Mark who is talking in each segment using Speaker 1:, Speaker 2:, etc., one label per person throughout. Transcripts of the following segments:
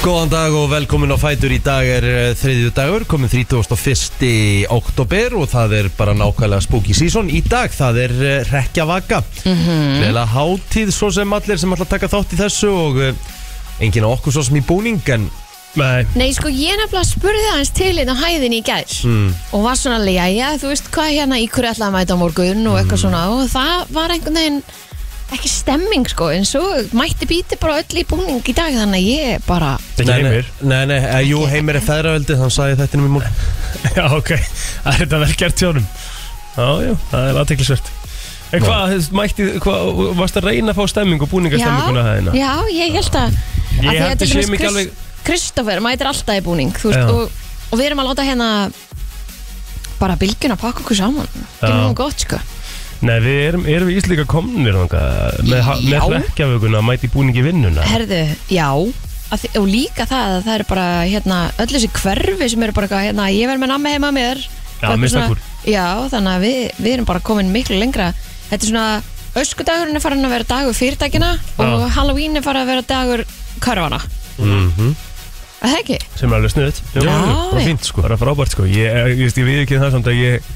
Speaker 1: Góðan dag og velkomin á Fætur í dag er eh, þriðju dagur, komin 31. oktober og það er bara nákvæmlega spooky season í dag, það er eh, rekkjavaka mm. Leila hátíð svo sem allir sem ætla að taka þátt í þessu og eh, enginn á okkur svo sem í búning en
Speaker 2: Nei,
Speaker 3: Nei, sko, ég nefnilega spurði aðeins til einn á hæðinni í gær
Speaker 2: Hmm.
Speaker 3: mm. og var svona alveg, jæja, þú veist hvað hérna í hverju ætlaði að mæta á morgun og
Speaker 2: Hmm.
Speaker 3: eitthvað svona og það var einhvern veginn ekki stemming, sko, en svo mætti býti bara öll í búning í dag þannig að ég bara,
Speaker 2: þetta er
Speaker 1: Nei,
Speaker 2: ekki
Speaker 1: nei,
Speaker 2: heimir
Speaker 1: Nei, nei, eh, jú, heimir er feðraveldi, þannig sagði ég þetta um í múl
Speaker 2: Já, ok, það er þetta vel gert hjá honum Já, já, það er aðteklisvert En hvað, mætti, hvað, varst að reyna að fá stemming og búningastemminguna hæðina?
Speaker 3: já, ég held að
Speaker 2: hérna? Ég
Speaker 3: að því
Speaker 2: held
Speaker 3: að
Speaker 2: ég
Speaker 3: til
Speaker 2: sé
Speaker 3: dæmis
Speaker 2: mikið
Speaker 3: Krist,
Speaker 2: alveg-
Speaker 3: Kristoffer mætir alltaf í búning, þú
Speaker 2: Já.
Speaker 3: veist, og, og við erum að láta hérna bara bylgjuna pakka okkur saman,
Speaker 2: Já.
Speaker 3: gerum hún gott, sko
Speaker 2: Nei, við erum, erum við íslíka komnir þangað með, ha-
Speaker 3: Já.
Speaker 2: með hrekkjavökunna að mæti búningi vinnuna
Speaker 3: Herðu, já að, þi- og líka það að það eru bara hérna, öll þessi hverfi sem eru bara eitthvað, hérna, ég verð með nammi heima með mér Bara
Speaker 2: mér
Speaker 3: eitthvað
Speaker 2: stakkur.
Speaker 3: svona- já, þannig að við, við erum bara komin miklu lengra þetta er svona, öskudagurinn er farin að vera dagur fyrirtækina og Halloween er farin að vera dagur körfana
Speaker 2: Mhm.
Speaker 1: Mhm.
Speaker 3: Er það ekki?
Speaker 2: sem er alveg snuðt
Speaker 3: Já,
Speaker 2: bara
Speaker 3: já.
Speaker 2: fínt sko, bara frábært sko ég, ég, ég, ég við ekki það samt að ég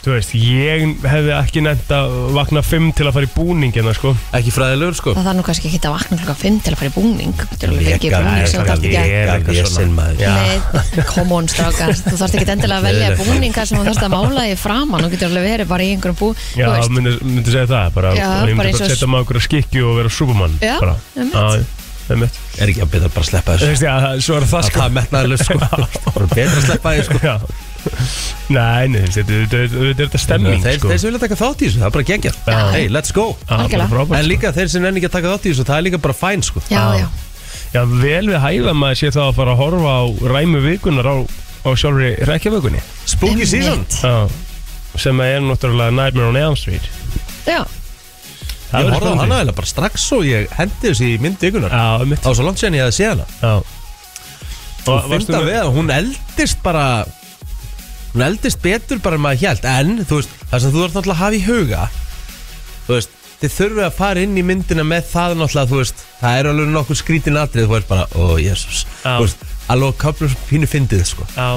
Speaker 2: þú veist, ég hefði ekki nefnt að vakna 5 til að fara í búningina sko
Speaker 1: Ekki fræðilegur, sko
Speaker 3: Það þarf nú kannski ekki að vakna klokka 5 til að fara í búning Þetta er alveg fengið í
Speaker 1: Leka-
Speaker 3: búning sem þú þarft ekki að
Speaker 2: Ég er eitthvað
Speaker 1: Ég
Speaker 2: svona.
Speaker 1: sinn maður
Speaker 2: Já.
Speaker 3: Nei, come on strákar, þú þarft ekki endilega að velja
Speaker 1: Leiðilegt.
Speaker 3: búninga sem þú þarft að mála í framan og getur alveg verið bara í einhverjum bú
Speaker 2: Já,
Speaker 3: þú veist.
Speaker 2: myndu, myndu segja það bara,
Speaker 3: Já,
Speaker 2: ég myndi
Speaker 3: bara
Speaker 2: bara,
Speaker 3: eins og-
Speaker 2: setja maður okkur að skikju og vera supermann
Speaker 3: Já,
Speaker 2: bara.
Speaker 3: einmitt.
Speaker 2: Já, einmitt
Speaker 1: Er ekki að betra bara að sleppa
Speaker 2: Þú
Speaker 1: þessu
Speaker 2: veist, já, það- svo er það
Speaker 1: Að
Speaker 2: Eh, sko
Speaker 1: Það er metnaðileg, sko Bara Betra að sleppa sko. þessu,
Speaker 2: Já Nei, nei, þetta þetta- þetta- þetta er þetta stemming
Speaker 1: Þeir,
Speaker 2: sko
Speaker 1: þeir sem vilja taka þátt í þessu, það er bara geggjað
Speaker 2: Já.
Speaker 1: Hey, let's go
Speaker 2: Já, bara
Speaker 3: Algjörlega.
Speaker 2: frábært,
Speaker 1: En
Speaker 2: sko.
Speaker 1: líka þeir sem nenni ekki að taka þátt í þessu, það er líka bara fæn sko
Speaker 3: Já,
Speaker 2: Já.
Speaker 3: já,
Speaker 2: Já, vel við hæfa maður sé þá að fara að horfa á ræmu vikunar á, á sjálfri rekkjavökunni
Speaker 1: Spooky season
Speaker 3: Einmitt.
Speaker 2: Já Sem að er náttúrulega Nightmare on Elm Street
Speaker 3: já
Speaker 2: Það
Speaker 1: Ég
Speaker 2: verður
Speaker 1: horfði á
Speaker 2: spennandi.
Speaker 1: hana eða bara strax og ég hendi þessu í myndi ykkurnar
Speaker 2: Já, mitt
Speaker 1: Það var svo langt séðan ég hefði séð hana
Speaker 2: Já
Speaker 1: Og finnst að við að hún eldist bara Hún eldist betur bara en maður hjælt En þú veist, það sem þú þarf náttúrulega að hafa í huga Þú veist, þið þurfið að fara inn í myndina með það náttúrulega Þú veist, það er alveg nokkur skrítin atrið Þú veist bara, ó, jésús
Speaker 2: Já.
Speaker 1: Þú veist, alveg kaplum pínu fyndið sko
Speaker 2: Já,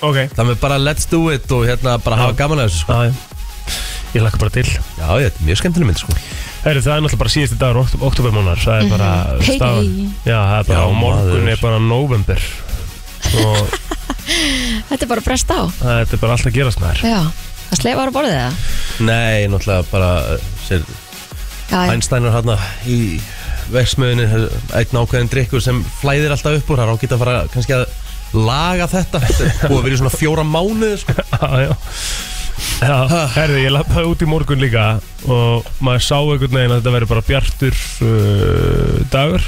Speaker 2: ok
Speaker 1: Það með bara let's do it og hérna bara hafa gaman að þessu sko
Speaker 2: Já, já Ég lakka bara til
Speaker 1: Já, ég, þetta er mjög skemmtileg mynd sko
Speaker 2: Heyri, það er náttúrulega bara síðusti dagur oktob oktobermónar Það er bara
Speaker 3: Mhm. Hey.
Speaker 2: staðan- Já, það er bara
Speaker 1: Já,
Speaker 2: á morgun
Speaker 1: maður.
Speaker 2: er bara november Og
Speaker 3: Þetta er bara að bresta á
Speaker 2: þetta er bara allt að gerast með þér
Speaker 3: Já, það sleifar á borðið það
Speaker 1: Nei, náttúrulega bara uh, sér,
Speaker 3: Já, já,
Speaker 1: Einsteinar hérna í veksmiðinu einn ákveðin drikkur sem flæðir alltaf upp úr það er ágætt að fara kannski að laga þetta Þetta er búið að vera í svona fjóra mánuð sko.
Speaker 2: Já, já Já, herði, ég lappaði út í morgun líka og maður sá einhvern veginn að þetta verður bara bjartur uh, dagur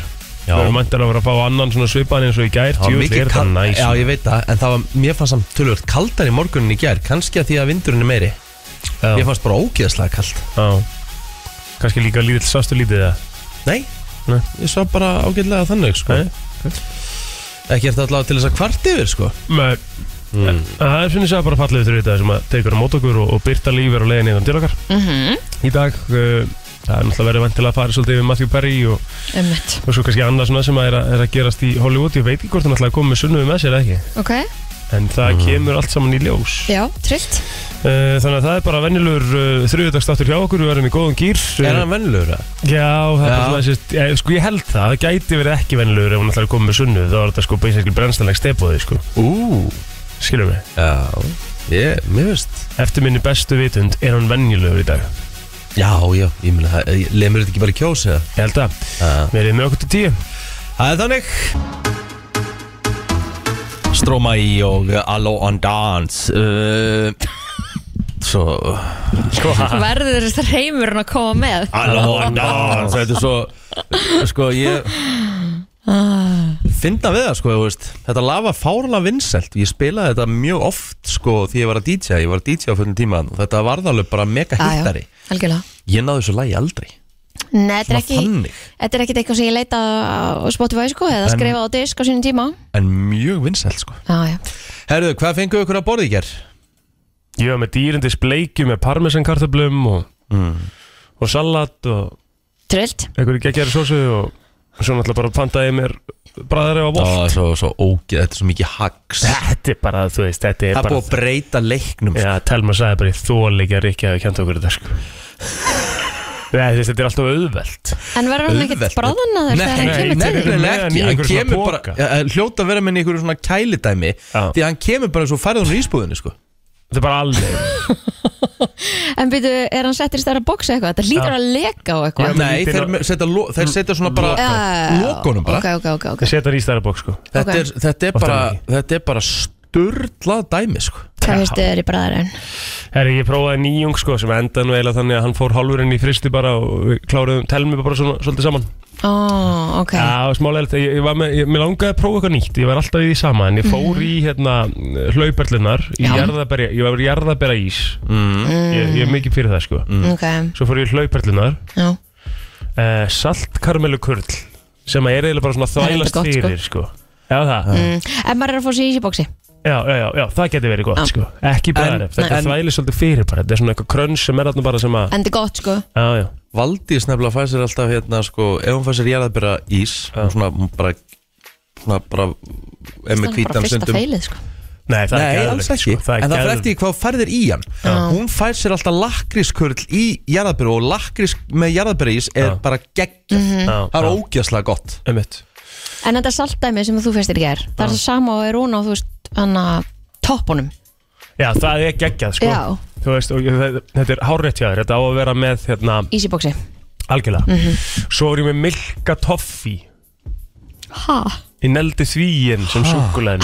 Speaker 1: Já.
Speaker 2: Við erum mæntar að vera að fá annan svona svipan eins og í gær
Speaker 1: Það var
Speaker 2: Djöfull
Speaker 1: mikið
Speaker 2: er þetta
Speaker 1: kald
Speaker 2: næs
Speaker 1: Já, ég veit það, en það var, mér fannst samt tölvöld kaldar í morgunin í gær kannski að því að vindurinn er meiri
Speaker 2: Já,
Speaker 1: Mér fannst bara ógeðslega kald
Speaker 2: já. Kannski líka lítill sástu lítið það
Speaker 1: Nei,
Speaker 2: Nei.
Speaker 1: ég sá bara ágætlega þannig sko.
Speaker 2: Nei,
Speaker 1: Ekki eftir allavega til þess að kvart yfir sko.
Speaker 2: Með, mm. Það er finnst ég að bara fallið þurfið þetta sem að tekur á mót okkur og, og byrta lífur og leiðin innan hérna til okkar
Speaker 3: Mhm.
Speaker 2: Í dag, uh, það er náttúrulega verið vantilega að fara svolítið yfir Matthew Perry og,
Speaker 3: ummitt
Speaker 2: og svo kannski annað svona sem að er, að er að gerast í Hollywood Ég veit ekki hvort hann ætlaði að koma með sunnuðu með sér eða ekki
Speaker 3: Ok,
Speaker 2: En það
Speaker 1: Mhm.
Speaker 2: kemur allt saman í ljós
Speaker 3: já, trillt
Speaker 2: uh, Þannig að það er bara venjulegur uh, þriðudagsdáttur hjá okkur Við verðum í góðum gýr
Speaker 1: Er hann vennilegur? eða?
Speaker 2: Já, það er
Speaker 1: Já.
Speaker 2: svona sérst ég, Sko ég held það, það gæti verið ekki venjulegur Ef hún ætlar að koma með sunnu Þá er þetta sko basically brennstanleg stefóði sko.
Speaker 1: Ú,
Speaker 2: Skilur mig
Speaker 1: já, ég, mér veist
Speaker 2: Eftir minni bestu vitund er hann venjulegur í dag
Speaker 1: Já, já, ég meina, það- ég- lemur þetta ekki bara í kjós eða?
Speaker 2: Ég held það
Speaker 1: Já.
Speaker 2: Við erum með okkur til tíu
Speaker 1: Það er þannig Stróma í og Allo on Dance uh, Svo
Speaker 3: Verður þetta reymurinn að koma með
Speaker 1: Allo on Dance Þetta er svo Sko ég Finna við það sko þú veist. Þetta lag var fárlega vinsælt Ég spilaði þetta mjög oft sko Því ég var að DJ Ég var að DJ á fullum tíma og Þetta varð alveg bara mega
Speaker 3: Já, já,
Speaker 1: hittari
Speaker 3: algjörlega
Speaker 1: Ég náði þessu lagi aldrei
Speaker 3: Nei, þetta er
Speaker 1: Svona
Speaker 3: ekki
Speaker 1: þannig.
Speaker 3: Þetta er ekkit eitthvað sem ég leita á Spotify sko eða skrifa á disk á sínum tíma
Speaker 1: En mjög vinsælt sko
Speaker 3: Já, já,
Speaker 1: Herðu, hvað fenguðu ykkur að borða í gerð?
Speaker 2: Ég var með dýrindis bleikju með
Speaker 1: Mm.
Speaker 2: parmesankartöblum og, og salat og
Speaker 3: trillt
Speaker 2: einhverju geggjæri sósu og Svo náttúrulega bara pantaði ég mér bræðar eða
Speaker 1: Það
Speaker 2: volt
Speaker 1: er svo, svo ógeð, þetta er svo mikið hags Það
Speaker 2: Þetta er bara, þú veist, þetta er
Speaker 1: er
Speaker 2: bara
Speaker 1: búið að breyta leiknum sko.
Speaker 2: Já, Telma sagði bara, ég þóli ekki að Rikki hafi kjönd okkur þetta sko Nei, þú veist, þetta er alltaf auðvelt
Speaker 3: En verður hann ekkert
Speaker 1: Auðvelt.
Speaker 3: bráðan að þér þegar hann
Speaker 1: Nei,
Speaker 3: kemur
Speaker 1: nei,
Speaker 2: nei.
Speaker 3: til þig?
Speaker 1: nefnilega
Speaker 2: Meðan
Speaker 1: ekki
Speaker 2: í
Speaker 1: Hann
Speaker 2: einhverju svona
Speaker 1: kemur bara,
Speaker 2: poka.
Speaker 1: ja, hljóta að vera með einhverju svona kælidæmi
Speaker 2: Já.
Speaker 1: Því að hann kemur bara svo færið hún í ísbúðinu sko
Speaker 2: Þetta er bara alveg
Speaker 3: En byrju, er hann settir í stærra boksi eitthvað? Þetta
Speaker 2: Já.
Speaker 3: lítur að leka á eitthvað
Speaker 1: Nei,
Speaker 2: lítinn
Speaker 1: þeir
Speaker 2: og-
Speaker 1: me- setja lo- þeir
Speaker 2: Mm.
Speaker 1: setja svona bara Lokunum bara
Speaker 3: Ok, ok, ok, ok
Speaker 2: Það setja hann í stærra bók, sko
Speaker 1: Þetta er- þetta er
Speaker 2: Og
Speaker 1: bara
Speaker 2: það er
Speaker 1: Þetta er bara sturlað dæmi sko
Speaker 3: Hvað veistu þér í bræðarinn?
Speaker 2: Herri, ég prófaði nýjung, sko, sem enda nú eiginlega þannig að hann fór hálfurinn í fristi bara og við kláruðum telmi bara svona, svolítið saman
Speaker 3: Ó, ok
Speaker 2: Já, smálega, ég, ég var með, ég, mér langaði að prófa eitthvað nýtt Ég var alltaf í því sama, en ég
Speaker 1: Mhm.
Speaker 2: fór í, hérna, hlauperlunar í
Speaker 3: Já.
Speaker 2: jarðaberja, ég var í jarðaberja ís ég,
Speaker 1: Mhm.
Speaker 2: ég er mikið fyrir það, sko
Speaker 1: Mm.
Speaker 3: Ok,
Speaker 2: Svo fór ég í hlauperlunar
Speaker 3: já
Speaker 2: uh, saltkarmelu kurl sem er eiginlega bara svona
Speaker 3: er
Speaker 2: þvælast
Speaker 3: gott, sko.
Speaker 2: fyrir sko. Já, það,
Speaker 1: Mhm.
Speaker 3: Mm, En maður er að fá sér í sér boksi
Speaker 2: já, já, já, já, það geti verið gott
Speaker 3: Já.
Speaker 2: sko. ekki bara,
Speaker 1: En-
Speaker 2: þetta
Speaker 1: en-
Speaker 2: þvælir svolítið fyrir bara, þetta er svona eitthvað krönns sem er þarna bara sem að
Speaker 3: En þetta er gott, sko
Speaker 2: já, já,
Speaker 1: Valdís nefnilega fær sér alltaf hérna sko Ef hún fær sér jarðabera ís
Speaker 2: Já.
Speaker 1: Hún svona hún bara Svona bara Er
Speaker 3: Það
Speaker 1: með
Speaker 3: er bara
Speaker 1: hvítan
Speaker 3: fyrsta
Speaker 1: sundum
Speaker 3: feilið, sko
Speaker 2: nei, það er
Speaker 1: Nei,
Speaker 2: geðveikt,
Speaker 1: alls ekki,
Speaker 2: sko. það
Speaker 1: en það
Speaker 2: er
Speaker 1: fyrir
Speaker 2: geðveikt.
Speaker 1: eftir því hvað þú færðir í hann Hún fær sér alltaf lakrískurl í jarðabyrju og lakrís með jarðabyrjís er
Speaker 2: Já.
Speaker 1: bara geggjað
Speaker 2: Já,
Speaker 3: Mm.
Speaker 1: Mhm. Það er
Speaker 2: já.
Speaker 1: ógjastlega gott
Speaker 2: Einmitt.
Speaker 3: En þetta saltdæmi sem þú fyrstir í gær Það er það sama og er hún á, þú veist, hann að toppunum
Speaker 2: já, það er geggjað sko.
Speaker 3: Já.
Speaker 2: þú veist, og ég, það- þetta er hárrétt hjá þér þetta á að vera með, hérna,
Speaker 3: í sér boksi
Speaker 2: algjörlega
Speaker 3: Mhm.
Speaker 2: svo er ég með milka toffi
Speaker 3: Ha?
Speaker 2: ég neldi þvíin sem súkulegin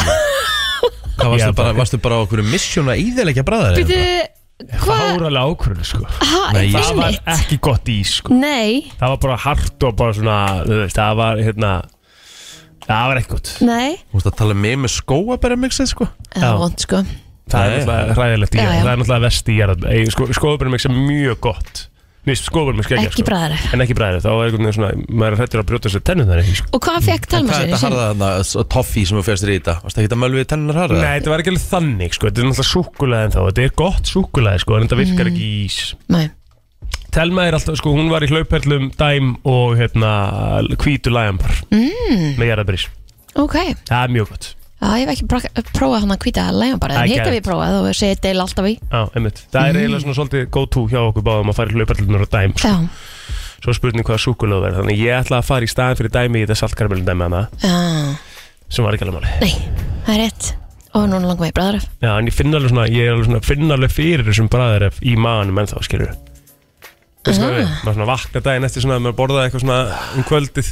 Speaker 1: Hvað
Speaker 2: Já,
Speaker 1: varstu bara,
Speaker 2: bara-
Speaker 1: varstu bara á okkur misjón að hérna? íðilegja bræðar
Speaker 3: Býtu, hvað?
Speaker 2: háralega ákvörðu sko.
Speaker 3: Ha,
Speaker 1: Nei,
Speaker 2: það
Speaker 3: það
Speaker 2: var ekki gott í sko.
Speaker 3: Nei,
Speaker 2: Það var bara hart og bara svona, þú veist, það var hérna Það var ekkert
Speaker 3: nei
Speaker 1: Þú veist að tala með með skóa bara mixið sko
Speaker 3: Það
Speaker 2: Já.
Speaker 3: var vond, sko
Speaker 2: Það er
Speaker 1: Nei.
Speaker 2: náttúrulega hræðilegt í
Speaker 3: Já,
Speaker 2: hérna,
Speaker 3: já.
Speaker 2: það er náttúrulega vest í hérna sko, Skoðurbjörnum ekki sem mjög gott Mér finnst skoðurbjörnum ekki
Speaker 3: Ekki
Speaker 1: sko.
Speaker 3: bragðaræf.
Speaker 2: sko. En ekki bræðir, þá er einhvern veginn svona, maður er hrættur að brjóta sér tennum þannig sko.
Speaker 3: Og hvað fekk
Speaker 1: Mm. Hvað er
Speaker 3: Telma sér í
Speaker 1: þetta
Speaker 3: sér?
Speaker 1: harða þarna toffi sem þú fyrst þér í þetta? Varstu ekki að mölvið tennunar harða?
Speaker 2: Nei, þetta var ekki alveg þannig, sko, þetta er náttúrulega súkulæðin þá Þetta er gott súkulæði, sko, en þetta virkar ekki í ís
Speaker 3: Nei,
Speaker 2: Telma er alltaf, sko, hún var í hlauperlum Dæm og, hérna, hvítu lægambar mm. Með jarðabrís
Speaker 3: ok
Speaker 2: Það er mjög gott
Speaker 3: Já, ég hef ekki praka- prófað hann að hvita að lægja bara En
Speaker 2: Ekki
Speaker 3: hitt hef
Speaker 2: hægt.
Speaker 3: ég prófað og segið deil alltaf í
Speaker 2: Já, einmitt. Það er eiginlega svona svolítið go to hjá okkur báðum að fara í hlauparlunar og dæm sko.
Speaker 3: Já,
Speaker 2: Svo er spurning hvaða súkulega verður Þannig að ég ætla að fara í staðan fyrir dæmi í þetta saltkarmelun dæmi hana
Speaker 3: já
Speaker 2: sem var ekki alveg máli
Speaker 3: Nei, það er rétt Og núna langar mig í bræðaraf
Speaker 2: Já, en ég finn alveg svona, ég er alveg svona finn alveg fyrir þessum bræðaref í maðanum ennþá, skilur Veistu hvað við, maður svona vakna daginn eftir svona maður borðaði eitthvað svona um kvöldið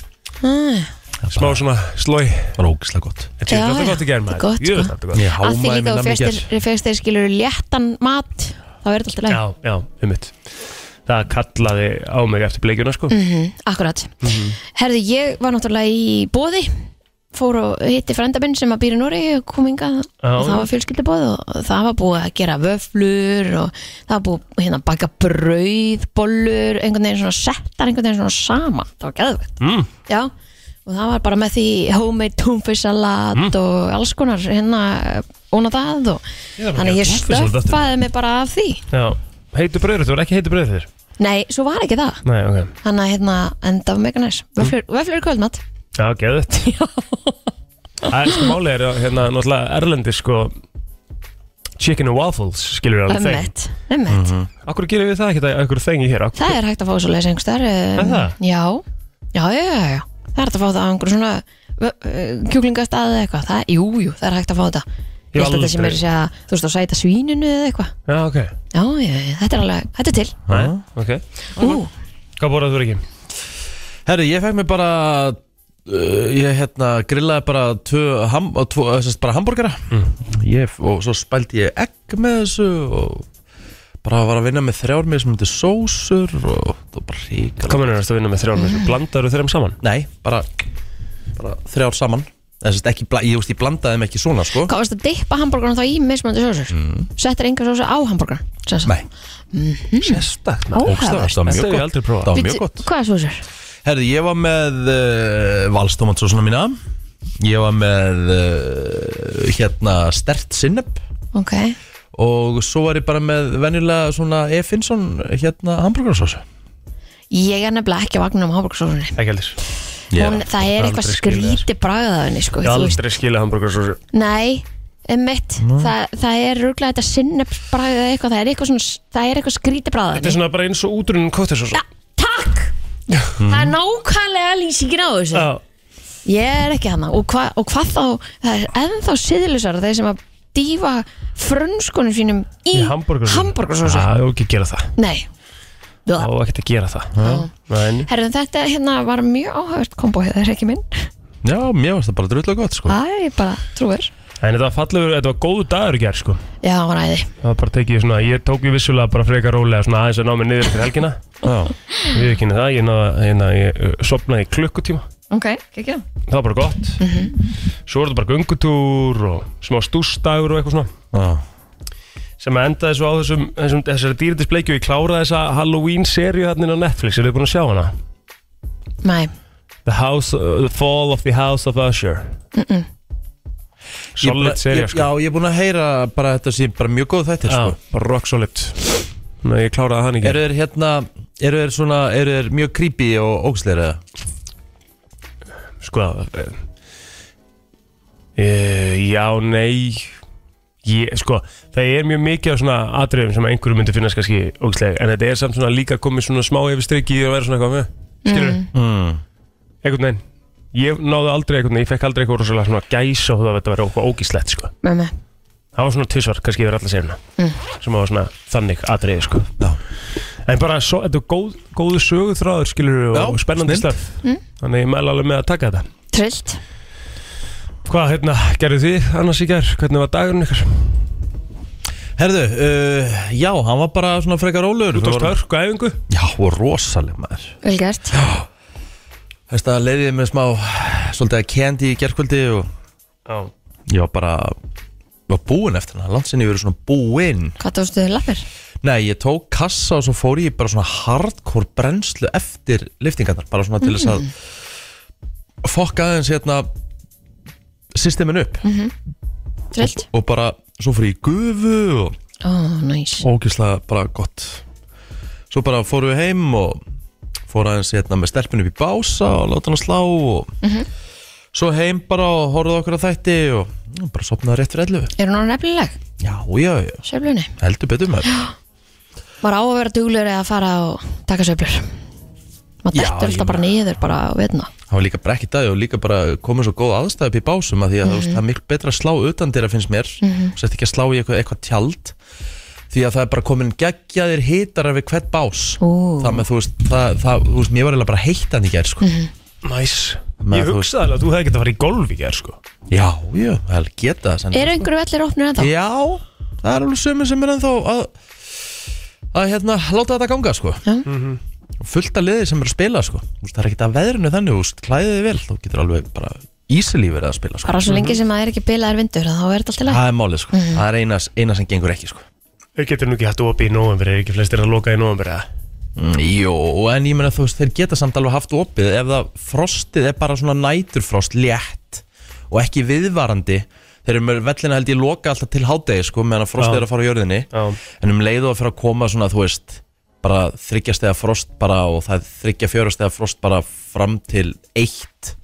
Speaker 3: Ah.
Speaker 2: smá svona slói
Speaker 1: Það var ógislega gott
Speaker 2: Þetta er
Speaker 3: Já,
Speaker 2: alltaf
Speaker 3: já,
Speaker 2: gott í gerð
Speaker 3: þetta er gott,
Speaker 2: maður Jú,
Speaker 3: sko.
Speaker 2: þetta er gott
Speaker 1: Ég
Speaker 3: Að því
Speaker 1: hámaði
Speaker 3: líka
Speaker 1: minna
Speaker 3: þú
Speaker 1: mikið
Speaker 3: festir, festir skilur léttan mat Þá verður þetta alltaf
Speaker 2: Já, já, einmitt Það kallaði á mig eftir bleikjuna, sko
Speaker 3: leið Mhm, Akkurat
Speaker 2: Mhm.
Speaker 3: Herði, ég var náttúrulega í bóði Fór og hitti frænda minn sem að býr í Nóri og kom hingað
Speaker 2: Já.
Speaker 3: og það var fjölskyldubóð og það var búið að gera vöflur og það var búið hérna, að baka brauðbollur einhvern veginn svona settar einhvern veginn svona saman það var geðvegt
Speaker 2: mm.
Speaker 3: Já, og það var bara með því homemade túnfisalat
Speaker 2: Mm.
Speaker 3: og alls konar hérna óna það og
Speaker 2: Ég þarf að
Speaker 3: þannig
Speaker 2: gera
Speaker 3: ég
Speaker 2: túnfisalat eftir.
Speaker 3: stöffaði mig bara af því.
Speaker 2: Já, heitu bröður, þú ekki heitu bröður þér
Speaker 3: Nei, svo var ekki það.
Speaker 2: Nei, ok,
Speaker 3: Þannig að hérna, en það var mega næs.
Speaker 2: Mm.
Speaker 3: Vöflur, vöflur í kvöldmatt.
Speaker 2: Já, geðut Það er sko málið er að, hérna náttúrulega Erlendi sko Chicken and waffles, skilur við alveg þeim
Speaker 3: Ömmett, ömmett.
Speaker 2: Akkur gerum við það ekki að einhverju þengi hér Akkur,
Speaker 3: Það er hægt að fá svo leys einhverstaðar.
Speaker 2: Er það?
Speaker 3: ehm, Já, já, já, já, já. Það er hægt að fá það á einhverjum svona vö- eh, kjúklingastað eða eitthvað. Það, jú, jú, það er hægt að fá þetta.
Speaker 2: Ég
Speaker 3: Ég held að
Speaker 2: aldrei.
Speaker 3: þetta sem er að segja, þú veist, að sæta svíninu eða eitthvað.
Speaker 2: Já, ok,
Speaker 3: Já, já, já, þetta er alveg, þetta er til.
Speaker 2: Nei, ok
Speaker 3: Ú,
Speaker 2: Hvað borðað þú ekki?
Speaker 1: Herri, ég fekk mér bara uh, Ég hérna grillaði bara Tvö, ham, og tvo, uh, sérst, bara hambúrgara ég, Og svo spældi ég egg með þessu Og bara var að vinna með þrjár Með þessum myndi sósur Og það var bara ríkala
Speaker 2: Komin er að vinna með þrjálum mm. Blandar þú þeirra saman?
Speaker 1: Nei, bara, bara þrjár saman Það er sérst ekki, bla- ég, þú veist, ég blandaði þeim ekki svona sko
Speaker 3: Hvað varst að dippa hambúrgarna þá í mismunandi sósur? Settir enga sósu á hambúrgarna?
Speaker 1: Nei Sérstakt Ógeðslega,
Speaker 3: Áhugavert.
Speaker 1: Það var
Speaker 2: Þetta
Speaker 1: mjög
Speaker 2: hef ég
Speaker 1: gott
Speaker 2: aldrei prófað.
Speaker 1: Það var mjög gott
Speaker 3: Hvað sósur?
Speaker 1: Herði, ég var með uh, valstomatsósuna mína Ég var með uh, hérna stert sinneb
Speaker 3: Ok,
Speaker 1: og svo var ég bara með venjulega svona E. Finnsson hérna hambúrgarsósu
Speaker 3: ég er nefnilega ekki að vagna um hambúrgarsósunni
Speaker 2: Ekki heldur
Speaker 1: Já.
Speaker 3: hún, það er
Speaker 2: Aldrei
Speaker 3: eitthvað
Speaker 2: skilið þær.
Speaker 3: skríti bragðað henni sko,
Speaker 2: Ég
Speaker 3: þú veist.
Speaker 2: aldrei skilja hambúrgarsósu
Speaker 3: Nei, emmitt Þa, Það er rúglega þetta sinnebsbragð eða eitthvað, það er eitthvað, svona, það er eitthvað
Speaker 2: Þetta
Speaker 3: skrítibræðan
Speaker 2: er svona bara eins og útrunin kóttisósu
Speaker 3: ja, Takk! það er nákvæmlega lýsingin á þessu
Speaker 2: Já,
Speaker 3: Ég er ekki hana og, hva, og hvað þá, það er ennþá siðlusar þeir sem að dýfa frönskunum sínum í,
Speaker 2: í hambúrgarsósu
Speaker 3: hamborgarsósu
Speaker 2: Já, ég ekki að gera það
Speaker 3: Nei
Speaker 2: Á
Speaker 3: Blah.
Speaker 2: ekki að gera það En
Speaker 3: Herðu, þetta hérna var mjög áhört kombo hér, það er ekki minn
Speaker 1: Já, mér varst það bara drullu gott sko
Speaker 3: Æ, bara trúir
Speaker 2: en þetta var fallegur, þetta var góðu dagur í gerð sko
Speaker 3: Já, hann var æði
Speaker 2: Það var bara tekið svona, ég tók við vissulega bara frekar rólega svona aðeins að ná mig niður til helgina
Speaker 1: Já,
Speaker 2: Við ekki það, ég, náða, ég, náða, ég uh, sopnaði í klukkutíma
Speaker 3: Ok, ekki
Speaker 2: Það var bara gott Svo var þetta bara göngutúr og smá stústagur og eitthvað svona
Speaker 1: já,
Speaker 2: sem endaði svo á þessum, þessum þessari dýrindisbleikju, ég kláraði þessa Halloween seríu hann á Netflix, eru þið búin að sjá hana?
Speaker 3: Nei,
Speaker 2: The, house, uh, the Fall of the House of Usher
Speaker 1: Ég bara-
Speaker 2: Solid seríu
Speaker 1: ég-
Speaker 2: sko
Speaker 1: Já, ég er búin að heyra bara þetta sé bara mjög góð þættir
Speaker 2: Já,
Speaker 1: sko
Speaker 2: bara rock solid Nei, ég kláraði hann ekki
Speaker 1: Eru þeir hérna, eru þeir svona, eru þeir mjög creepy og ógslir eða?
Speaker 2: Sko uh, Já, nei ég, Sko, það er mjög mikið af svona atriðum sem einhverju myndi finnast kannski ógislega, en þetta er samt svona líka komið svona smá yfir strikki og verið svona eitthvað með Skilur
Speaker 1: Mm.
Speaker 2: Einhvern veginn Ég náði aldrei einhvern veginn, ég fekk aldrei eitthvað rosalega svona gæsa og það að þetta verið okkur ógislegt sko
Speaker 3: með með
Speaker 2: Það var svona tvisvar, kannski yfir alla sérna sem var svona þannig atriði sko
Speaker 1: Já.
Speaker 2: En bara, svo, þetta er góð, góðu söguþráður skilur og,
Speaker 1: Já,
Speaker 2: og spennandi
Speaker 1: snilld.
Speaker 2: stöf Þannig ég mæla alveg með að taka þetta
Speaker 3: Trillt
Speaker 2: Hvað hérna gerðu þið annars í gær? Hvernig var dagurinn ykkur?
Speaker 1: Herðu, uh, já, hann var bara svona frekar rólegur
Speaker 2: Þú
Speaker 1: Það
Speaker 2: tókst
Speaker 1: var-
Speaker 2: hörku sko, æfingu?
Speaker 1: Já, og rosaleg maður
Speaker 3: Vel gert
Speaker 1: Þess að leiðið með smá svolítið að kendi í gerkvöldi og
Speaker 2: Já
Speaker 1: ég var bara var búinn eftir hana, landsinni ég verið svona búinn
Speaker 3: Hvað tókstu þið lappir?
Speaker 1: Nei, ég tók kassa og svo fór ég bara svona hardcore brennslu eftir liftingarnar, bara svona til þess að fokka aðeins hérna systemin upp
Speaker 3: Trillt
Speaker 1: og bara svo fór ég í gufu og
Speaker 3: Ó, oh, næs nice.
Speaker 1: ógislega bara gott svo bara fórum við heim og fór aðeins hérna með stelpun upp í bása og láta hann slá og svo heim bara og horfðu okkur á þætti og og bara sopnaði rétt fyrir 11
Speaker 3: Er hún orðin eflileg?
Speaker 1: já, já, já,
Speaker 3: Sveiflunni
Speaker 1: heldur betur með
Speaker 3: Var á að vera duglegur eða að fara og taka sveiflur Maður
Speaker 1: Já,
Speaker 3: dettur
Speaker 1: ég Mm.
Speaker 3: alltaf bara niður bara á veitna
Speaker 1: það var líka brekki dag og líka bara komið svo góð aðstæð upp í básum að því að mm -hmm. það er miklu betra að slá utan dýra finnst mér mm -hmm. sett ekki að slá í eitthvað, eitthvað tjald því að það er bara komin geggjaðir hitarar við hvert bás
Speaker 3: Ú.
Speaker 1: það með þú veist, það, það, þú veist mér var eiginlega bara heittan í gerð sko.
Speaker 2: Næs
Speaker 1: Maður,
Speaker 2: Ég
Speaker 1: þú-
Speaker 2: hugsaði alveg að þú hefði getað að fara í golf í gær sko
Speaker 1: já, já, það geta það sennilega.
Speaker 3: Eru einhverju vellir opnir ennþá?
Speaker 1: Já, það er alveg sömur sem er ennþá að, að hérna, láta þetta ganga sko.
Speaker 3: Já.
Speaker 1: og fullt af liði sem er að spila sko. Þú veist, það er ekkert að veðrinu þannig þú veist, klæðið þið vel, þú getur alveg bara easily verið að spila sko.
Speaker 3: Bara svo lengi sem það er ekki bilaðar vindur að þá er þetta alltaf læg
Speaker 1: það er málið, sko. það er eina, eina sem gengur ekki sko.
Speaker 2: Þau getur nú ekki hatt opið í november Er ekki flestir að loka í november eða?
Speaker 1: mm, Jó, en ég meina þú veist, þeir geta samt alveg haft opið ef það frostið er bara svona næturfrost létt og ekki viðvarandi þeir eru með vellina held ég loka alltaf til hádegi sko, meðan að frostið
Speaker 2: Já.
Speaker 1: er að fara á jörðinni
Speaker 2: Já
Speaker 1: en um leiðu að fyrir að koma svona þú veist bara þryggja stegar frost bara og það er þryggja fjóra stegar frost bara fram til eitt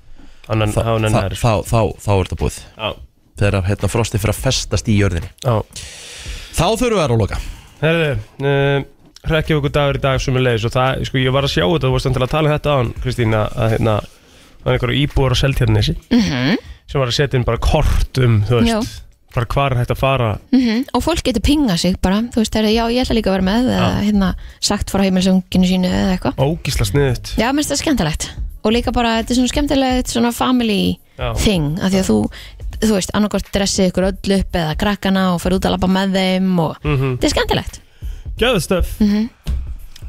Speaker 2: Annan,
Speaker 1: þá,
Speaker 2: annan
Speaker 1: þá,
Speaker 2: er
Speaker 1: þá, þá, þá er þetta búið
Speaker 2: Já
Speaker 1: þegar að, hérna, frostið fyrir að festast í jörðinni
Speaker 2: Já
Speaker 1: þá þurfum við að róloka
Speaker 2: Herðu, uh, hrekkjum ykkur dagur í dag sem er leiðis og það, sko, ég var að sjá þetta, þú varst enn til að tala um þetta á hann, Kristín, að að, hérna, það er einhverju íbúar á Seltjarnesi sem var að setja inn bara kort um, þú veist,
Speaker 3: Mhm. Já.
Speaker 2: bara hvar er hægt að fara,
Speaker 3: mm Og fólk getur pingað sig bara Þú veist, það er já, ég ætla líka að vera með eða hérna, sagt frá heimilsunginu sínu eða eitthvað
Speaker 2: ógísla sniðut.
Speaker 3: Já, mér finnst það skemmtilegt Og líka bara, þetta er svona skemmtilegt svona family
Speaker 2: Já.
Speaker 3: thing af því að þú, þú veist, annarkort dressið ykkur öll upp eða krakkana og fer út að labba með þeim og
Speaker 2: Mhm.
Speaker 3: þetta er skemmtilegt
Speaker 2: Gjöðu stöf! Mm
Speaker 3: Mhm.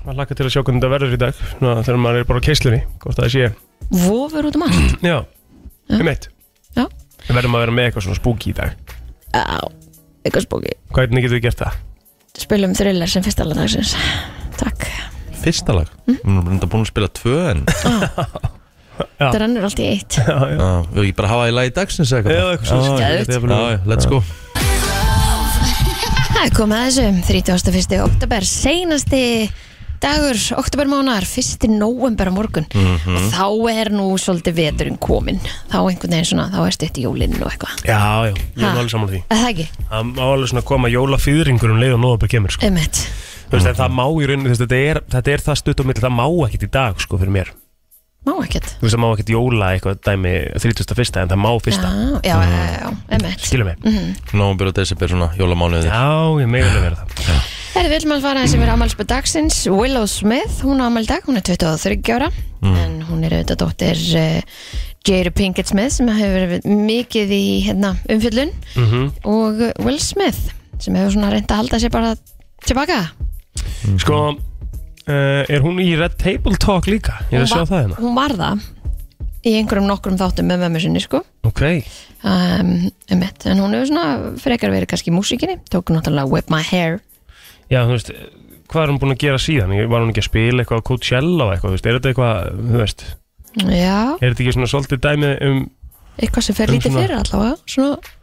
Speaker 2: Maður laka til að sjá hvernig þetta verður í dag, svona, þegar maður er bara á keislinni, hvort það sé.
Speaker 3: Vofur út um allt
Speaker 2: Já, um eitt.
Speaker 3: Já,
Speaker 2: Við verðum að vera með eitthvað svona spooky í dag.
Speaker 3: á, eitthvað spóki
Speaker 2: Hvernig getur við gert það?
Speaker 3: Spilum thriller sem fyrsta alveg dagsins Takk
Speaker 1: fyrsta lag, við erum reynda búin að spila tvö en
Speaker 3: Þetta rennur allt í eitt
Speaker 2: Já, já.
Speaker 1: á, við ekki bara hafa í lagi dagsins eða
Speaker 2: Já, eitthvað svona.
Speaker 1: Já,
Speaker 3: Geðveikt.
Speaker 1: já, já, let's go
Speaker 3: Það er komið að þessu 31. oktober, seinasti dagur, oktober mánar, 1. november á morgun og þá er nú svolítið veturinn komin þá einhvern veginn svona, þá er stutt í jólinn og eitthvað
Speaker 2: Já, já, ég
Speaker 3: Ha.
Speaker 2: er alveg saman því
Speaker 3: Er Það ekki,
Speaker 2: Það má alveg svona koma jólafýðringur um leið og nóðabæk kemur sko.
Speaker 3: einmitt
Speaker 2: Þú veist, en það má í rauninni, þú veist, þetta er, þetta er það stutt á milli, það má ekkit í dag sko fyrir mér
Speaker 3: Má ekkert
Speaker 2: Þú veist, það má ekkit jóla eitthvað dæmi 31. en það má
Speaker 3: Já,
Speaker 2: fyrsta
Speaker 3: já, já, já, einmitt
Speaker 2: Skilum mig?
Speaker 1: Nómber og desember svona, jólamánuði
Speaker 2: Já, ég megi alveg vera það
Speaker 3: Herri, við viljum að fara aðeins yfir afmælspöð dagsins Willow Smith, hún á afmæl í dag, hún er 23 ára
Speaker 2: Mm.
Speaker 3: en hún er auðvitað dóttir uh, Jada Pinkett Smith sem hefur verið mikið í hérna, umfyllun
Speaker 2: Mhm.
Speaker 3: og eh, Will Smith sem hefur svona reynd að halda sér bara tilbaka
Speaker 2: Sko, uh, er hún í Red Table Talk líka? Ég er að
Speaker 3: Hún
Speaker 2: sjá
Speaker 3: var-
Speaker 2: það hérna
Speaker 3: Hún var það í einhverjum nokkrum þáttum með mömmu sinni sko
Speaker 2: Ok,
Speaker 3: um, um en hún hefur svona frekar verið kannski í músikinni, tók náttúrulega Whip My Hair
Speaker 2: já, þú veist, hvað er hún búin að gera síðan? Var hún ekki að spila eitthvað á Coachella og eitthvað, þú veist, er þetta eitthvað, þú veist
Speaker 3: Já,
Speaker 2: Er þetta ekki svona svolítið dæmi um
Speaker 3: eitthvað sem fer
Speaker 2: Um
Speaker 3: lítið
Speaker 2: svona-
Speaker 3: fyrir allavega svona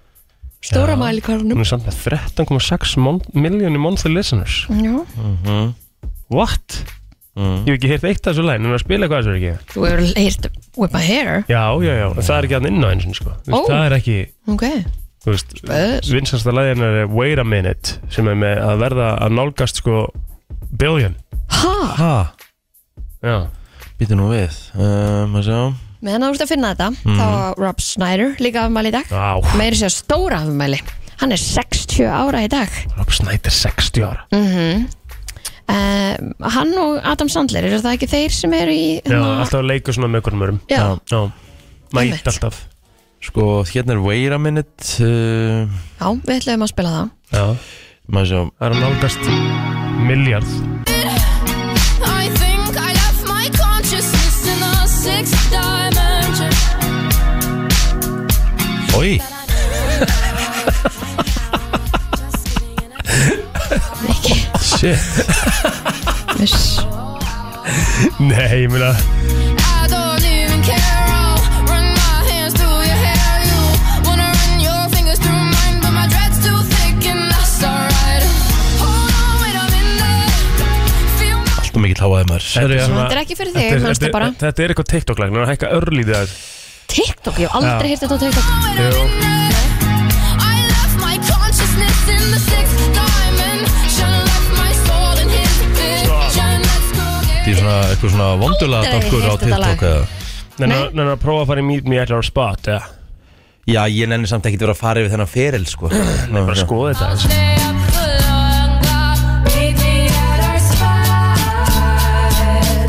Speaker 3: stóra
Speaker 2: Já.
Speaker 3: mæli
Speaker 2: Hún er samt með 13,6 mon- million monthly listeners
Speaker 3: Já,
Speaker 1: Mhm.
Speaker 2: What?
Speaker 1: Mm.
Speaker 2: Ég hef ekki heyrt eitt af þessu læn, hún er að spila eitthvað þessu er ekki
Speaker 3: þú hefur heyrt Whip My Hair
Speaker 2: Já, já, já, en það er ekki hann inn á eins og sko Þú veist,
Speaker 3: Ó.
Speaker 2: Það er ekki,
Speaker 3: Ok,
Speaker 2: þú veist
Speaker 3: Spes.
Speaker 2: Vinsasta læðin er Wait a Minute sem er með að verða að nálgast sko billion
Speaker 3: ha,
Speaker 1: Ha,
Speaker 2: Já,
Speaker 1: býtu nú við um, að sjá.
Speaker 3: meðan þú ert að finna þetta
Speaker 2: Mm.
Speaker 3: þá á Rob Snyder líka afmæli í dag
Speaker 2: á,
Speaker 3: meiri sér stóra afmæli hann er 60 ára í dag
Speaker 2: Rob Snyder 60 ára
Speaker 3: mm Hann og Adam Sandler eru það ekki þeir sem eru í
Speaker 2: Já,
Speaker 3: hérna-
Speaker 2: alltaf að leika svona með einhvern mörgum
Speaker 3: Já.
Speaker 2: já Mætt
Speaker 3: Einmitt.
Speaker 2: alltaf
Speaker 1: Sko, hérna er Wait a Minute uh,
Speaker 3: Já, við ætlum að spila það
Speaker 2: Já,
Speaker 1: maður sjá
Speaker 2: það er að nálgast miljard
Speaker 4: I think I left my consciousness in the sixth dimension.
Speaker 1: Oi, shit
Speaker 3: Viss.
Speaker 2: Nei, ég meina
Speaker 4: I don't even care. I'll run my hands through your hair. You wanna run your fingers through mine, but my dread's too thick and that's alright. Hold on, wait a minute. Feel my
Speaker 1: Allt og mikill háaði maður
Speaker 2: Þetta
Speaker 1: Herri,
Speaker 2: er svona-
Speaker 3: Þetta er ekki fyrir þig,
Speaker 2: Þetta er-
Speaker 3: manstu
Speaker 2: þetta er-
Speaker 3: bara.
Speaker 2: Þetta er eitthvað TikTok-læk, hann hækka örlítið að
Speaker 3: TikTok, ég hef aldrei
Speaker 2: Já.
Speaker 3: heyrt þetta á TikTok
Speaker 4: wait a
Speaker 2: Jú.
Speaker 4: minute. I left my consciousness in the sixth dimension. Left my soul in his vision. Let's go get
Speaker 1: Þetta er svona eitthvað svona vondulega
Speaker 3: Aldrei
Speaker 1: dálkur á
Speaker 3: heyrt þetta lag.
Speaker 1: TikTok eða
Speaker 2: Nei, nei, að prófa að fara í Meet Me at Our Spot eða
Speaker 1: Já, ég nenni samt ekki að vera að fara yfir þennan feril, sko Nei,
Speaker 2: bara skoða þetta aðeins.
Speaker 4: stay up for longer. Meet me at our spot.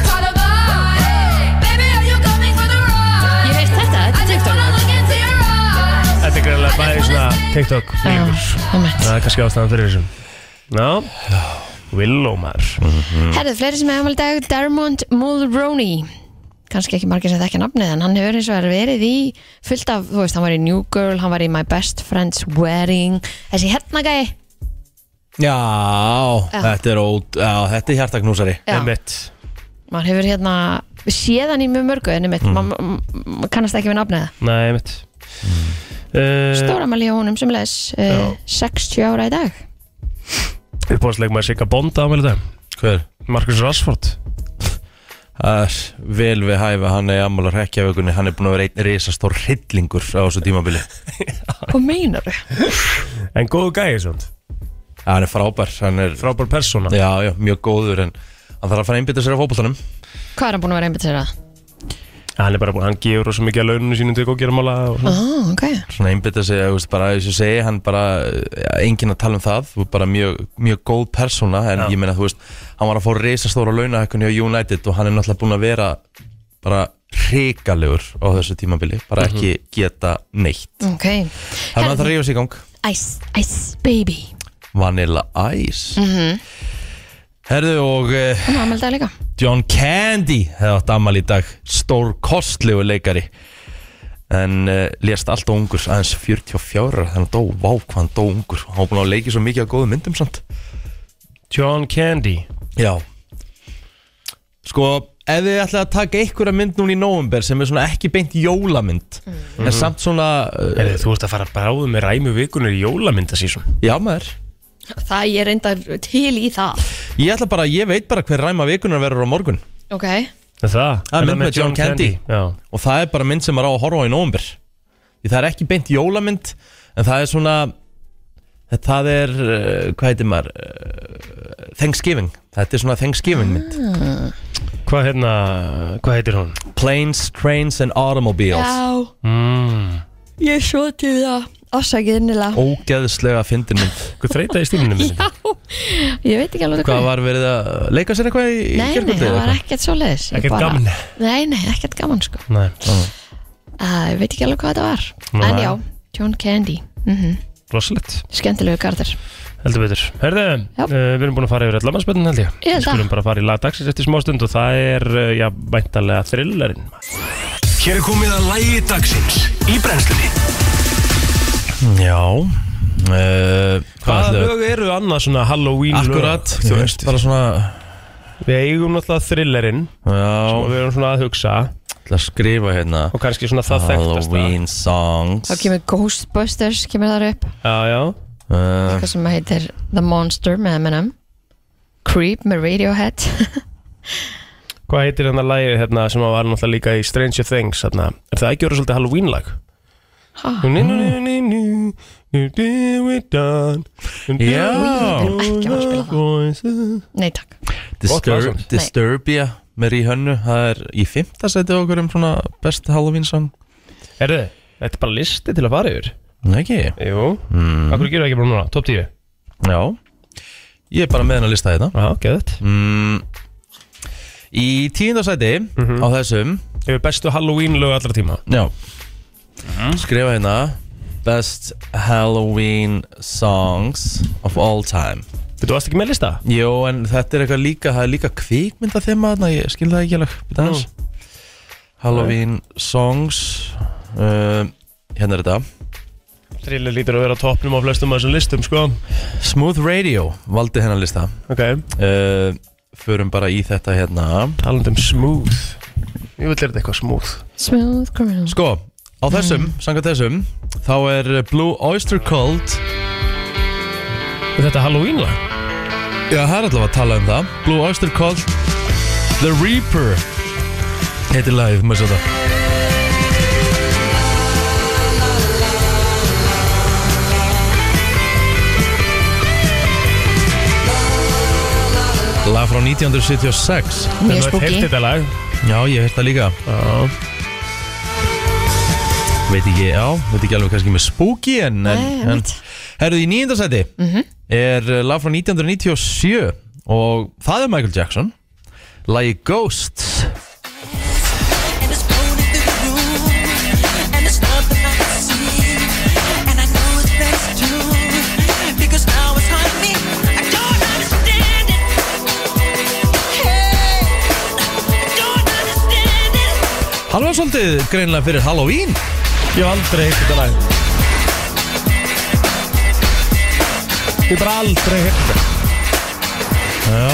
Speaker 4: Call a bye. Baby, are you coming for the ride?
Speaker 3: Ég hef heyrt þetta, þetta er
Speaker 4: I just wanna
Speaker 3: TikTok
Speaker 4: look into your eyes.
Speaker 2: Þetta er greiðlega bæði svona TikTok líkur
Speaker 3: Ah, einmitt.
Speaker 2: Það er kannski ástæðan fyrir þessum Ná, Willow
Speaker 1: Mm.
Speaker 2: maður
Speaker 3: Herðu, fleiri sem hefur í dag Dermond Mulroney kannski ekki margir sem þekkja nafnið en hann hefur eins og er verið í fullt af, þú veist, hann var í New Girl hann var í My Best Friend's Wedding þessi hérna gæi
Speaker 1: Já, þetta er ód Já, þetta er hjartaknúsari
Speaker 3: Já,
Speaker 2: Emmett
Speaker 3: maður hefur hérna séðan í mjög mörgu en einmitt, mm. maður kannast ekki við nafnið
Speaker 2: Nei, Emmett
Speaker 1: Mm.
Speaker 2: uh,
Speaker 3: Stóra mæli á honum sem les uh, 60 ára í dag
Speaker 2: Uppáðsleik maður Sigga Bonda ámæli þetta
Speaker 1: Hver?
Speaker 2: Marcus Rashford
Speaker 1: Það er vel við hæfi, hann er ammála hrekkjavökunni Hann er búin að vera einn risastór hryllingur á þessu tímabili
Speaker 3: Hvað meinar þau?
Speaker 2: En góðu gæði svona
Speaker 1: Já, hann er frábær, hann er
Speaker 2: Frábær persóna
Speaker 1: Já, já, mjög góður en hann þarf að fara að einbytta sér á fótboltanum
Speaker 3: Hvað er hann búin að vera einbytt sér að?
Speaker 2: Hann er bara búin, hann gefur rosa mikið að launinu sínum til góðgera mála
Speaker 3: Ó, Ah, ok
Speaker 1: svona einbytta sig, þú veist, bara eins og ég segi hann bara, ja, enginn að tala um það þú er bara mjög, mjög góð persóna en
Speaker 2: Já.
Speaker 1: ég meina, þú veist, hann var að fá reisastóra launahækkunni á United og hann er náttúrulega búin að vera bara hrikalegur á þessu tímabili, bara ekki geta neitt,
Speaker 3: Ok
Speaker 1: þannig að það rífa sig í gang
Speaker 3: Ice, ice baby
Speaker 1: Vanilla Ice Herðu og uh,
Speaker 3: Hún var aðmeldaði líka
Speaker 1: John Candy hefði átt amal í dag stór kostlegu leikari en uh, lést allt á ungur aðeins 44 ára, þannig að dó vá hvað hann dó ungur, hann var búin að leiki svo mikið á góðum myndum samt
Speaker 2: John Candy
Speaker 1: Já Sko, ef þið ætlaði að taka einhverja mynd núna í november sem er svona ekki beint jólamynd en samt svona, uh,
Speaker 2: Heyrðu, Þú ert að fara bráðu með ræmu vikunir í jólamyndasísum
Speaker 1: já maður
Speaker 3: Það ég reyndar til í það
Speaker 1: Ég ætla bara, ég veit bara hver ræma vikunar verður á morgun
Speaker 3: Ok,
Speaker 2: Er það?
Speaker 1: Það er mynd með John Candy.
Speaker 2: Já,
Speaker 1: Og það er bara mynd sem maður á að horfa á í nóumbir Því það er ekki beint jólamynd En það er svona Það er, uh, hvað heitir maður uh, Thanksgiving Þetta er svona Thanksgiving mynd
Speaker 2: hvað hérna, hvað heitir hún?
Speaker 1: Planes, Trains and Automobiles
Speaker 3: já,
Speaker 2: Mm.
Speaker 3: ég svo til það Afsakið innilega
Speaker 1: Ógeðslega fyndin mynd
Speaker 2: Hvað þreita í stíminni minni?
Speaker 3: Já, ég veit ekki alveg
Speaker 1: Hvað var verið að leika sér eitthvað í
Speaker 3: Nei, nei,
Speaker 1: gerkvöldi?
Speaker 3: það var ekkert svoleiðis Ég
Speaker 2: Ekkert
Speaker 3: bara-
Speaker 2: gaman.
Speaker 3: Nei, nei, ekkert gaman sko
Speaker 2: Nei,
Speaker 3: uh, Ég veit ekki alveg hvað þetta var
Speaker 2: Nei.
Speaker 3: En já, John Candy mm
Speaker 2: rosalegt,
Speaker 3: Skemmtilegu garður
Speaker 2: heldur betur. Herðu,
Speaker 3: Já.
Speaker 2: uh, við erum búin að fara yfir allar mannspöldin held ég.
Speaker 3: Ég held
Speaker 2: Við skulum
Speaker 3: það.
Speaker 2: bara fara í lagdagsins eftir smástund og það er, uh, já, væntalega thrillerinn.
Speaker 5: Hér er komið að lægi dagsins í brennslunni
Speaker 1: Já uh, Hvað
Speaker 2: Hvaða
Speaker 1: ætlum við?
Speaker 2: lög eru annað svona Halloween lög?
Speaker 1: Akkurat,
Speaker 2: Þú
Speaker 1: þú
Speaker 2: veist,
Speaker 1: bara svona
Speaker 2: við eigum náttúrulega thrillerinn og
Speaker 1: Já,
Speaker 2: við erum svona að hugsa
Speaker 1: ætla að skrifa hérna
Speaker 2: og kannski svona það þekktast
Speaker 1: Halloween
Speaker 3: Þá
Speaker 1: songs
Speaker 3: kemur Ghostbusters, kemur þar upp
Speaker 2: Já, já,
Speaker 1: uh,
Speaker 3: Hvað sem heitir The Monster með M&M Creep með Radiohead
Speaker 2: hvað heitir hérna lagið hérna sem var náttúrulega líka í Stranger Things hérna, er það ekki orðið svolítið Halloween lag?
Speaker 3: Ha?
Speaker 2: Já
Speaker 3: Við erum ekki að fara að spila það. Nei takk
Speaker 2: Gott lag
Speaker 1: Disturb,
Speaker 2: samt.
Speaker 1: Disturbia með í hönnu Það er í fymta seti okkur um svona best Halloween song
Speaker 2: Erðu, þetta er bara listi til að fara yfir
Speaker 1: Nei, Ekki,
Speaker 2: Jú, mm. akkur gerðu ekki bara núna, top 10
Speaker 1: já Ég er bara með hennar lista þetta
Speaker 2: Já, geðið
Speaker 1: mm, Í tíunda seti
Speaker 2: Mhm.
Speaker 1: á þessum
Speaker 2: Yfir bestu Halloween lög allra tíma
Speaker 1: Já
Speaker 2: Mhm.
Speaker 1: Skrifa hérna Best Halloween songs of all time
Speaker 2: Þú varst ekki með lista?
Speaker 1: Jó, en þetta er eitthvað líka, það er líka kvikmynda þema þarna, ég skil það ekki alveg Býta aðeins. Halloween songs uh, Hérna er þetta
Speaker 2: Thriller lítur að vera á toppnum á flestum af þessum listum, sko
Speaker 1: Smooth Radio valdi hennar lista
Speaker 2: Ok,
Speaker 1: uh, Förum bara í þetta hérna
Speaker 2: Taland um smooth Ég vil lera þetta eitthvað smooth
Speaker 3: Smooth criminal
Speaker 1: Sko, á þessum, mm. þessum Þá er Blue Oyster Cult
Speaker 2: Er þetta Halloween lag?
Speaker 1: Já, það er allavega að tala um það Blue Oyster Cult The Reaper Heitir lagið, maður svo það Lag frá 1976
Speaker 3: Mjög
Speaker 2: Hefði
Speaker 3: spooky
Speaker 2: þetta lag
Speaker 1: Já, ég hef það líka
Speaker 2: Já
Speaker 1: Veit ekki, já, veit ekki alveg kannski með spooky en, en,
Speaker 3: Nei,
Speaker 1: en
Speaker 3: einmitt. Mhm.
Speaker 1: Herðu, í nýjöndarsæti mm -hmm. er uh, lag frá 1997 og það er Michael Jackson Lagi Ghosts
Speaker 6: And it's floating through the room, and it's nothing I can see. And I know it's best to, because now it's on me. I don't understand it. Hey, I don't understand it.
Speaker 1: Hann var svolítið greinilega fyrir Halloween
Speaker 2: Ég hef aldrei heilt þetta lag Ég hef bara aldrei heilt þetta
Speaker 1: Já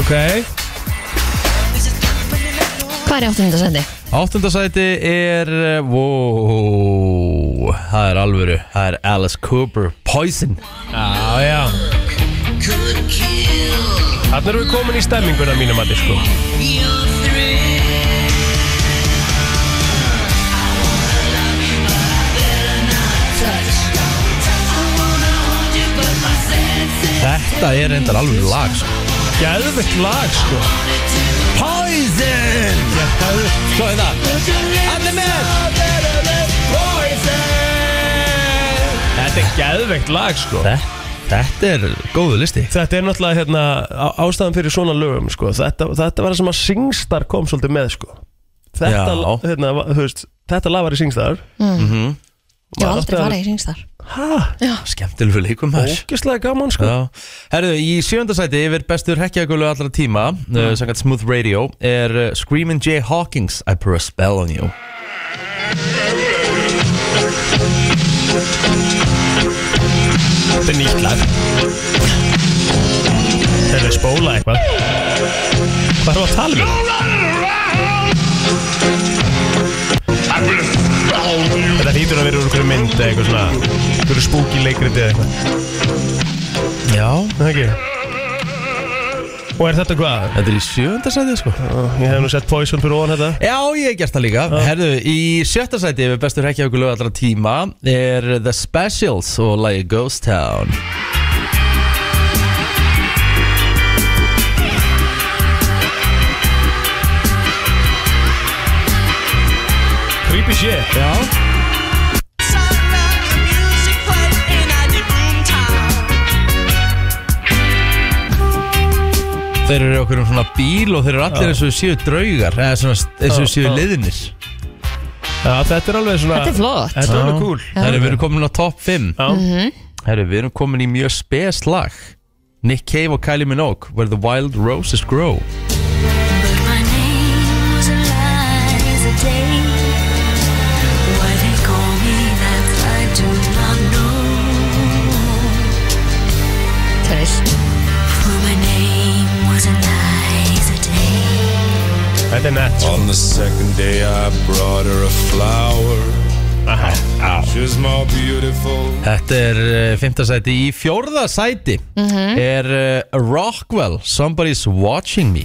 Speaker 2: Ok
Speaker 6: This is happening alone.
Speaker 3: Hvað er í áttundasendi?
Speaker 1: Áttundasæti er eh, wow, Það er alvöru Það er Alice Cooper Poison
Speaker 2: Já, já
Speaker 6: Could kill
Speaker 2: Þannig erum við komin í stemminguna mínum að sko. disko
Speaker 6: your thrill. I wanna hold you, but my senses
Speaker 1: Þetta er reyndar alvöru lag sko.
Speaker 2: Gæðvegt lag, sko
Speaker 1: Poison Svo hérna Allir með
Speaker 2: Þetta er gæðvegt lag, sko
Speaker 1: Þe- Þetta er góðu listi
Speaker 2: Þetta er náttúrulega hérna, á- ástæðan fyrir svona lögum sko. þetta, þetta var það sem að Singstar kom svolítið með sko. þetta,
Speaker 1: Já.
Speaker 2: hérna, va- þú veist, þetta lag var í Singstar
Speaker 3: Ég hef
Speaker 2: Maður átti
Speaker 3: aldrei
Speaker 2: að-
Speaker 3: farið í ringstar
Speaker 1: Skemmtilegu leikum þar
Speaker 2: Ógislega gaman sko.
Speaker 1: Já. Herðu, í sjöndasæti yfir bestur hekkjagölu allra tíma uh, Sangat Smooth Radio er uh, Screamin' Jay Hawkins I put a spell on you
Speaker 2: Þetta er nýtt lag Þetta er spóla eitthvað Hvað er það að tala um? Þetta hýtur að vera úr einhverju mynd eða eitthvað svona einhverju spooky leikriti eða eitthvað
Speaker 1: Já,
Speaker 2: það ekki Og er þetta hvað?
Speaker 1: þetta er í sjöfunda sæti sko
Speaker 2: Ég hef nú sett Poison fyrir ofan þetta
Speaker 1: Já, ég hef gert það líka Herðu, í sjötta sæti við bestur hrekkjaukulög allra tíma er The Specials og lagi Ghost Town
Speaker 2: Creepy shit
Speaker 1: Já Þeir eru í okkur um svona bíl og þeir eru allir eins og þeir séu draugar eða svona eins og þeir séu
Speaker 2: Já, já.
Speaker 1: liðinir
Speaker 2: Já, þetta er alveg svona
Speaker 3: Þetta er flott. Mhm.
Speaker 2: Þetta er alveg cool
Speaker 1: Það eru við erum komin á topp 5
Speaker 2: Já,
Speaker 1: Herru, við erum komin í mjög spes lag Nick Cave og Kylie Minogue Where the Wild Roses Grow
Speaker 3: Törs.
Speaker 2: þetta er nett
Speaker 7: On the second day I brought her a flower She was more beautiful
Speaker 1: Þetta er uh, fimmta sæti Í fjórða sæti er uh, Rockwell Somebody's Watching Me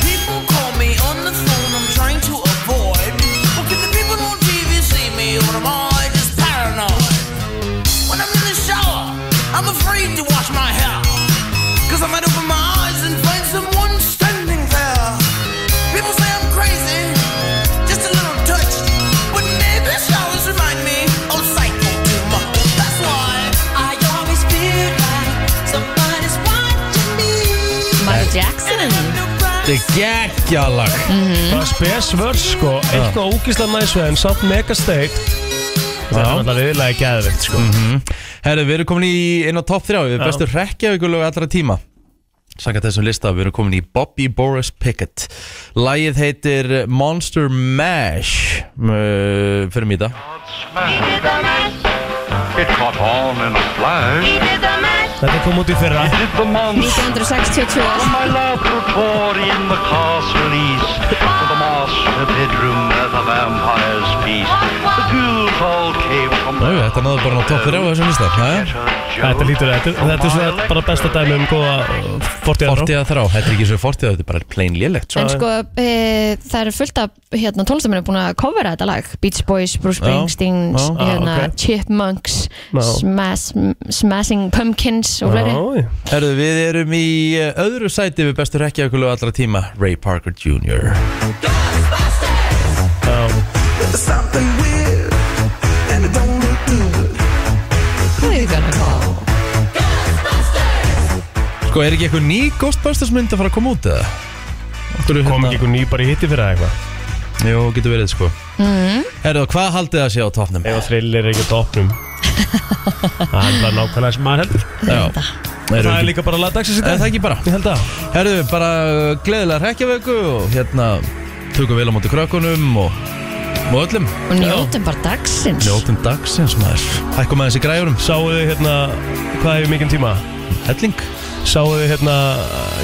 Speaker 6: People call me on the phone, I'm trying to avoid. But can the people on TV see me or am I just paranoid? When I'm in the shower, I'm afraid to wash my hair. Cause I might open my eyes and find someone standing there. People say I'm crazy, just a little touched. But maybe showers remind me I'm psycho too much. That's why I always feel like somebody's watching me.
Speaker 3: Michael Jackson
Speaker 1: Þetta er geggjalag
Speaker 3: Mhm.
Speaker 2: Það er spes vörð sko Eitthvað ógislega næsveð en samt mega steikt Það er alltaf viðlega geðvikt sko
Speaker 1: Herru, við erum komin í inn á topp 3 Við
Speaker 2: Já.
Speaker 1: bestu rekja ykkur lög allra tíma Sankat þessum lista, við erum komin í Bobby Boris Pickett Lagið heitir Monster Mash uh, Fyrir mýta
Speaker 2: Þetta kom út í fyrra
Speaker 3: 1962
Speaker 1: Nú, þetta náðu bara ná topp 3 á þessum lista Jæja.
Speaker 2: Þetta lítur þetta Þetta er svona bara besta dæmi um góða fortíðar
Speaker 1: Fortíða þrá, þetta er ekki svo fortíða, þetta er bara plain lélegt
Speaker 3: En sko, e, það eru fullt af hérna, tólestamennir búin að covera þetta lag Beach Boys, Bruce Springsteen,
Speaker 1: já,
Speaker 2: já, Ah,
Speaker 3: hérna,
Speaker 2: ok.
Speaker 3: Chipmunks
Speaker 2: Já.
Speaker 3: smash, Smashing Pumpkins og fleiri
Speaker 2: Já,
Speaker 1: Herðu, við erum í eh, öðru sæti við bestu rekja ykkur lög allra tíma Ray Parker Jr.
Speaker 2: já
Speaker 3: Who you gonna call?
Speaker 1: Sko, er ekki eitthvað ný Ghostbusters mynd að fara að koma út eða? Okkur,
Speaker 2: Kom ekki einhver ný bara í hitti fyrir það eitthvað
Speaker 1: Jú, getur verið sko mm. Herðu, hvað haldið það sé á toppnum?
Speaker 2: Ef að þrillir ekki á topnum Það er bara nákvæmlega sem maður heldur
Speaker 1: Já, Eru
Speaker 2: Það er
Speaker 1: ekki-
Speaker 2: líka bara lagdagsins í
Speaker 1: Er
Speaker 2: dag
Speaker 1: það ekki bara?
Speaker 2: Ég held að
Speaker 1: Herðu, bara uh, gleðilega rekjavöku og hérna, tökum vel á móti krökkunum og, og öllum
Speaker 3: Og njótum bara dagsins
Speaker 1: Njótum dagsins maður Hækkum aðeins í græjunum,
Speaker 2: Sáu þið hérna Hvað hefur mikinn tíma?
Speaker 1: helling
Speaker 2: Sáu þið hérna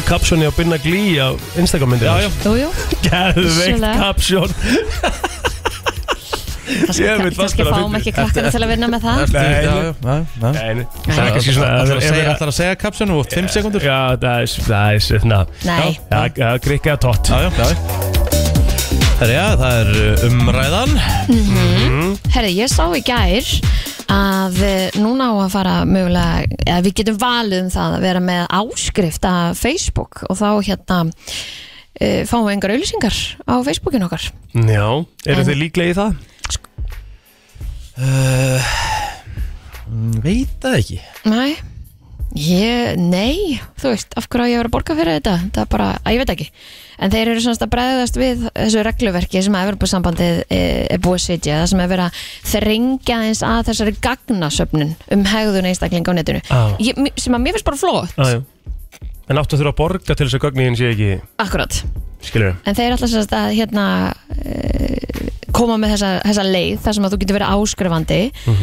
Speaker 2: Kapsjóni á Binna Glí á Instagram myndið
Speaker 1: Já, já,
Speaker 3: Jú, jú,
Speaker 2: Gæðveikt
Speaker 3: Vissulega.
Speaker 2: kapsjón
Speaker 3: kannski,
Speaker 2: Ég veit
Speaker 3: kannski
Speaker 2: varla að
Speaker 3: fáum
Speaker 2: fyndi.
Speaker 3: ekki krakkana til að vinna með það
Speaker 1: Ertu-
Speaker 2: Nei,
Speaker 1: já,
Speaker 2: nei.
Speaker 1: já, já, já.
Speaker 2: Nei,
Speaker 1: Það er kannski svona
Speaker 2: ef-
Speaker 1: Það er
Speaker 2: ef-
Speaker 1: að segja, ætlar að segja kapsjónu og 5 sekundur Já,
Speaker 2: Já, það er Það er svona
Speaker 3: Nei.
Speaker 2: Já, já, grikka að tótt
Speaker 1: já, já Herra, já, það er uh, umræðan
Speaker 3: Herði, ég sá í gær að eh, núna á að fara mögulega, eða við getum valið um það að vera með áskrift að Facebook og þá hérna e, fáum við engar auðlýsingar á Facebookin okkar
Speaker 2: Já, eru
Speaker 3: En-
Speaker 2: þið líklega í það?
Speaker 1: Uh, Veit það ekki
Speaker 3: Nei, ég, nei, þú veist, af hverju á ég að vera að borga fyrir þetta, það er bara, að ég veit ekki. En þeir eru svona að bregðast við þessu regluverki sem að Evropasambandið eh, er búið að sitja, það sem er verið að þrengja eins að þessari gagnasöfnun um hegðun einstakling á netinu,
Speaker 2: Já.
Speaker 3: ég, m- sem að mér finnst bara flott,
Speaker 2: Já, já En áttu að þurfa að borga til þess að gögnin sé ekki
Speaker 3: akkurat.
Speaker 2: Skilur
Speaker 3: En þeir ætla sem sagt að hérna eh, koma með þessa, þessa leið þar sem að þú getur verið áskrifandi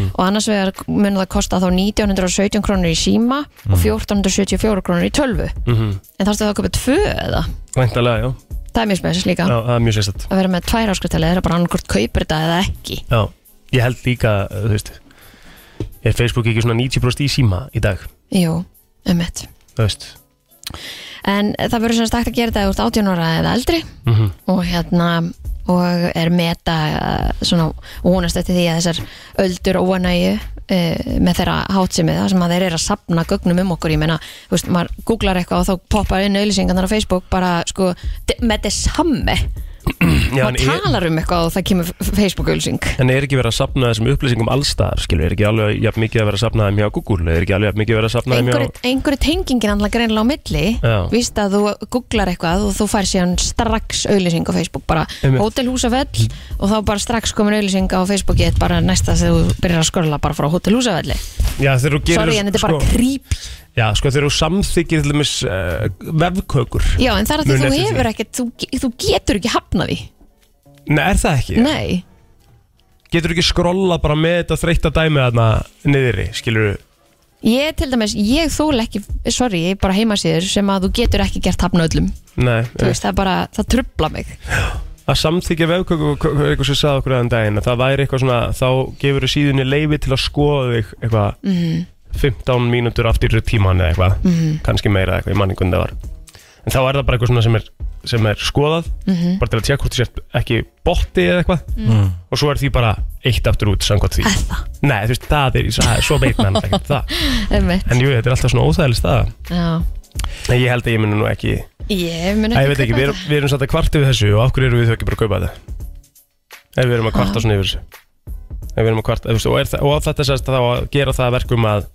Speaker 3: og annars vegar mun það kosta þá 1917 krónur í síma og 1474 krónur í tölvu en þarstu það að köpa tvö eða
Speaker 2: Væntalega, já
Speaker 3: það er mjög spesist líka
Speaker 2: Já, það er mjög sérstætt
Speaker 3: að vera með tvær áskriftaleið það er bara annarkort kaupir þetta eða ekki
Speaker 2: Já, ég held líka, þú veist uh, Er Facebook ekki svona 90% í síma í dag?
Speaker 3: Jú, um mitt
Speaker 2: Þú veist
Speaker 3: En það verður sem sagt að gera þetta út 18 ára eða eldri
Speaker 2: Mhm.
Speaker 3: og hérna og er meta eh, svona vonast eftir því að þessar öldur óanægju e, með þeirra hátsemi það sem að þeir eru að sapna gögnum um okkur ég meina, þú veist, maður googlar eitthvað og þá poppar inn auðlýsingarnar á Facebook bara sko, de- með þess samme
Speaker 2: Já, en,
Speaker 3: maður
Speaker 2: er,
Speaker 3: talar um eitthvað og það kemur Facebook auðlýsing
Speaker 2: en er ekki verið að sapna þessum upplýsingum allstaðar, skilur, er ekki alveg jafn mikið að vera að sapna þeim hjá Google, er ekki alveg jafn mikið að vera að sapna þeim hjá...
Speaker 3: einhverju, einhverju tengingin alltaf greinlega á milli
Speaker 2: Já.
Speaker 3: víst að þú googlar eitthvað og þú fær síðan strax auðlýsing á Facebook bara
Speaker 2: Einmitt.
Speaker 3: Hotel Húsafell og þá bara strax komin auðlýsing á Facebooki þitt bara næsta þegar þú byrjar að skorla bara frá Hotel Húsafelli
Speaker 2: Já, þegar þú gerir...
Speaker 3: sorry en þetta er bara
Speaker 2: sko,
Speaker 3: creepy
Speaker 2: Já, sko, þegar þú samþykir til dæmis uh, vefkökur.
Speaker 3: já en það er
Speaker 2: Muna
Speaker 3: að þú
Speaker 2: eftir því.
Speaker 3: hefur ekkert þú, ge- þú getur ekki hafnað því
Speaker 2: Nei, er það ekki?
Speaker 3: nei
Speaker 2: Getur ekki skrolla bara með þetta þreytta dæmi þarna niðri, skilur
Speaker 3: ég til dæmis ég þól ekki sorry ég er bara heimasýður sem að þú getur ekki gert hafna öllum
Speaker 2: Nei,
Speaker 3: þú veist það er bara það trubla mig
Speaker 2: að samþykja vefköku er eitthvað sem sagði okkur aðan daginn að það væri eitthvað svona, þá gefur þú síðunni leifi til að skoða þig eitthvað 15 mínútur aftur í tíman eða eitthvað, kannski meira eitthvað, ég manni hvernig það var en þá er það bara eitthvað svona sem er, sem er skoðað, bara til að tjekka hvort þú sért ekki botti eða eitthvað og svo er því bara eitt aftur út samkvæmt því
Speaker 3: eða
Speaker 2: Nei, þú veist, það er, það er svo beitna um það.
Speaker 3: einmitt
Speaker 2: en jú, þetta er alltaf svona óþægileg staða
Speaker 3: já
Speaker 2: en ég held að ég muni nú ekki,
Speaker 3: ég mun
Speaker 2: Æ, ég veit
Speaker 3: ekki
Speaker 2: ekki,
Speaker 3: kaupa
Speaker 2: við erum, við erum satt að kvarta við þessu og af hverju erum við þau ekki bara að kaupa þetta? Ef við erum að
Speaker 3: Ah.
Speaker 2: kvarta svona yfir þessu Ef við erum að kvarta, þú veist, og, er, það- og þetta sérst þá að gera það að verkum að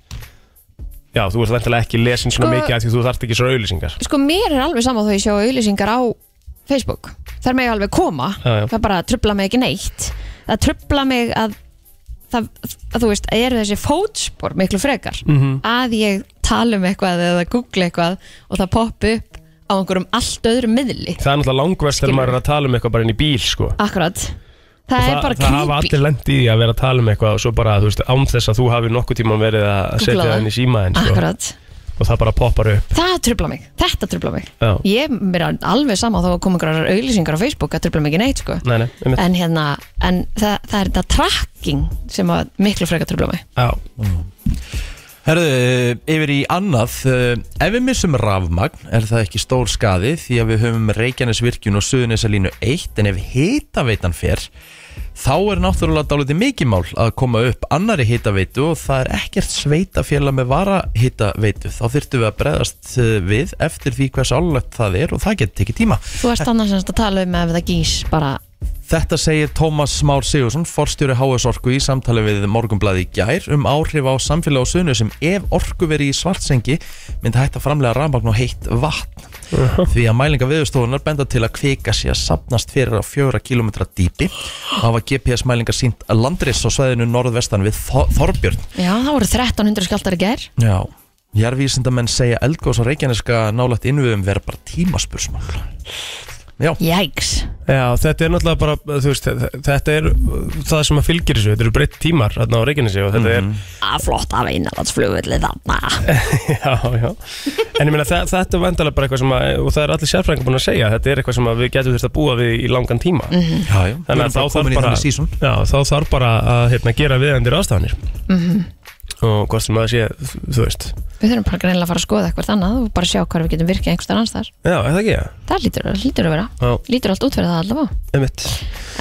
Speaker 2: Já, þú ert veintilega ekki lesin svona
Speaker 3: Sko-
Speaker 2: mikið af því þú þarft ekki svo auðlýsingar
Speaker 3: sko mér er alveg sama þó ég sjá auðlýsingar á Facebook þar með ég alveg koma
Speaker 2: Já, já.
Speaker 3: það bara trubla mig ekki neitt það trubla mig að það, að þú veist, að eru þessi fótspor miklu frekar
Speaker 2: Mhm.
Speaker 3: -hmm. að ég tala um eitthvað eða googla eitthvað og það poppi upp á einhverjum allt öðrum miðli
Speaker 2: Það er náttúrulega langverst þegar
Speaker 3: Skilur.
Speaker 2: maður er að tala um eitthvað bara inn í bíl, sko
Speaker 3: akkurat, það, er bara
Speaker 2: það hafa
Speaker 3: creepy
Speaker 2: allir lent í því að vera að tala um eitthvað og svo bara, þú veist, án þess að þú hafi nokkuð tíman verið að setja
Speaker 3: Googlað
Speaker 2: það
Speaker 3: það.
Speaker 2: inn í símaðinn, sko
Speaker 3: akkurat,
Speaker 2: og það bara poppar upp
Speaker 3: það trubla mig þetta trubla mig
Speaker 2: Já,
Speaker 3: ég mér er alveg sama þó að koma einhverjar auðlýsingar á Facebook það trubla mig ekki neitt sko
Speaker 2: nei, nei, um
Speaker 3: en hérna, en það, það er þetta tracking sem að miklu frekar tröfla mig
Speaker 2: Já,
Speaker 1: Herðu, eh, yfir í annað eh, Ef við missum rafmagn er það ekki stór skadi því að við höfum Reykjanesvirkjun og Suðunesalínu 1 en ef hitaveitan fer þá er náttúrulega dálítið mikið mál að koma upp annari hitaveitu og það er ekkert sveitafélag með vara hitaveitu þá þyrftum við að bregðast eh, við eftir því hvers álögt það er og það getur tekið tíma
Speaker 3: Þú ert annars semst að tala um ef það gís bara
Speaker 1: Þetta segir Tómas Már Sigursson, forstjóri HS Orku í samtali við Morgunblaði í gær um áhrif á samfélag og sunu sem ef orku veri í svartsengi myndi hætta framlega rafmagn og heitt vatn. Því að mælinga viðustofunar benda til að kvika sé að sapnast fyrir á fjögra kilometra dýpi. Þá var GPS mælinga sínt að landris á sveðinu norðvestan við Þor- Þorbjörn.
Speaker 3: Já, það voru 1300 skjaldar í ger
Speaker 1: Já. Jarvísindamenn segja eldgós á Reykjaneska nálægt innviðum vera bara tímaspursmál. Já.
Speaker 3: Jæks
Speaker 2: Já, þetta er náttúrulega bara, þú veist, þe- þetta er uh, það sem að fylgir þessu, þetta eru breytt tímar þarna á Reykjanesi og þetta
Speaker 3: Að flott af innanlandsflugulli þarna
Speaker 2: er, já, já, en ég meina þa- þetta er vandalega bara eitthvað sem að, og það er allir sérfræðingar búin að segja, þetta er eitthvað sem að við getum þurft að búa við í langan tíma.
Speaker 1: Já, já.
Speaker 2: Þannig að þá þarf bara, já, þá þarf bara að hérna, gera viðandi ráðstafanir og hvort sem það sé, þú veist,
Speaker 3: Við þurfum bara greinlega að fara að skoða eitthvað annað og bara sjá hvað við getum virkið einhverstaðar annars þar
Speaker 2: já, er það ekki, já,
Speaker 3: Það lítur, lítur að vera
Speaker 2: Já.
Speaker 3: Lítur allt út fyrir það allavega
Speaker 2: einmitt.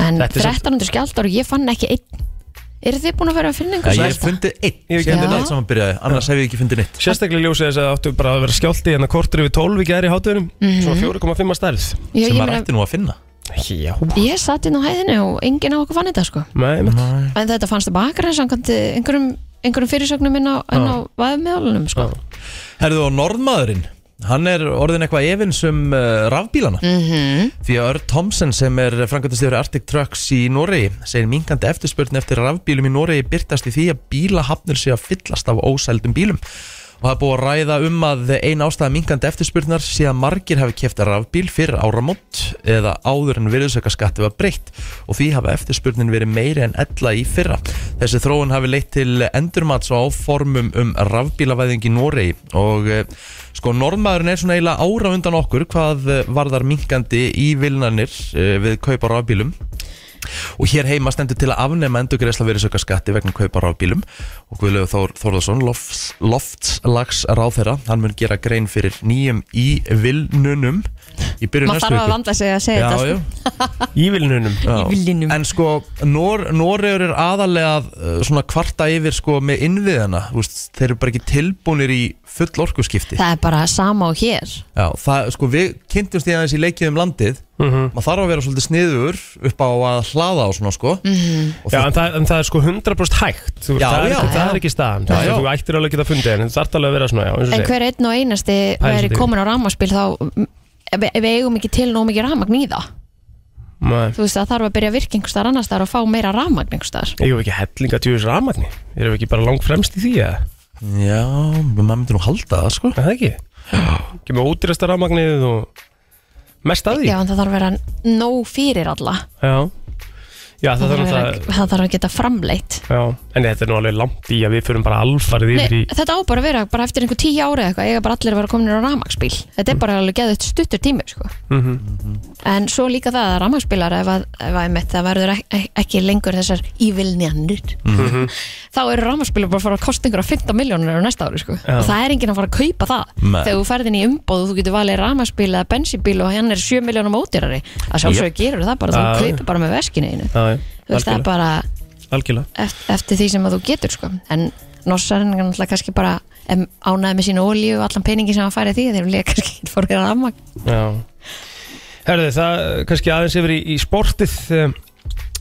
Speaker 3: En
Speaker 2: Þetta er samt-
Speaker 3: 1300 skjaldar og ég fann ekki einn Eru þið búin að vera að finna
Speaker 1: Já,
Speaker 3: einhvers
Speaker 1: ég hef fundið einn
Speaker 2: Ég hef ekki
Speaker 1: síðan
Speaker 3: fundið
Speaker 1: þetta
Speaker 3: neinn.
Speaker 1: allt saman byrjaði, annars hef ég ekki fundið neitt
Speaker 2: Sérstaklega í ljósi þess að áttu bara að vera skjálti hérna kortur yfir 12 í gæri í hátunum, svona 4,5 stærð.
Speaker 3: Já,
Speaker 1: sem maður
Speaker 3: ég, meina,
Speaker 1: ætti nú að finna
Speaker 2: Já.
Speaker 3: ég satt inn á hæðinu og enginn á okkur fann þetta sko
Speaker 2: Nei, einmitt.
Speaker 3: En þetta fannst það bakra samkvæmt eh, einhverjum, einhverjum fyrirsögnum inn á, inn á vaðumjöðlunum sko.
Speaker 1: Herðu og norðmaðurinn Hann er orðin eitthvað efins um uh, rafbílana
Speaker 3: Mhm.
Speaker 1: -hmm. Því að Örd Thomsen sem er framkvæmtastíður Arctic Trucks í Noregi segir minkandi eftirspurn eftir rafbílum í Noregi byrtast í því að bílahafnir sé að fyllast af ósældum bílum og það er búið að ræða um að ein ástæða minkandi eftirspurnar sé að margir hafi keft rafbíl fyrir áramót eða áður en virðsökaskatti var breytt og því hafa eftirspurnin verið meiri en ella í fyrra. Þessi þróun hafi leitt til endurmats og áformum um rafbílavæðing í Noregi og eh, sko norðmaðurinn er svona eiginlega ára undan okkur hvað eh, varðar minkandi ívilnanir eh, við kaup á rafbílum og hér heima stendur til að afnema endurgreðsla virðisauka skatti vegna kaupar á bílum og Guðlaugur Þór Þórðarsson lofts, loftslags ráðherra hann mun gera grein fyrir nýjum í vilnunum í byrjun
Speaker 3: Maður
Speaker 1: næstu
Speaker 3: þarf að
Speaker 1: viku
Speaker 3: vanda sig að segja
Speaker 1: Já,
Speaker 3: þetta
Speaker 1: já,
Speaker 3: sko.
Speaker 2: Ívilnunum
Speaker 1: já.
Speaker 3: villinum.
Speaker 1: En sko, Nor Noregur er aðalega uh, svona kvarta yfir sko með innviðana Úst, Þeir eru bara ekki tilbúnir í full orkuskipti
Speaker 3: Það er bara sama og hér
Speaker 1: Já, það, sko, við kynntumst í aðeins í leikið um landið Maður þarf að vera svolítið sniður upp á að hlaða á svona sko -hmm. Og
Speaker 2: Já,
Speaker 1: það,
Speaker 2: en það, en það er sko 100% hægt þú, veist,
Speaker 1: Já,
Speaker 2: það, er
Speaker 1: já.
Speaker 2: ekki, það er ekki staðan
Speaker 1: Já,
Speaker 2: já,
Speaker 1: já.
Speaker 2: Þú ættir alveg að geta fundið en það þarf alveg að vera svona já, eins og
Speaker 3: En
Speaker 2: segir.
Speaker 3: hver einn og einasti væri
Speaker 2: svolítið.
Speaker 3: komin á rámaspil þá mm, við við eigum ekki til nóg mikið rámagn í það
Speaker 2: Nei.
Speaker 3: Þú veist það þarf að byrja virk einhvers staðar annars staðar og fá meira rámagn einhvers staðar
Speaker 2: Eigum við ekki hellinga tjóðis rafmagni? Erum við ekki bara langt fremst í því? eða?
Speaker 1: já, maður myndi nú halda það sko
Speaker 2: Er það ekki? Kemur ódýrasta rafmagnið og mest að því?
Speaker 3: Já en það þarf að vera nóg fyrir alla
Speaker 2: Já, já það
Speaker 3: Það
Speaker 2: þarf
Speaker 3: þarf að, vera,
Speaker 2: að
Speaker 3: það þarf að geta framleitt
Speaker 2: Já, en þetta er nú alveg langt í að við förum bara alfarið yfir
Speaker 3: Nei,
Speaker 2: í
Speaker 3: þetta á bara að vera bara eftir einhver tíu ári eða eitthvað, eiga bara allir að vera komin á rafmagnsbíl þetta er bara alveg geðið stuttur tími sko.
Speaker 2: Mhm.
Speaker 3: en svo líka það að rafmagnsbílar ef að, ef að mitt, það verður ek ek- ekki lengur þessar ívilnjanir
Speaker 2: Mhm.
Speaker 3: þá eru rafmagnsbílar bara að fara að kosta einhverja 15 miljónur á næsta ári sko. og það er enginn að fara að kaupa það
Speaker 1: Nei.
Speaker 3: þegar þú ferðin í umbóð og þú getur valið rafmagnsbíl eða bensínbíl og hann er 7 miljónum ódýrari að sjálfsögur gerur það bara,
Speaker 2: Já.
Speaker 3: þú kaupir bara með veskinu einu
Speaker 2: Já, já,
Speaker 3: þú veist það er
Speaker 2: algjörlega,
Speaker 3: bara
Speaker 2: algjörlega.
Speaker 3: eftir, eftir því sem að þú getur sko. en norsarinn er náttúrulega kannski bara em, ánæði með sína ólíu og allan peningi sem hann færi því þeir vilja kannski ekki fór þér að amma
Speaker 2: Já Herðu það eh, kannski aðeins yfir í, í sportið eh,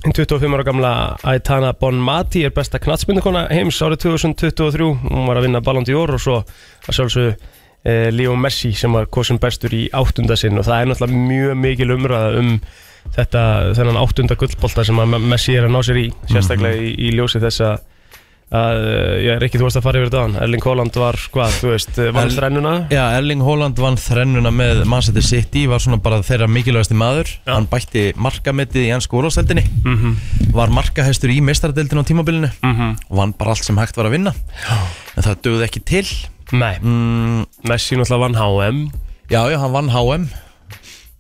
Speaker 2: En 25 ára gamla Aitana Bonmati er besta knatsmyndakona heims árið 2023 Hún var að vinna Ballon d'Or og svo að sjálfsögðu eh, Leo Messi sem var kosin bestur í áttunda sinn og það er náttúrulega mjög mikil umræða um þetta, þennan áttunda gullbolta sem að Me- Messi er að ná sér í sérstaklega í, í ljósi þess að að, eh, já, Rikki, þú varst að fara yfir þetta áðan. Erling Haaland var, hvað, þú veist, eh, vann
Speaker 1: Erl-
Speaker 2: þrennuna
Speaker 1: Já, Erling Haaland vann þrennuna með Manchester City, var svona bara þeirra mikilvægasti maður,
Speaker 2: Já.
Speaker 1: hann bætti markametið í ennsku úrvasteldinni var markahæstur í meistaradeldinu á tímabilinu og vann bara allt sem hægt var að vinna en það dögði ekki til
Speaker 2: Nei,
Speaker 1: mm,
Speaker 2: Messi náttúrulega vann HM
Speaker 1: Já, já, hann vann HM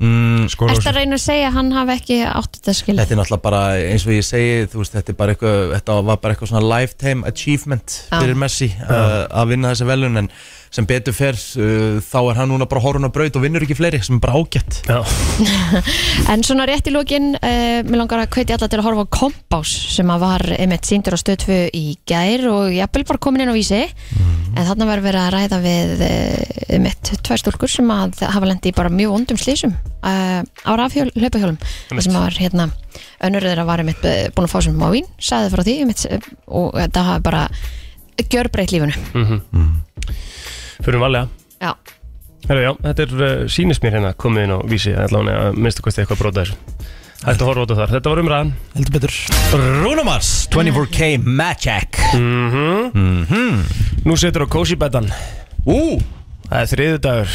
Speaker 1: mm,
Speaker 2: Skor
Speaker 3: Ertu að reyna að segja að hann hafi ekki átt þetta skil
Speaker 1: Þetta er náttúrulega bara, eins og ég segi þú veist, þetta, er bara eitthvað, þetta var bara eitthvað svona lifetime achievement
Speaker 3: Já.
Speaker 1: fyrir Messi uh, að vinna þessi velun en sem betur fer uh, þá er hann núna bara horfun á braut og vinnur ekki fleiri sem er bara ágætt
Speaker 2: Já,
Speaker 3: En svona rétt í lokin, uh, mér langar að hvetja alla til að horfa á Kompás sem að var einmitt síndur á stöðtfu í gær og jafnvel bara komin inn á vísi
Speaker 2: Mhm.
Speaker 3: en þarna var verið að ræða við uh, einmitt tvær stúlkur sem að hafa lendi bara mjög ondum slísum uh, á rafhjól, hlaupahjólum Það sem var hérna, önnur þeirra var einmitt eh, búin að fá sem má vín, sagði frá því einmitt, eh, og þetta hafa bara gjörbreytt lífunu
Speaker 2: Mm. fyrir um valega
Speaker 3: Já,
Speaker 2: Herra, já, þetta er uh, sýnist mér hérna komið inn á vísi allan að minnstu kosti eitthvað brota þessu Hættu að horfa út á þar, þetta var umræðan
Speaker 1: Heldur betur Bruno Mars 24k Magic
Speaker 2: Nú setur á kósi betan
Speaker 1: Ú
Speaker 2: Það er þriðu dagur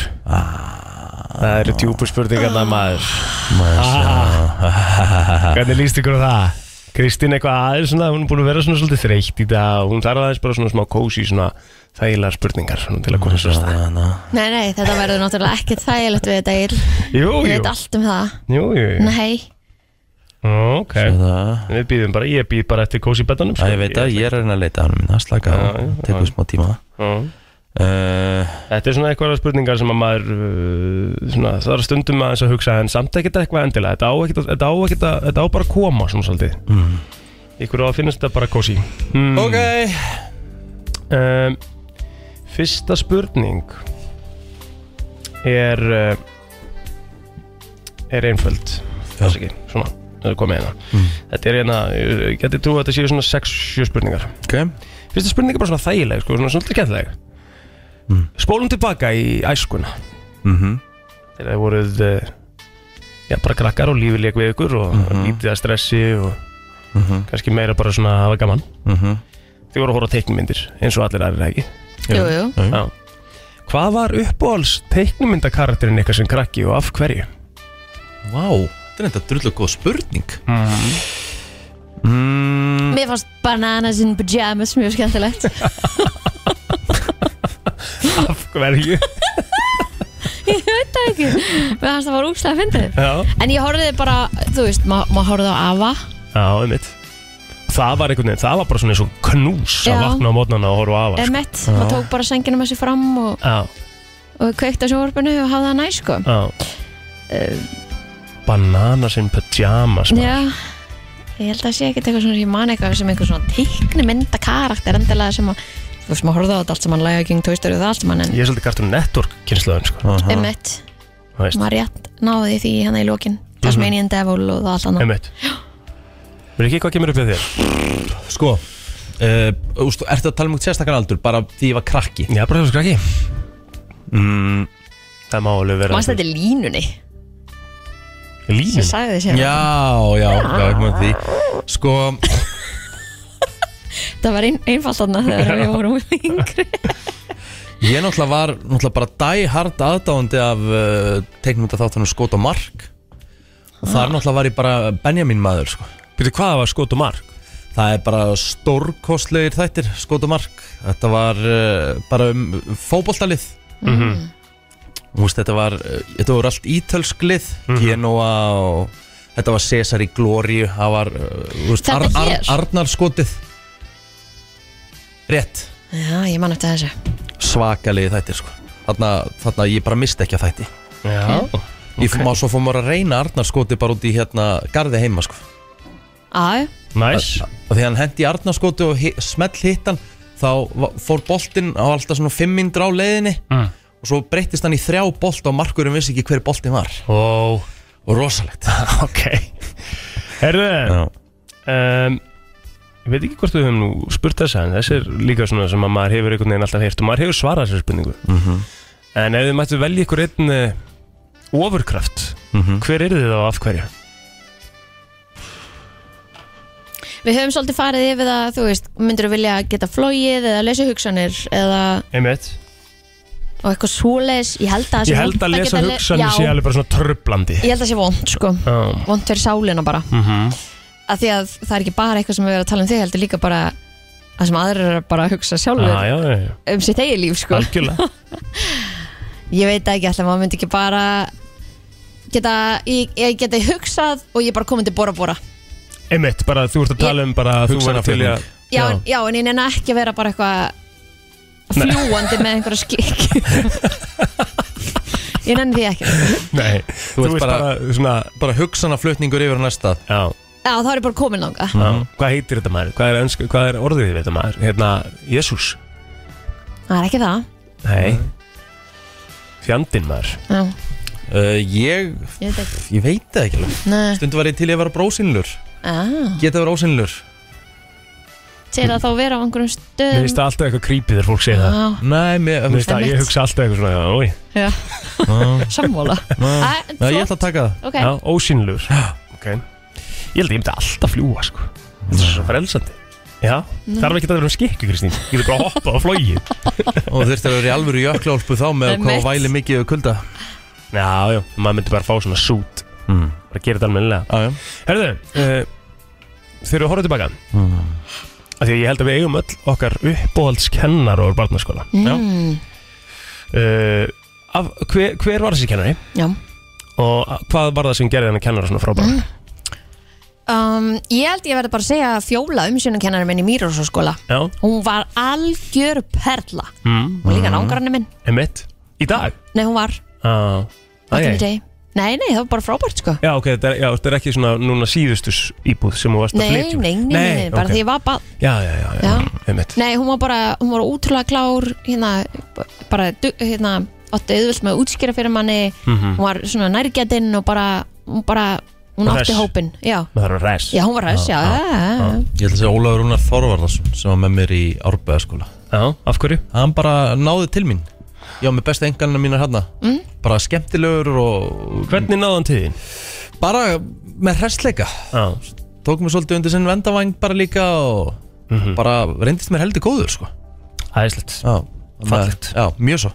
Speaker 2: Það eru djúpu spurningarna maður Ah. Hvernig líst ykkur á það? Kristín eitthvað aðeins svona, hún er búin að vera svona svolítið þreytt í dag og hún þarf aðeins bara svona smá kósi svona þægilega spurningar svona, til að koma svo stað
Speaker 3: nei, nei, þetta verður náttúrulega ekki þægilegt við þetta, Egill.
Speaker 2: Jú,
Speaker 3: ég
Speaker 2: jú,
Speaker 3: veit allt um það
Speaker 2: jú, jú.
Speaker 3: Nei
Speaker 2: Ok,
Speaker 1: Það
Speaker 2: við býðum bara, ég býð bara eftir kósi betanum sko.
Speaker 1: ég veit að ég er að reyna að leita hann minna Slaka
Speaker 2: Já,
Speaker 1: á,
Speaker 2: já,
Speaker 1: tekur
Speaker 2: já.
Speaker 1: smá tíma
Speaker 2: Já.
Speaker 1: uh,
Speaker 2: Þetta er svona eitthvað spurningar sem að maður uh, svona, það er stundum aðeins að hugsa en samt ekkert eitthvað endilega þetta á, ekkert, að- þetta á, ekkert, að- þetta á bara að koma svona svolítið mm. Ykkur á að finnast þetta bara kósi mm.
Speaker 1: Ok
Speaker 2: um, Fyrsta spurning er uh, er einföld þess ekki, svona, það er komið hérna
Speaker 1: Mm.
Speaker 2: Þetta er hérna, ég geti trú að þetta séu svona 6-7 spurningar
Speaker 1: Ok
Speaker 2: Fyrsta spurning er bara svona þægileg, sko, svona svolítið kæntleg Spólum tilbaka í æskuna
Speaker 1: Mhm.
Speaker 2: Þegar þið voruð eh, Já, bara krakkar og lífið leik við ykkur Og lítið að stressi og Kannski meira bara svona að hafa gaman
Speaker 1: Mhm.
Speaker 2: Þið voru að horfa á teiknumyndir Eins og allir aðrir ekki
Speaker 3: Jú, jú
Speaker 2: Já. Hvað var uppáhalds teiknumyndakarakterinn ykkar sem krakki og af hverju?
Speaker 1: Vá Þetta er enda drullu góð spurning mm.
Speaker 3: Mér fannst bananas in pyjamas mjög skemmtilegt
Speaker 2: Af hverju?
Speaker 3: Ég veit það ekki Mér fannst það var úkslega fyndið
Speaker 2: Já,
Speaker 3: En ég horfði bara, þú veist, ma- maður horfði á Ava
Speaker 2: Já, einmitt Það var einhvern veginn, það var bara svona eins og knús
Speaker 3: Já.
Speaker 2: að vakna á mótnana og horfa á afa sko.
Speaker 3: Emmett, maður tók bara sengina með sér fram og,
Speaker 2: Já,
Speaker 3: og kveikt á sjóvarpinu og hafði það næ sko
Speaker 2: já Bananas in pyjamas maður.
Speaker 3: Ehm. Já, ég held að sé ekkert eitthvað svona, ég man eitthvað sem einhver svona teikni mynda karakter endilega sem að, þú veist, maður horfði á þetta allt saman, Læja King, Toy Story og það allt saman, en
Speaker 2: Ég er svolítið Cartoon Network kynnslöðin sko.
Speaker 3: Emmett,
Speaker 2: Þú veist,
Speaker 3: maður rétt náði því hérna í lókin,
Speaker 1: Mhm.
Speaker 3: Tasmanian Devil og það allt annað.
Speaker 2: Einmitt Riki, hvað kemur upp við þér?
Speaker 1: Sko Uh, úst, ertu að tala um sérstakar aldur bara því ég var krakki
Speaker 2: Já, bara þessu krakki mm, Það má alveg vera
Speaker 3: Mannst þetta í línunni, sem
Speaker 2: Lífin
Speaker 3: sagði þessi
Speaker 1: Mm.
Speaker 3: hérna.
Speaker 1: já, já, já, ekki með því sko,
Speaker 3: Það var ein, einfalt annað þegar við vorum yngri.
Speaker 1: ég náttúrulega var náttúrulega bara dæhard aðdáðandi af uh, teiknumönda þáttunum skot og mark og
Speaker 2: Ah.
Speaker 1: þar náttúrulega var ég bara Benjamin maður sko.
Speaker 2: Býtu, hvað var skot og mark?
Speaker 1: það er bara stórkostlegir þættir skot og mark þetta var uh, bara um, um fótboltalið
Speaker 3: Mhm.
Speaker 1: Þú veist, þetta var, uh, þetta voru allt ítölsklið
Speaker 3: Mhm.
Speaker 1: mm Genoa og þetta var Cesar í Glóriu það var, uh, þú veist,
Speaker 3: Þetta hér?
Speaker 1: Arnarskotið rétt
Speaker 3: Já, ég man eftir þessu.
Speaker 1: svakalegi þættir sko. þarna, þarna ég bara misti ekki að þætti
Speaker 2: Já
Speaker 1: ég má svo fór maður að reyna Arnarskotið bara út í hérna garði heima sko.
Speaker 3: Á,
Speaker 2: Næs
Speaker 1: og þegar hann hendi í Arnarskotið og hi- smell hittan þá va- fór boltinn á alltaf svona 5 mindra á leiðinni
Speaker 2: Mm.
Speaker 1: og svo breyttist hann í þrjá bolt og markurinn vissi ekki hver boltinn var
Speaker 2: Ó,
Speaker 1: og rosalegt
Speaker 2: ok Herðu um, Ég veit ekki hvort við höfum nú spurt þessa en þessi er líka svona sem að maður hefur einhvern veginn alltaf heyrt og maður hefur svarað þessari spurningu -hmm. En ef þið mættu velja ykkur einn eh, ofurkraft
Speaker 1: Mhm.
Speaker 2: hver eru þið þá og af hverju?
Speaker 3: við höfum svolítið farið yfir það, þú veist, myndur þú vilja geta flóið eða lesa hugsanir eða
Speaker 2: Einmitt
Speaker 3: og eitthvað svoleiðis, ég held að það sé
Speaker 2: Ég held
Speaker 3: vont
Speaker 2: að lesa
Speaker 3: geta le-
Speaker 2: hugsanir
Speaker 3: Já,
Speaker 2: sé alveg bara svona tröblandi
Speaker 3: ég held að sé vond sko
Speaker 2: Já. Mhm.
Speaker 3: vond fyrir sálina bara mm að því að það er ekki bara eitthvað sem við erum að tala um þig heldur líka bara að sem aðrir eru bara að hugsa sjálfur
Speaker 2: Já, já, já, já.
Speaker 3: um sitt eigi líf sko
Speaker 2: algjörlega
Speaker 3: ég veit það ekki alltaf, maður myndi ekki bara geta, ég, ég geta hugsað og ég bara komið til bora bora
Speaker 2: Einmitt, bara þú ert að tala um bara að þú er að fylja
Speaker 3: já, já. já en ég nenni ekki að vera bara eitthvað fljúandi með einhverja skikk ég nenni því ekki
Speaker 2: Nei, þú,
Speaker 1: ert
Speaker 2: ert bara,
Speaker 1: bara-
Speaker 2: svona
Speaker 1: bara hugsanaflutningur yfir á næsta
Speaker 2: Já,
Speaker 3: já, þá er ég bara komin langa
Speaker 2: já. Hvað heitir þetta maður? Hvað er, önsk, hvað er orðið við þetta maður? Hérna, Jésús
Speaker 3: það er ekki það
Speaker 2: Nei Fjandinn maður
Speaker 3: já,
Speaker 1: uh, ég,
Speaker 3: ég veit ekki
Speaker 1: ég veit það ekki alveg
Speaker 3: Nei.
Speaker 1: stundu var ég til ég að vera brósynlur
Speaker 3: Ah.
Speaker 1: geta að vera ósynlur
Speaker 3: til að þá vera á einhverjum
Speaker 2: Mér
Speaker 3: stöðum
Speaker 2: finnst það alltaf eitthvað creepy þegar fólk segir það
Speaker 3: Já,
Speaker 1: nei, mér,
Speaker 2: Mér finnst það, ég
Speaker 3: Ah, Einmitt.
Speaker 2: hugsa alltaf eitthvað svona Ói,
Speaker 3: já. sammála Æ, en
Speaker 1: nei, ég
Speaker 3: flott.
Speaker 1: ætla að taka það
Speaker 3: ok,
Speaker 2: já, ósýnlegur Ok Ég held að ég myndi alltaf fljúa, sko Þetta er svo frelsandi Já, þarf ekki að vera um skikku, Kristín Ég getur bara að hoppa á flógi
Speaker 1: og þurfti að vera í alvöru jökklálpu þá með hvað
Speaker 3: Einmitt.
Speaker 1: hún væli mikið og kulda
Speaker 2: Já, já, maður myndi bara fá svona sút
Speaker 1: Mm.
Speaker 2: Bara gera þetta almennilega
Speaker 1: ah,
Speaker 2: Hmm. Herðu, uh, þegar við horfum tilbaka mm. Því að ég held að við eigum öll okkar uppbóhaldskennar og barnaskóla
Speaker 3: mm,
Speaker 2: uh, af, hver, hver var þessi kennari
Speaker 3: já.
Speaker 2: og a- hvað var það sem gerði hennar kennara svona frábæðan?
Speaker 3: Um, ég held ég verði bara að segja að fjóla umsjónakennari minn í Mýrósaskóla
Speaker 2: Já,
Speaker 3: hún var algjör perla
Speaker 2: mm.
Speaker 3: og líka nágrannin minn,
Speaker 2: emitt Í dag?
Speaker 3: nei hún var
Speaker 2: Ah.
Speaker 3: back in the day. nei, nei, það var bara frábært sko
Speaker 2: Já, ok, þetta er, já, þetta er ekki svona núna síðustus íbúð sem þú varst að
Speaker 3: nei, nei,
Speaker 2: flytja úr.
Speaker 3: nei, nei, nei, bara
Speaker 2: ok.
Speaker 3: því ég var bara
Speaker 2: Já, já, já, já,
Speaker 3: Já.
Speaker 2: emitt
Speaker 3: nei, hún var bara, hún var útrúlega klár hérna, b- bara du- hérna, átti auðvöld með að útskýra fyrir manni hún var svona nærgætinn og bara, hún bara, hún
Speaker 2: Hress.
Speaker 3: átti hópin já,
Speaker 2: Maður þarf að res
Speaker 3: já, hún var hress, já, já, já, já.
Speaker 1: ég ætla að segja Ólafur Rúnar Þorvarðarsson sem var með mér í Árbæðaskóla
Speaker 2: Já, af hverju?
Speaker 1: hann bara náði til mín já, með bestu enganina mínar hérna mm. bara skemmtilegur og
Speaker 2: Hvernig náði hann tíðin?
Speaker 1: bara með hressleika
Speaker 2: Já,
Speaker 1: tók mér svolítið undir sinn vendavæng bara líka og bara reyndist mér heldur góður sko.
Speaker 2: aðeinslegt
Speaker 1: Mhm. já,
Speaker 2: Fallegt.
Speaker 1: já, mjög svo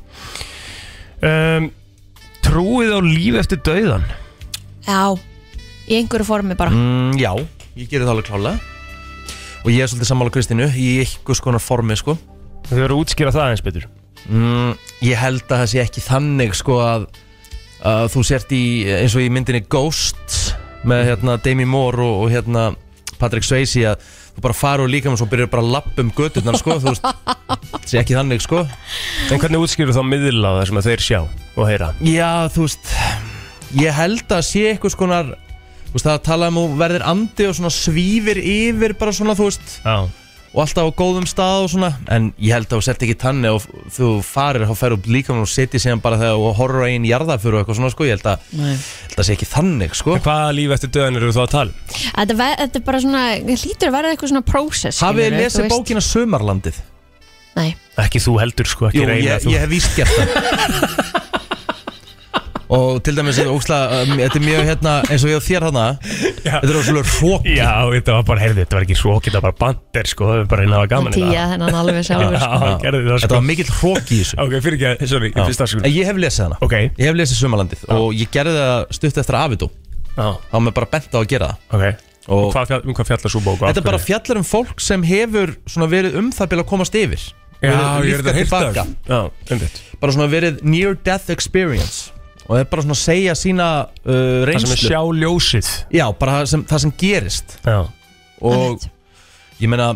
Speaker 2: um, Trúið á líf eftir dauðan
Speaker 3: Já, í einhverju formi bara
Speaker 1: mm, já, ég gerir það alveg klálega og ég er svolítið sammála Kristínu í einhvers konar formi sko.
Speaker 2: Þau eru að útskýra það eins betur
Speaker 1: mm, ég held að það sé ekki þannig sko, að, að þú sért í eins og í myndinni Ghost með hérna Demi Moore og, og hérna Patrick Swayze að þú bara fara úr líka og svo byrjar bara að lappa um götturnar sko, þú veist, það sé ekki þannig sko
Speaker 2: En hvernig útskýrur þá miðla það sem að þeir sjá og heyra?
Speaker 1: Já, þú veist Ég held að sé eitthvað skonar Þú veist, það að tala um að þú verðir andi og svona svífir yfir bara svona, þú veist
Speaker 2: Já,
Speaker 1: Og alltaf á góðum stað og svona En ég held að þú sett ekki tanni og þú farir Þá ferur upp líka og setjir síðan bara þegar og horfur á einn jarðafur og eitthvað svona, sko Ég held að,
Speaker 3: Nei.
Speaker 1: held að sé ekki þannig, sko
Speaker 2: En hvaða líf eftir döðan eru þú þá að tala? um?
Speaker 3: Þetta, ve- þetta er bara svona, hlýtur að vera eitthvað svona process
Speaker 1: Hafið
Speaker 3: skilurðu,
Speaker 1: þið
Speaker 3: þú
Speaker 1: lesið
Speaker 3: veist.
Speaker 1: bókina Sumarlandið?
Speaker 3: Nei,
Speaker 2: Ekki þú heldur sko, ekki
Speaker 1: Jú, ég,
Speaker 2: reyna
Speaker 1: ég
Speaker 2: þú
Speaker 1: hef víst gert það Og til dæmis, þetta er ógeðslega, um, þetta er mjög hérna, eins og ég og þér hana
Speaker 2: Já.
Speaker 1: Þetta er óslega hrók
Speaker 2: Já, þetta var bara, heyrðu, þetta var ekki svo, þetta var bara bandir sko, það var bara einn að hafa
Speaker 3: hann
Speaker 2: gaman í
Speaker 3: tíja þennan alveg
Speaker 2: það Já,
Speaker 3: sjálfur sko.
Speaker 2: hann gerði það
Speaker 1: Þetta
Speaker 2: sko
Speaker 1: var mikill hrók í þessu
Speaker 2: Ok, fyrir ekki að, sorry, ég
Speaker 1: En
Speaker 2: fyrst afsökun
Speaker 1: ég hef lesið hana
Speaker 2: Ok,
Speaker 1: Ég hef lesið Sumalandið og ég gerði það stutt eftir að Avidó
Speaker 2: já,
Speaker 1: þá var mér bara bent á að gera það
Speaker 2: ok
Speaker 1: Og-
Speaker 2: Og hvað fjall, um hvað fjallar svo bók? og af
Speaker 1: Þetta er bara
Speaker 2: hverju?
Speaker 1: fjallar um fólk sem hefur svona verið um það bila að komast yfir
Speaker 2: Já, ég er
Speaker 1: Líft
Speaker 2: þetta heilt
Speaker 1: tilbaka.
Speaker 2: dag Já, einmitt
Speaker 1: Bara svona verið near death experience og það er bara svona að segja sína uh,
Speaker 2: Það sem
Speaker 1: reynslu
Speaker 2: er sjá ljósið
Speaker 1: Já, bara það sem, það sem gerist
Speaker 2: Já,
Speaker 1: og ég meina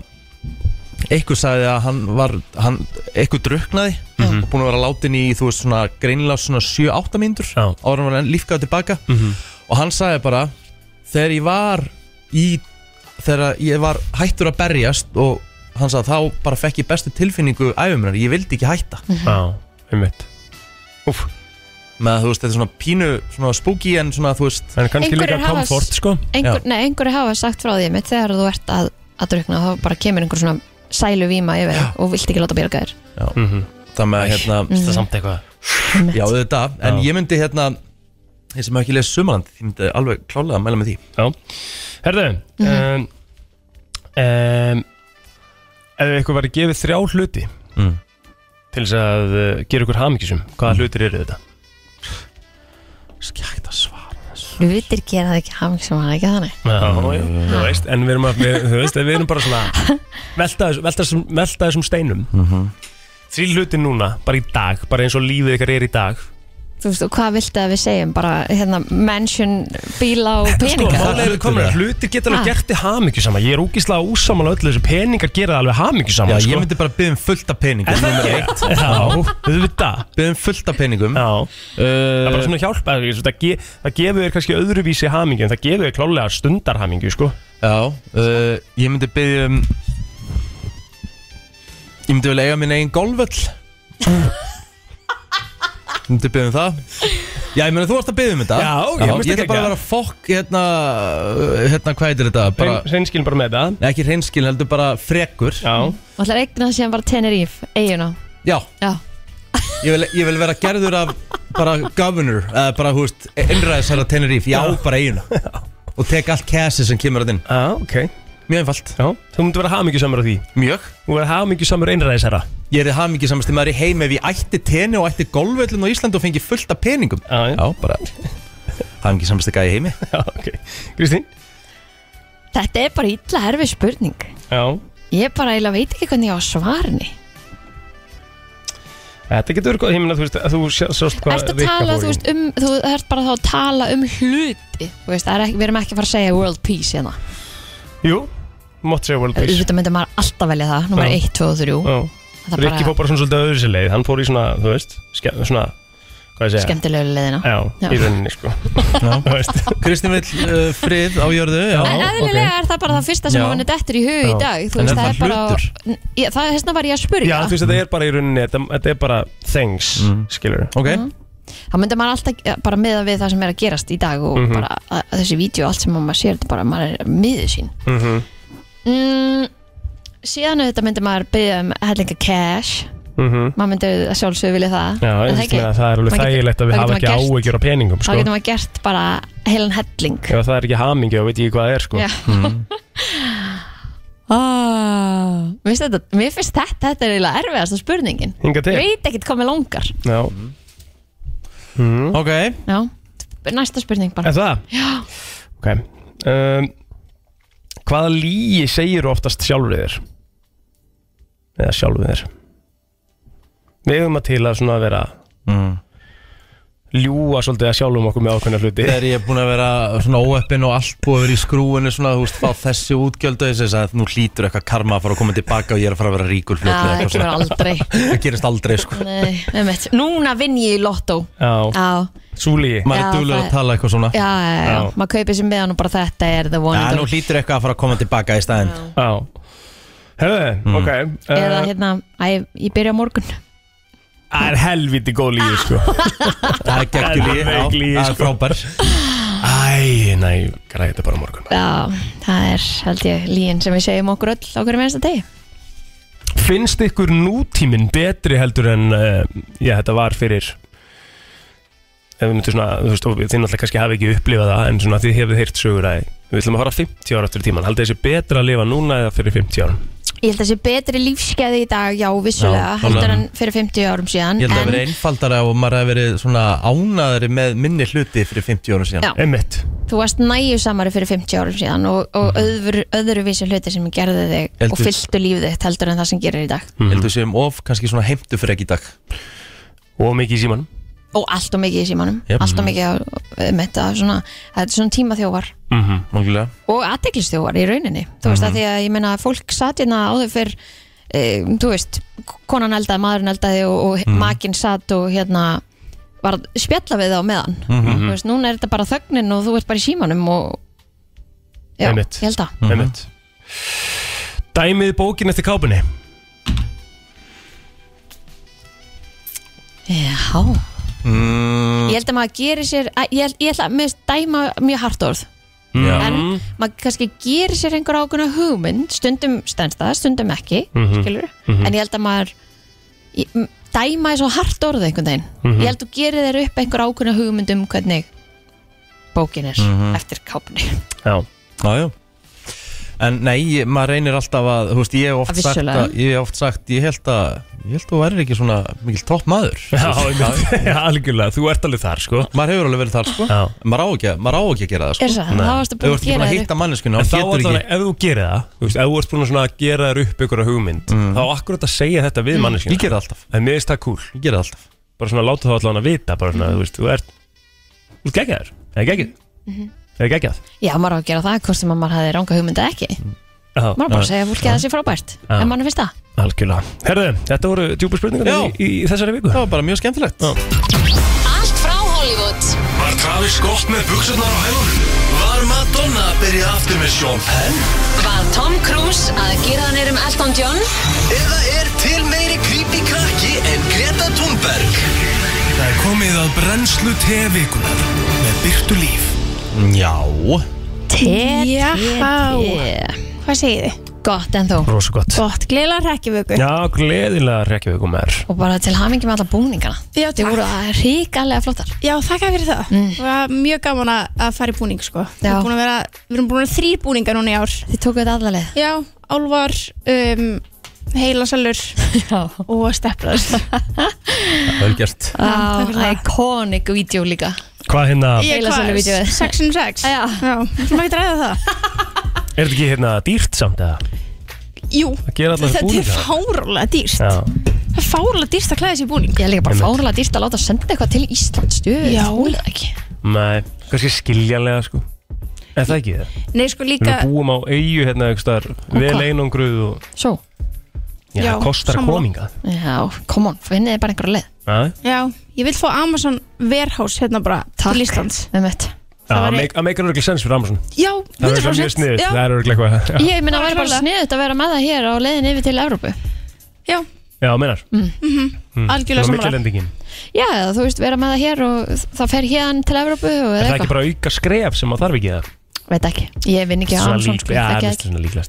Speaker 1: eitthvað sagði að hann var hann, eitthvað druknaði
Speaker 2: Mhm.
Speaker 1: og búin að vera látin í þú veist svona greinilega svona 7-8 mínútur
Speaker 2: Já.
Speaker 1: ára hann var enn lífgað tilbaka
Speaker 2: Mhm.
Speaker 1: og hann sagði bara þegar ég var í þegar ég var hættur að berjast og hann sagði þá bara fekk ég bestu tilfinningu æfuminar, ég vildi ekki hætta
Speaker 3: Mhm.
Speaker 2: já, einmitt Úf,
Speaker 1: með að þú veist þetta er svona pínu svona spooky en svona þú veist
Speaker 2: en kannski
Speaker 3: Einhverjir
Speaker 2: líka
Speaker 3: hafa Mhm. s-
Speaker 2: komfort sko
Speaker 1: Já.
Speaker 3: Einhver, nei, einhverju hafa sagt frá því mitt þegar þú ert að, að drukna þá bara kemur einhver svona sælu víma yfir þig og vilt ekki láta bjarga þér
Speaker 1: það með hérna
Speaker 2: Það samt eitthvað
Speaker 1: Já, auðvitað, en
Speaker 2: Já.
Speaker 1: ég myndi hérna ég sem hef ekki lesið sumaland ég myndi alveg klálega að mæla með því
Speaker 2: Já, herðu um, um, Ef eitthvað væri gefið þrjá hluti
Speaker 1: Mm.
Speaker 2: Til þess að uh, gera ykkur hamingisum Hvaða hlutir eru þetta?
Speaker 1: Skægt að svara
Speaker 3: Hlutir gera það ekki hafing sem hann ekki þannig
Speaker 2: Já, já, þú veist, en við erum, að, við, þú veist, við erum bara svona velta, þessu- velta, þessum- velta þessum steinum mm
Speaker 1: Mhm.
Speaker 2: Því hluti núna, bara í dag bara eins og lífið ykkar er í dag
Speaker 3: Þú veist, og hvað viltu að við segjum? Bara hérna, mansion, bíla og
Speaker 2: Sko,
Speaker 3: peninga
Speaker 1: málið er-
Speaker 2: Hlutir, hlutir geta alveg
Speaker 3: Ha.
Speaker 2: gert þið hamingjusama Ég er úkislega úsamála öllu þessu peningar gera það alveg hamingjusama
Speaker 1: Já,
Speaker 2: sko.
Speaker 1: ég myndi bara byggja um fullta peningum
Speaker 2: Það
Speaker 1: Númer
Speaker 2: er
Speaker 1: eitt.
Speaker 2: ekki Já, þú veit það
Speaker 1: Byggja um fullta peningum
Speaker 2: Já, það er bara
Speaker 1: uh,
Speaker 2: svona hjálpa þú veist, Það, ge, það gefur þér kannski öðruvísi hamingju En það gefur þér klálega stundarhamingju, sko
Speaker 1: Já, uh, ég myndi byggja um Ég myndi vel eiga minn eigin golföll Ég myndi byggja um það Já, ég meina þú varst að byggja um þetta
Speaker 2: Já, ég myndi
Speaker 1: Ég ætla bara
Speaker 2: gegja.
Speaker 1: að vera fokk hérna, uh, hérna, hvað heitir þetta? Bara,
Speaker 2: Hrein- Hreinskilin bara með það
Speaker 1: Nei, ekki reynskil, heldur bara frekur
Speaker 2: Já,
Speaker 3: Og ætlar að eignast síðan bara Tenerife, eiguna
Speaker 1: Já,
Speaker 3: Já,
Speaker 1: Ég vil, ég vil vera gerður af bara governor eða bara, hú veist, innræðisæra Tenerife ég á bara eiginu og tek allt kæsi sem kemur að inn
Speaker 2: já, ok
Speaker 1: mjög einfalt
Speaker 2: Já, þú myndir vera hamingjusamur á því
Speaker 1: mjög
Speaker 2: Þú verður hamingjusamur einræðisherra
Speaker 1: ég er hamingi samast í maður í heim ef ég ætti teni og ætti golfvöllun á Íslandi og fengi fullt af peningum
Speaker 2: Já, já.
Speaker 1: bara hamingi samast í gæði heimi
Speaker 2: Já, ok. Kristín?
Speaker 3: þetta er bara illa erfið spurning
Speaker 2: Já.
Speaker 3: Ég bara eiginlega veit ekki hvernig ég á að svara henni
Speaker 2: Þetta getur verið góð, ég meina, þú veist, að þú sjá- sást hvað
Speaker 3: Ertu að tala, þú veist, um Þú ert bara þá að tala um hluti Þú veist, það er ekki, við erum ekki að fara að segja world peace hérna
Speaker 2: Jú, mátt segja World Peace.
Speaker 3: Þetta myndi maður alltaf velja það, nummer
Speaker 2: Já.
Speaker 3: 1, 2 og 3
Speaker 2: Já.
Speaker 3: Það er
Speaker 2: Rikki
Speaker 3: bara
Speaker 2: fór bara svona svolítið öðru sér leið, hann fór í svona, þú veist, ske, svona, hvað ég segja?
Speaker 3: skemmtilegu leiðina
Speaker 2: Já,
Speaker 3: Já.
Speaker 2: í rauninni, sko. Þú veist.
Speaker 1: Kristín vill uh, frið á jörðu já.
Speaker 3: En eðlilega er það bara það fyrsta sem
Speaker 1: Já.
Speaker 3: hann er dettur í hug í
Speaker 2: Já.
Speaker 3: dag Þú
Speaker 1: En
Speaker 3: veist,
Speaker 1: er
Speaker 3: það
Speaker 1: það
Speaker 3: er bara
Speaker 1: hlutur?
Speaker 3: Ég- Það er hérna var ég að
Speaker 2: Já,
Speaker 3: spurja
Speaker 2: þú veist, þetta er bara í rauninni, þetta, þetta er bara things,
Speaker 3: Mhm.
Speaker 2: mm. skilur.
Speaker 1: ok,
Speaker 3: Það myndi maður alltaf eh, bara meða við það sem er að gerast í dag og
Speaker 2: Mhm.
Speaker 3: bara að, að þessi vídeo og allt sem maður sér þetta bara maður er miður sín mm Síðan auðvitað myndi maður byrja um hellinga cash maður myndi að sjálfsögðu vilja það
Speaker 2: Mhm. Já,
Speaker 3: Er
Speaker 2: ég
Speaker 3: það
Speaker 2: veist,
Speaker 3: ekki?
Speaker 2: meina, það er alveg
Speaker 3: Maður getur-
Speaker 2: þægilegt að við
Speaker 3: þá
Speaker 2: hafa
Speaker 3: getur
Speaker 2: ekki
Speaker 3: maður gert-
Speaker 2: áhyggjur á peningum,
Speaker 3: Þá
Speaker 2: sko.
Speaker 3: getur maður gert bara heilan helling
Speaker 2: Ef það er ekki hamingju, þá veit ég ekki hvað það er, sko.
Speaker 3: Já.
Speaker 1: Mhm.
Speaker 3: Ah, mér, finnst þetta, mér finnst þetta, þetta er eiginlega erfiðasta spurningin
Speaker 2: Hinga til.
Speaker 3: Ég veit ekkert hvað með langar
Speaker 2: Já.
Speaker 1: ok
Speaker 3: Já, næsta spurning bara
Speaker 2: Er það? Já Ok um, Hvaða líi segir oftast sjálfur þér? Eða sjálfur þér Við eigum að til að svona vera
Speaker 1: mm.
Speaker 2: ljúa svolítið að sjálfum okkur með ákveðna hluti
Speaker 1: Þegar ég er búin að vera svona óöppin og allt búið að vera í skrúinu svona, þú veist, fá þessi útgjöld og þess að nú hlýtur eitthvað karma að fara að koma tilbaka og ég er að fara að vera ríkur fljótlega
Speaker 3: það gerur aldrei
Speaker 1: Það gerist aldrei, sko
Speaker 3: Nei, einmitt. Núna vinn ég í lottó
Speaker 2: Já,
Speaker 3: Já,
Speaker 2: súli
Speaker 1: Maður er
Speaker 3: Já,
Speaker 1: duglegur
Speaker 3: það-
Speaker 1: að tala eitthvað svona
Speaker 3: já, já, já.
Speaker 2: Já.
Speaker 3: maður kaupir sér meðan og bara þetta er the one
Speaker 1: Já,
Speaker 3: and
Speaker 1: nú
Speaker 3: only
Speaker 1: hlýtur eitthvað að fara að koma tilbaka í staðinn
Speaker 2: Já Herðu, ok eh,
Speaker 3: Eða hérna, æ, ég byrja á morgun
Speaker 2: Það er helviti góð lífi, sko
Speaker 1: Það er geggjulí,
Speaker 2: Það er
Speaker 1: já,
Speaker 2: geggjulí,
Speaker 1: það er
Speaker 2: sko.
Speaker 1: frábær
Speaker 2: Æ, nei, græði þetta bara á morgun
Speaker 3: Já, það er held ég líin sem við segjum okkur öll okkur með þessa degi
Speaker 2: Finnst ykkur nútíminn betri heldur en uh, Já, þetta var fyrir Ef við myndum svona, þú veist, og þið náttúrulega kannski hafi ekki upplifað það En svona þið hefði heyrt sögur að Við ætlum að fara 50 ára eftir tíman Haldið þessi betra að lifa núna eða fyrir 50 árum
Speaker 3: Ég held að sé betri lífskeiði í dag, já, vissulega,
Speaker 1: Já,
Speaker 3: heldur
Speaker 1: alveg.
Speaker 3: en fyrir 50 árum síðan
Speaker 1: Ég held að það
Speaker 3: en,
Speaker 1: verið einfaldara og maður hefði verið svona ánaðari með minni hluti fyrir 50 árum síðan
Speaker 3: Já.
Speaker 2: Emmett
Speaker 3: þú varst næju samari fyrir 50 árum síðan og, og öðru, öðruvísi hluti sem gerði þig
Speaker 1: Mhm. Heldur.
Speaker 3: og fylltu lífið þitt heldur en það sem gerir í dag
Speaker 1: Ég
Speaker 2: Mhm.
Speaker 1: held að við séum of kannski svona heimtu fyrir ekki í dag
Speaker 2: Og mikið í símanum
Speaker 3: og allt og mikið í símanum
Speaker 1: Jep. Mhm.
Speaker 3: allt og mikið á- um þetta svona, þetta er svona tímaþjófar
Speaker 2: mm -hmm.
Speaker 1: Manglega
Speaker 3: og aðdeglistjófar í rauninni þú veist,
Speaker 1: Mhm.
Speaker 3: af því að ég meina að fólk satt hérna áður fyrr e, þú veist, konan eldaði, maðurinn eldaði og, og
Speaker 1: Mhm.
Speaker 3: makinn satt og hérna var að spjalla við á meðan
Speaker 1: Mhm.
Speaker 3: þú veist, núna er þetta bara þögnin og þú ert bara í símanum og já,
Speaker 2: Einmitt.
Speaker 3: ég held að
Speaker 2: Emmett Dæmið bókin eftir kápunni
Speaker 3: Já
Speaker 1: Mm.
Speaker 3: Ég held að maður gerir sér að- Ég, held- ég held að mér finnst dæma mjög hart orð
Speaker 1: Já.
Speaker 3: En maður kannski gerir sér einhver ákveðna hugmynd Stundum stendst það, stundum ekki
Speaker 1: Mhm.
Speaker 3: Skilur En ég held að maður ég, m- Dæma er svo hart orð einhvern veginn
Speaker 1: Mhm.
Speaker 3: Ég held að þú gerir þér upp einhver ákveðna hugmynd um hvernig Bókin er
Speaker 1: Mhm.
Speaker 3: eftir kápunni
Speaker 2: Já
Speaker 1: Já, já En nei, ég- maður reynir alltaf að, þú veist, ég hef oft
Speaker 3: Að
Speaker 1: sagt
Speaker 3: vissulega.
Speaker 1: að, ég hef oft sagt, ég held að, ég held að þú værir ekki svona mikil topp maður.
Speaker 2: Já, einmitt Já, algjörlega, þú ert alveg þar, sko
Speaker 1: Maður hefur alveg verið þar, sko.
Speaker 2: Já.
Speaker 1: Maður á ekki, að- maður á ekki að gera það, sko.
Speaker 3: Er það,
Speaker 2: Nei.
Speaker 3: það varstu
Speaker 1: Þú ert
Speaker 3: búin að
Speaker 1: ekki
Speaker 3: gera
Speaker 1: búin að
Speaker 3: þér upp
Speaker 1: hitta manneskuna
Speaker 2: En
Speaker 1: og
Speaker 2: þá
Speaker 1: getur
Speaker 2: allavega,
Speaker 1: ekki.
Speaker 2: ef þú gerir það, þú veist, ef þú ert búin að svona gera þér upp ykkur hugmynd, þá akkurat að segja þetta við manneskina.
Speaker 1: Ég gera það alltaf,
Speaker 2: En mér finnst Mm, það cool.
Speaker 1: ég gera það alltaf.
Speaker 2: Bara svona láta þá allavega að vita, bara svona, þú veist, þú ert, þú ert geggjaður, eða geggjað,
Speaker 8: Mhm.
Speaker 2: eða geggjað.
Speaker 3: Já, maður á að gera það, hvort sem að maður hafði ranga hugmynda ekki
Speaker 2: Já,
Speaker 3: Maður bara að segja fólki að það sé frábært
Speaker 2: Já.
Speaker 3: En maður finnst það
Speaker 2: algjörlega. Herðu, þetta voru djúpa
Speaker 1: Já.
Speaker 2: spurningar í, í þessari viku.
Speaker 1: Það var bara mjög skemmtilegt.
Speaker 2: Já.
Speaker 4: Allt frá Hollywood
Speaker 5: Var Travis Scott með buksarnar á hælunum? Var Madonna að byrja aftur með Sean Penn?
Speaker 4: Var Tom Cruise að gera hann erum Elton John
Speaker 5: Eða er til meiri creepy krakki en Greta Thunberg? Það er komið að brennslu tevikunar með Byrtu Líf.
Speaker 1: Já.
Speaker 8: Já, hvað segið þið?
Speaker 3: Gott en þú
Speaker 2: Rósa gott.
Speaker 8: Gott, gleðilega hrekkjavöku
Speaker 2: Já, gleðilega rekkjavöku maður.
Speaker 3: og bara til hamingi með alla búningana
Speaker 8: Já,
Speaker 3: þau voru ríkalega flottar
Speaker 8: Já, þakka fyrir það mm. var Mjög gaman að- að fara í búning sko. Við
Speaker 3: Já.
Speaker 8: erum búin að vera, við erum búin að þrý búningar núna í ár
Speaker 3: þið tóku þetta alla leið
Speaker 8: Já, álvar, um, heila salur
Speaker 3: já,
Speaker 8: og steflar
Speaker 1: Velgjast.
Speaker 8: takk fyrir það.
Speaker 3: iconic vídeo líka
Speaker 2: Hvað hérna,
Speaker 8: Ég
Speaker 3: Heila Salur vídeóið.
Speaker 8: 6 in 6
Speaker 3: Já.
Speaker 8: við erum ekki að ræða það
Speaker 2: er þetta ekki hérna dýrt samt eða?
Speaker 8: Jú,
Speaker 2: Að gera allar
Speaker 8: þetta er
Speaker 2: búninga.
Speaker 8: fárólega dýrt
Speaker 2: Já.
Speaker 8: Það er fárólega dýrt að klæða sér í búning
Speaker 3: ég er líka bara
Speaker 2: Einmitt.
Speaker 3: fárlega dýrt að láta að senda eitthvað til Íslands djöfull,
Speaker 8: Já.
Speaker 3: þoli það ekki.
Speaker 2: Nei, kannski skiljanlega, sko. Er það ekki það?
Speaker 8: Nei, sko líka
Speaker 2: Við búum á eigu hérna einhvers staðar, vel
Speaker 3: hvað?
Speaker 2: einangruð og
Speaker 3: svo,
Speaker 2: já,
Speaker 8: Já,
Speaker 2: það kostar að
Speaker 8: sammála.
Speaker 2: kominga
Speaker 3: já, come on finnið þið bara einhverja leið
Speaker 2: að
Speaker 8: Já, ég vil fá Amazon Warehouse hérna bara
Speaker 3: Takk.
Speaker 8: til Íslands
Speaker 3: Einmitt.
Speaker 8: var ég-
Speaker 2: make- að meikar örglega sens fyrir Amazon
Speaker 8: Já,
Speaker 2: það er örglega mjög
Speaker 8: 100%
Speaker 2: sniðið, það
Speaker 8: Já,
Speaker 2: er örglega eitthvað já,
Speaker 3: ég meina
Speaker 8: Já,
Speaker 3: það væri bara
Speaker 8: klárlega.
Speaker 3: sniðut að vera með það hér á leiðin yfir til Evrópu
Speaker 8: já,
Speaker 2: já meinar, Hmm. svona
Speaker 8: algjörlega samanlega
Speaker 2: millilendingin
Speaker 3: já, eða þú veist, vera með það hér og það fer hérna til Evrópu og
Speaker 2: er
Speaker 3: eða
Speaker 2: það ekki
Speaker 3: eitthvað,
Speaker 2: bara auka skref sem að þarf ekki það
Speaker 3: veit ekki ég vinn ekki á
Speaker 2: svona
Speaker 3: Amazon,
Speaker 2: lík,
Speaker 3: sko,
Speaker 2: já,
Speaker 3: þekki
Speaker 2: það
Speaker 3: það
Speaker 2: er
Speaker 3: ekki.
Speaker 2: svona líklegt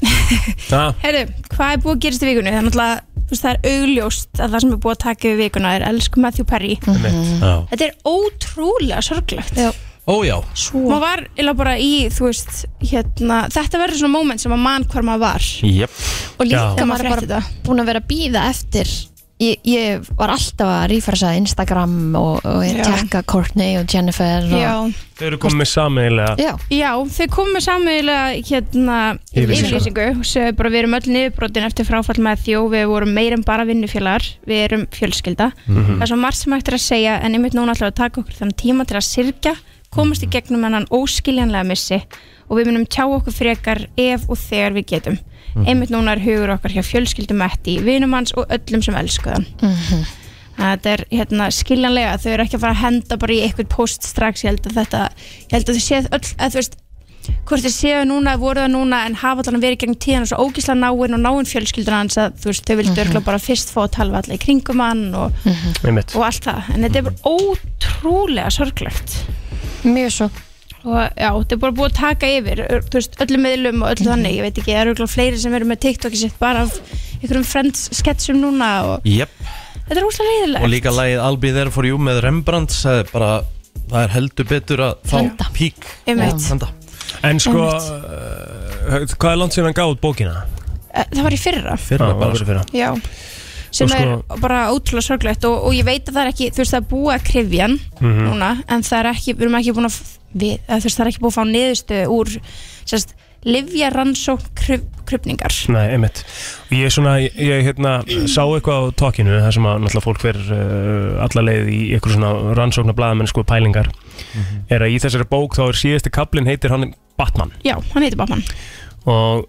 Speaker 2: Já,
Speaker 8: Herru, hvað er búið að gerast í vikunni? Það er náttúrulega, þú veist, það er augljóst að það sem er búið að taka við vikuna er elsku Matthew Perry
Speaker 2: einmitt.
Speaker 1: Já.
Speaker 8: Þetta er ótrúlega sorglegt
Speaker 3: Já.
Speaker 1: Ó já.
Speaker 8: Maður var eða bara í, þú veist, hérna Þetta verður svona moment sem að mann hvar maður var
Speaker 1: Jep.
Speaker 3: og
Speaker 2: Já.
Speaker 3: líka
Speaker 8: Þegar maður
Speaker 3: maður er
Speaker 8: frétti
Speaker 3: bara
Speaker 8: þetta
Speaker 3: búin að vera að býða eftir ég, ég var alltaf að rífarsa Instagram og, og er
Speaker 8: Já.
Speaker 3: að tekka Courtney og Jennifer og,
Speaker 8: Já,
Speaker 2: Þau eru komið með sameiginlega
Speaker 3: Já,
Speaker 8: já þau komu sammeðilega hérna
Speaker 2: Yfirlýsingu.
Speaker 8: yfirlýsingu og sögðu bara við erum öll niðurbrotin eftir fráfall með þjó við vorum meir en bara vinnufélagar við erum fjölskylda það er svo margt sem hægt er að segja en einmitt núna ætlaðu að taka okkur þann tíma til að sirkja komast í gegnum hennan óskiljanlega missi og við munum tjá okkur frekar ef og þegar við getum einmitt núna er hugur okkar hjá fjölskyldum Matti, vinum hans og öllum sem elskuðan Þannig að Þetta er hérna, skiljanlega, þau eru ekki að fara að henda bara í eitthvað post strax, ég held að þetta, ég held að þau séð öll, að þú veist, hvort þau séu núna, voru það núna, en hafa allan verið gegn tíðan og svo ógísla náinn og náinn fjölskyldur hans að þú veist, þau vildu örgla
Speaker 1: Mhm.
Speaker 8: bara fyrst fá að tala við alla í kringum hann og,
Speaker 2: Einmitt.
Speaker 8: og allt það, en þetta er bara ótrúlega sorglegt
Speaker 3: mjög svo
Speaker 8: og já, þetta er bara búið að taka yfir ö- þú veist, öllum meðlum og öllu þannig, ég veit ekki, það eru örugglega fleiri sem eru með TikTokið sitt bara af einhverjum friends-sketsum núna og
Speaker 1: Jep,
Speaker 8: þetta er óslega leiðilegt.
Speaker 1: og líka lagið I'll be there for you með Rembrandt það er bara, það er heldur betur að fá
Speaker 3: Henda.
Speaker 1: pík
Speaker 8: Einmitt.
Speaker 1: og henda.
Speaker 2: En sko, uh, hvað er langt síðan hann gáð bókina?
Speaker 8: Eh, Það var í fyrra.
Speaker 1: Fyrra
Speaker 2: Já,
Speaker 1: Ah, bara,
Speaker 2: það var í fyrra.
Speaker 8: Já, sem
Speaker 2: Og sko-
Speaker 8: er bara ótrúlega sorglegt og, og ég veit að það er ekki, þú veist, það er búið að krifja hann
Speaker 2: Mhm.
Speaker 8: núna, en það er ekki, við erum ekki búin að, f- við, að þú veist, það er ekki búið að fá niðurstöðu úr, sérst, livja rannsókn krif, krifningar.
Speaker 2: Nei, einmitt. Og Ég, svona, ég, ég hérna, sá eitthvað á tókinu, þar sem að náttúrulega fólk fer uh, alla leið í eitthvað svona rannsóknar blaðamenn sko pælingar, er að í þessari bók þá er síðasti kaplinn heitir hann Batman
Speaker 8: Já, hann heitir Batman.
Speaker 2: og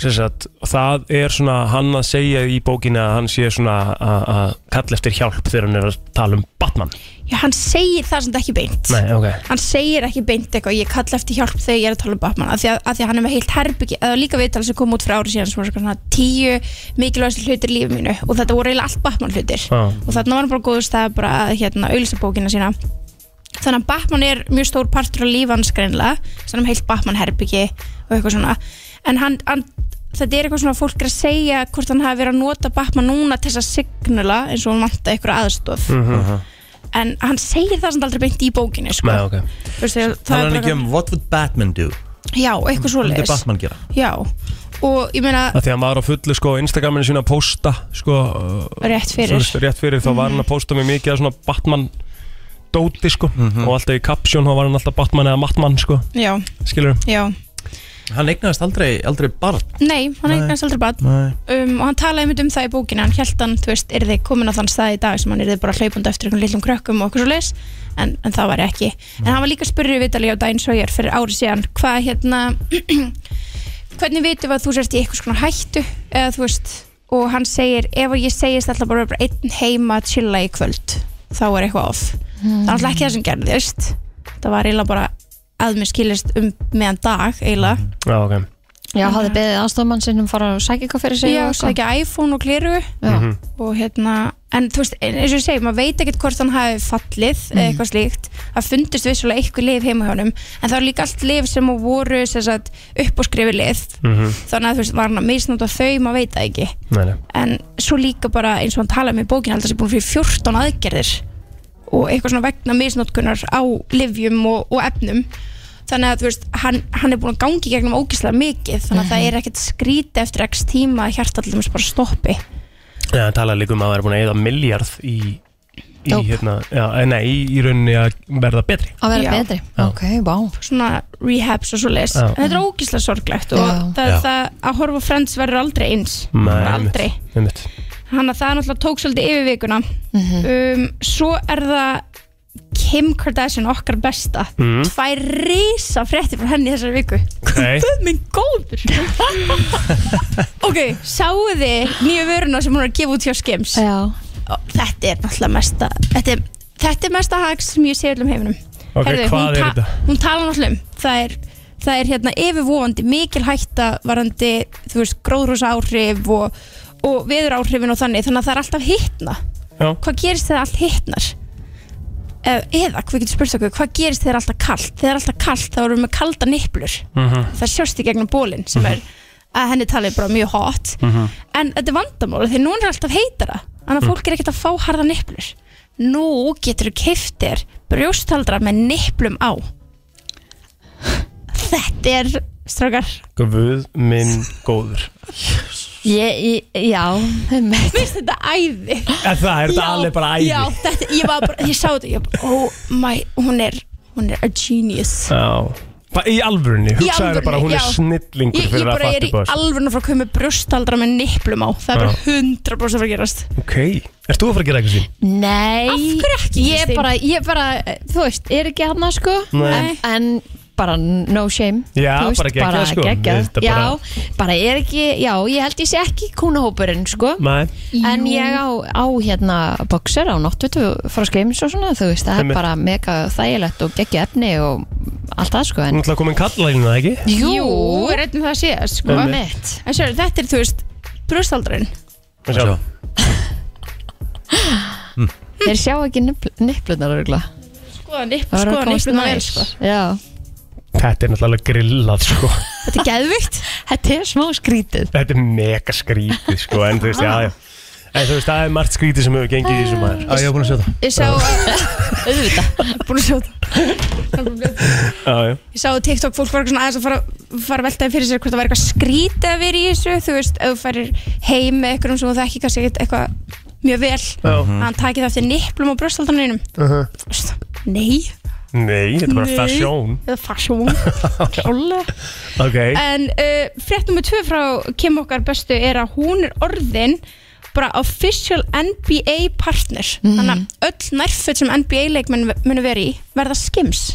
Speaker 2: sem sagt, það er svona hann að segja í bókinu að hann sé svona að að kalla eftir hjálp þegar hann er að tala um Batman.
Speaker 8: Já, hann segir það sem þetta ekki beint.
Speaker 2: Nei, ok.
Speaker 8: Hann segir ekki beint eitthvað, ég kalla eftir hjálp þegar ég er að tala um Batman, af því að, að því að hann er með heilt herbyggi, eða líka viðtal sem kom út fyrir ári síðan, sem voru svona tíu mikilvægstu hlutir í lífi mínu og þetta voru eiginlega allt Batman hlutir.
Speaker 2: Ah.
Speaker 8: og þarna var hann bara góður stað bara að hérna, auðlýsa bókina sína þannig að Batman er mjög stór partur á lífi hans greinlega, þannig að heilt Batman herbyggi og eitthvað svona en hann, hann, þetta er eitthvað svona að fólk er að segja hvort hann hafi verið að nota Batman núna til þess að signala eins og hann vanta eitthvað aðstof en hann segir það sem aldrei beint í bókinu sko.
Speaker 2: Nei, ok.
Speaker 8: Þú veist, það, það
Speaker 1: Talar
Speaker 8: er
Speaker 1: hann ekki
Speaker 8: bara,
Speaker 1: um What would Batman do?
Speaker 8: já, eitthvað
Speaker 1: Hvað myndi
Speaker 8: svoleiðis
Speaker 1: Batman gera?
Speaker 8: já, og ég meina
Speaker 2: að því að hann var á fullu sko á Instagraminu sína að posta sko uh,
Speaker 8: rétt
Speaker 2: þú
Speaker 8: fyrir Mhm.
Speaker 2: veist, rétt fyrir þá var hann að posta mjög mikið af svona Batman dóti sko og alltaf í kapsjón þá var hann alltaf Batman eða Matman sko
Speaker 8: já,
Speaker 2: skilur
Speaker 8: já,
Speaker 1: Hann eignaðist aldrei, aldrei barn
Speaker 8: nei, hann er kannski aldrei bara
Speaker 1: Nei.
Speaker 8: um, og hann talaði einmitt um það í bókinu hann held hann, þú veist, yrði komin á þann stað í dag sem hann yrði bara hlaupandi eftir einhvern lillum krökkum og okkur svo leis, en, en það var ekki en hann var líka spurrið vitali á daginn Sawyer fyrir ári síðan, hvað hérna hvernig vitum við að þú sérst í eitthvað svona hættu, eða þú veist og hann segir, ef ég segist alltaf bara, að vera bara einn heima að chilla í kvöld þá er eitthvað off það er alltaf ekki það sem gerðist það var eiginlega bara að mér skilist um meðan dag eiginlega
Speaker 2: já ok
Speaker 3: Já, hafði beðið aðstofmann sinnum fara og sækja eitthvað fyrir sig
Speaker 8: Já,
Speaker 3: og eitthvað.
Speaker 8: sækja iPhone og gleru
Speaker 3: Já.
Speaker 2: Mhm.
Speaker 8: og hérna, en þú veist, en- eins og ég segi maður veit ekkert hvort hann hafi fallið mm. eitthvað slíkt, það fundist vissulega eitthvað lif heima hjá honum, en það er líka allt lif sem voru sem sagt, upp og skrifi lif þannig að þú veist, var hann að misnóta þau maður veit það ekki,
Speaker 2: Mhm. nei, nei.
Speaker 8: en svo líka bara eins og hann talaði um með bókina alltaf sem búin fyrir 14 aðgerðir og eitthvað svona vegna misnótkunar á livjum og, og efnum þannig að þú veist, hann, hann er búin að gangi gegnum ógislega mikið, þannig að það er ekkert skríti eftir x tíma að hjarta allum bara stoppi
Speaker 2: Ja, hann talaði líka um að hann er búin að eða miljard í, í
Speaker 3: Dóp.
Speaker 2: hérna já, eh, nei, í, í rauninni að verða betri
Speaker 3: Að vera
Speaker 8: Já.
Speaker 3: betri Ok, vá
Speaker 8: svona rehabs og svo leis
Speaker 2: Já.
Speaker 8: en þetta er ógislega sorglegt og
Speaker 3: Já.
Speaker 8: það,
Speaker 1: Já.
Speaker 8: það að horfa á Friends verður aldrei eins
Speaker 2: Nei,
Speaker 8: aldrei
Speaker 2: einmitt, einmitt.
Speaker 8: hann að það náttúrulega tók svolítið yfir vikuna um, svo er það Kim Kardashian okkar besta tvær risa frétti frá henni í þessari viku
Speaker 2: Mhm. Ok.
Speaker 8: Guð minn góður ok, sáu þið nýju vöruna sem hún er að gefa út hjá Skims
Speaker 3: Já
Speaker 8: Og þetta er náttúrulega mesta þetta er, þetta er mesta haks sem ég sé öllum heiminum
Speaker 2: Ok, hvað
Speaker 8: hún,
Speaker 2: er þetta?
Speaker 8: hún talar náttúrulega um það er, það er hérna yfirvofandi mikil hætta varandi þú veist gróðrúsa áhrif og, og veður áhrifin og þannig þannig að það er alltaf hittna
Speaker 2: Já.
Speaker 8: hvað gerist þegar allt hittnar eða, eða við getum spurt okkur hvað gerist þegar alltaf kalt þegar alltaf kalt þá erum við með kalda nipplur
Speaker 2: Mhm.
Speaker 8: það sjást í gegnum bólinn sem er að henni talið bara mjög hot
Speaker 2: Mhm.
Speaker 8: en þetta er vandamála því núna er alltaf heitara þannig
Speaker 2: Mm.
Speaker 8: að fólk er ekkert að fá harða nipplur nú getur þú keftir brjóstaldra með nipplum á þetta er strákar
Speaker 2: Guð minn góður
Speaker 3: Ég, ég, já, einmitt.
Speaker 8: Mér finnst þetta æði
Speaker 2: En það er þetta alveg bara æði
Speaker 8: Já, þetta, ég var bara, ég sá þetta Ég bara, oh my, hún er Hún er a genius
Speaker 2: Já Bara í alvörunni, hugsaðu
Speaker 8: alvörunni,
Speaker 2: bara hún er
Speaker 8: já.
Speaker 2: snillingur
Speaker 8: Ég, ég
Speaker 2: fyrir að
Speaker 8: bara er
Speaker 2: fatta
Speaker 8: í
Speaker 2: bóðs
Speaker 8: alveg frá að koma með brjóstaldra með niplum á Það er bara
Speaker 2: Já.
Speaker 8: 100% að fara að gerast
Speaker 2: Ok, erst þú að fara að gera eitthvað sín?
Speaker 3: Nei
Speaker 8: Af hverju ekki,
Speaker 3: Ég
Speaker 8: Kristín?
Speaker 3: bara, ég bara, þú veist, er ekki hann sko en,
Speaker 2: Nei.
Speaker 3: en bara no shame
Speaker 2: Já,
Speaker 3: þú
Speaker 2: bara geggjað, sko.
Speaker 3: geggjað.
Speaker 2: Þetta
Speaker 3: Já,
Speaker 2: bara-
Speaker 3: bara er ekki, já, ég held ég sé ekki kúnahópurinn sko
Speaker 2: Nei,
Speaker 3: En ég á, á hérna boxer á náttutu frá skeims og svona þú veist, það
Speaker 2: Einmitt.
Speaker 3: er bara mega þægilegt og geggja efni og allt það sko
Speaker 2: hún
Speaker 3: en,
Speaker 2: ætla að koma inn kallalínu, eða ekki?
Speaker 8: Jú, er einn það að sé sko.
Speaker 2: Einmitt.
Speaker 3: mitt
Speaker 8: En sér, þetta er, þú veist, brjóstaldrin
Speaker 2: Sjá.
Speaker 1: Sjá.
Speaker 3: Þeir sjá ekki niplunar örgla
Speaker 8: Skoða nipl, skoða niplum að sko.
Speaker 3: Já,
Speaker 2: Þetta er náttúrulega alveg grillað, sko
Speaker 3: þetta er geðvikt Þetta er smá skrítið
Speaker 2: Þetta er mega skrítið, sko En þú veist, já, já En þú veist, það er margt skrítið sem hefur gengið í þessum maður
Speaker 1: Á, ég hef búin að sjá það
Speaker 8: Ég sá,
Speaker 3: Auðvitað
Speaker 8: búin að sjá þetta Það kom fljótt.
Speaker 2: Já, já
Speaker 8: Ég sá á TikTok fólk var eitthvað svona aðeins að fara, fara að veltaði fyrir sér hvort það væri eitthvað skrítið að vera í þessu þú veist, ef þú farir heim með eitthvað sem þú þekki kannski ekkert eitthvað mjög vel að hann taki það eftir niplum og brjóstaldranum Þú veist, Nei,
Speaker 2: Nei, þetta er bara
Speaker 8: Nei.
Speaker 2: fashion
Speaker 8: eða fasjón Klálega
Speaker 2: Ok,
Speaker 8: En uh, frétt nummer tvö frá Kim okkar bestu er að hún er orðin bara official NBA partner þannig að öll nærföt sem NBA leikmenn munu verið í verða skims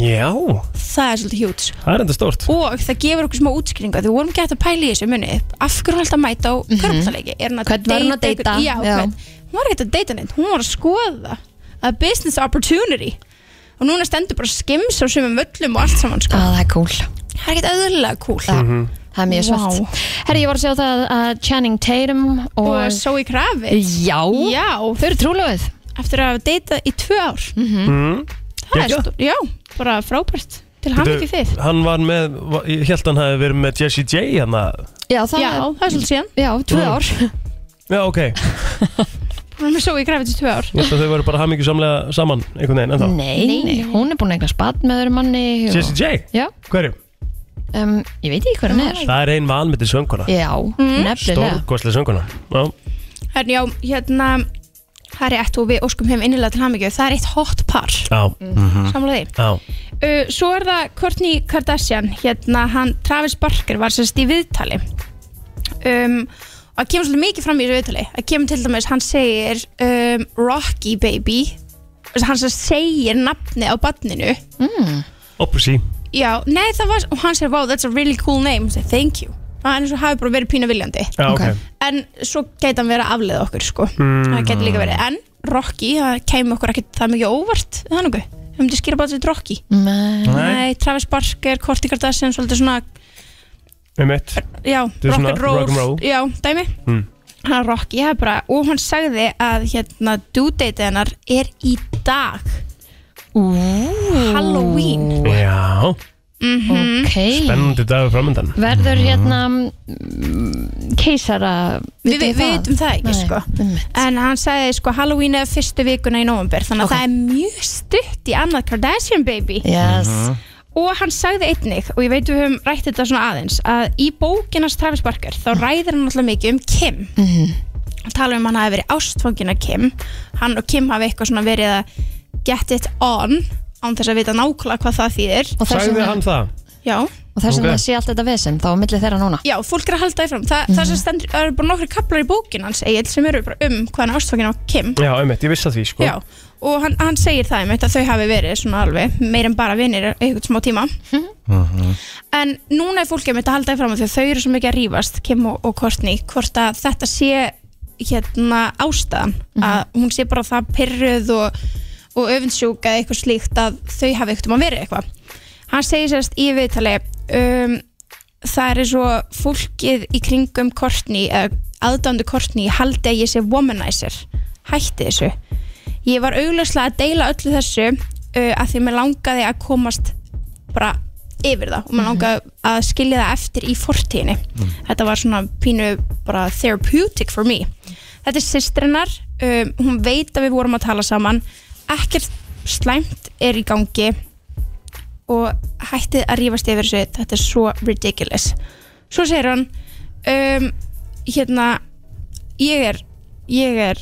Speaker 2: já,
Speaker 8: það er svolítið hjúts
Speaker 2: það er enda stórt
Speaker 8: og það gefur okkur smá útskýringa því við vorum gett að pæla í þessu muni af hverju var alltaf að mæta á mm
Speaker 3: Mhm.
Speaker 8: -hmm.
Speaker 3: Hvern var hún að deyta?
Speaker 8: já,
Speaker 3: Já.
Speaker 8: Hvern, hún var ekki að deyta neitt, hún var að skoða a business opportunity og núna stendur bara skims á sumum völlum og allt saman sko.
Speaker 3: Það er cool
Speaker 8: það er ekkert öðrulega cool
Speaker 3: Já, Það er mjög
Speaker 8: Vá.
Speaker 3: svart Herri, ég var að sjá það að Channing Tatum og,
Speaker 8: og svo í krafi
Speaker 3: Já,
Speaker 8: Já,
Speaker 3: þau eru trúlöfuð
Speaker 8: eftir að hafa deytað í tvö ár
Speaker 3: Mhm.
Speaker 8: Það er
Speaker 2: Geggjað.
Speaker 8: stór, já, bara frábært Til hann ekki þið
Speaker 2: Hann var með, ég held hann hafi verið með Jesse J hérna. hann að
Speaker 3: Já, það
Speaker 8: Já,
Speaker 3: er
Speaker 8: það er svolítið síðan
Speaker 3: Já, tvö ár
Speaker 2: Já, ok, ég
Speaker 8: Hún er með svo í grafið til tvö ár
Speaker 2: held að þau voru bara hamingju samlega saman einhvern veginn ennþá
Speaker 3: nei, nei, hún er búin að eignast badn með öðrum manni og-
Speaker 2: Jesse J,
Speaker 3: Já,
Speaker 2: hverju?
Speaker 3: um, ég veit ekki hver hann er
Speaker 2: Það er ein vanmyndi sönguna
Speaker 3: Já, nefnilega
Speaker 2: Stórkostlega sönguna Já,
Speaker 8: Herni, já, hérna Það er rétt og við óskum heim innilega til hamingju Það er eitt hot par,
Speaker 2: já,
Speaker 8: samlega því
Speaker 2: já
Speaker 8: uh, Svo er það Kourtney Kardashian Hérna, hann Travis Barker var sérst í viðtali um, Og það kemur svolítið mikið fram í þessu viðtali Það kemur til dæmis, hann segir um, Rocky baby Hann sérst segir nafni á badninu
Speaker 2: Oppusi
Speaker 8: Já, nei það var, og hann sér, wow, that's a really cool name Ég segi, Thank you Og hann svo hafi bara verið pína viljandi
Speaker 2: Já, ok,
Speaker 1: Ok.
Speaker 8: En svo gæti hann verið að afleiða okkur, sko
Speaker 2: Mm.
Speaker 8: Það gæti líka verið, en Rocky Það kemur okkur ekkert það mikið óvart Það er nokkuð, við myndum skýra bara til Rocky
Speaker 3: Nei,
Speaker 8: Nei, Travis Barker, Korti Kardashian Svolítið svona,
Speaker 2: með mitt
Speaker 8: já,
Speaker 2: er
Speaker 8: rock
Speaker 2: svona
Speaker 8: and roll,
Speaker 2: rock and roll.
Speaker 8: Já, dæmi
Speaker 2: Mm.
Speaker 8: Hann er Rocky, það er bara, og hann sagði að hérna, due date hennar er í dag Halloween
Speaker 2: Já,
Speaker 3: Mm, ok
Speaker 2: spennandi dagur framöndan
Speaker 3: Verður hérna mm, keisara
Speaker 8: Við við veitum það ekki,
Speaker 3: Nei,
Speaker 8: sko
Speaker 3: einmitt.
Speaker 8: En hann sagði sko Halloween er fyrstu vikuna í november Þannig að
Speaker 3: Ok.
Speaker 8: það er mjög stutt í annað Kardashian baby
Speaker 3: Yes,
Speaker 2: Mm-hmm.
Speaker 8: Og hann sagði einnig, og ég veit við höfum rætt þetta svona aðeins Að í bókinast Travis Barker Þá ræðir hann alltaf mikið um Kim Hann tala um að hann hafi verið ástfangin af Kim Hann og Kim hafi eitthvað svona verið að Get it on Án þess að vita nákvæmlega hvað það þýðir
Speaker 3: og þess
Speaker 2: Sagði
Speaker 3: vegna
Speaker 2: hann það?
Speaker 8: Já,
Speaker 3: og þess vegna
Speaker 2: Ok.
Speaker 3: sé allt þetta vesinn þá á milli þeirra núna
Speaker 8: Já, fólk er að halda því fram Þa, Það sem stendur, það eru bara nokkri kaplar í bókin hans Egil sem eru bara um hvað hann ástfangin af Kim
Speaker 2: Já, einmitt, ég vissi að því sko
Speaker 8: Já, og hann, hann segir það einmitt að þau hafi verið svona alveg meir en bara vinir einhvern smá tíma en núna er fólk einmitt að halda því fram af því að þau eru svo mikið að rífast Kim og, og Kourtney, hvort að þetta sé hérna ástæðan að hún sé bara það pyrruð og, og öfinsjúk eða eitthvað slíkt að þau hafi eitthvað verið eitthvað hann segir sérst í viðtali um, það er svo fólkið í kringum Kourtney, eða aðdándu Kourtney haldi að ég sé womanizer hætti þessu ég var augljóslega að deila öllu þessu uh, að því mér langaði að komast bara yfir það og mér langaði að skilja það eftir í fortíðinni þetta var svona pínu bara therapeutic for me þetta er systrinnar, um, hún veit að við vorum að tala saman ekkert slæmt er í gangi og hættið að rífast yfir þessu þetta er svo ridiculous svo segir hann um, hérna ég er, ég er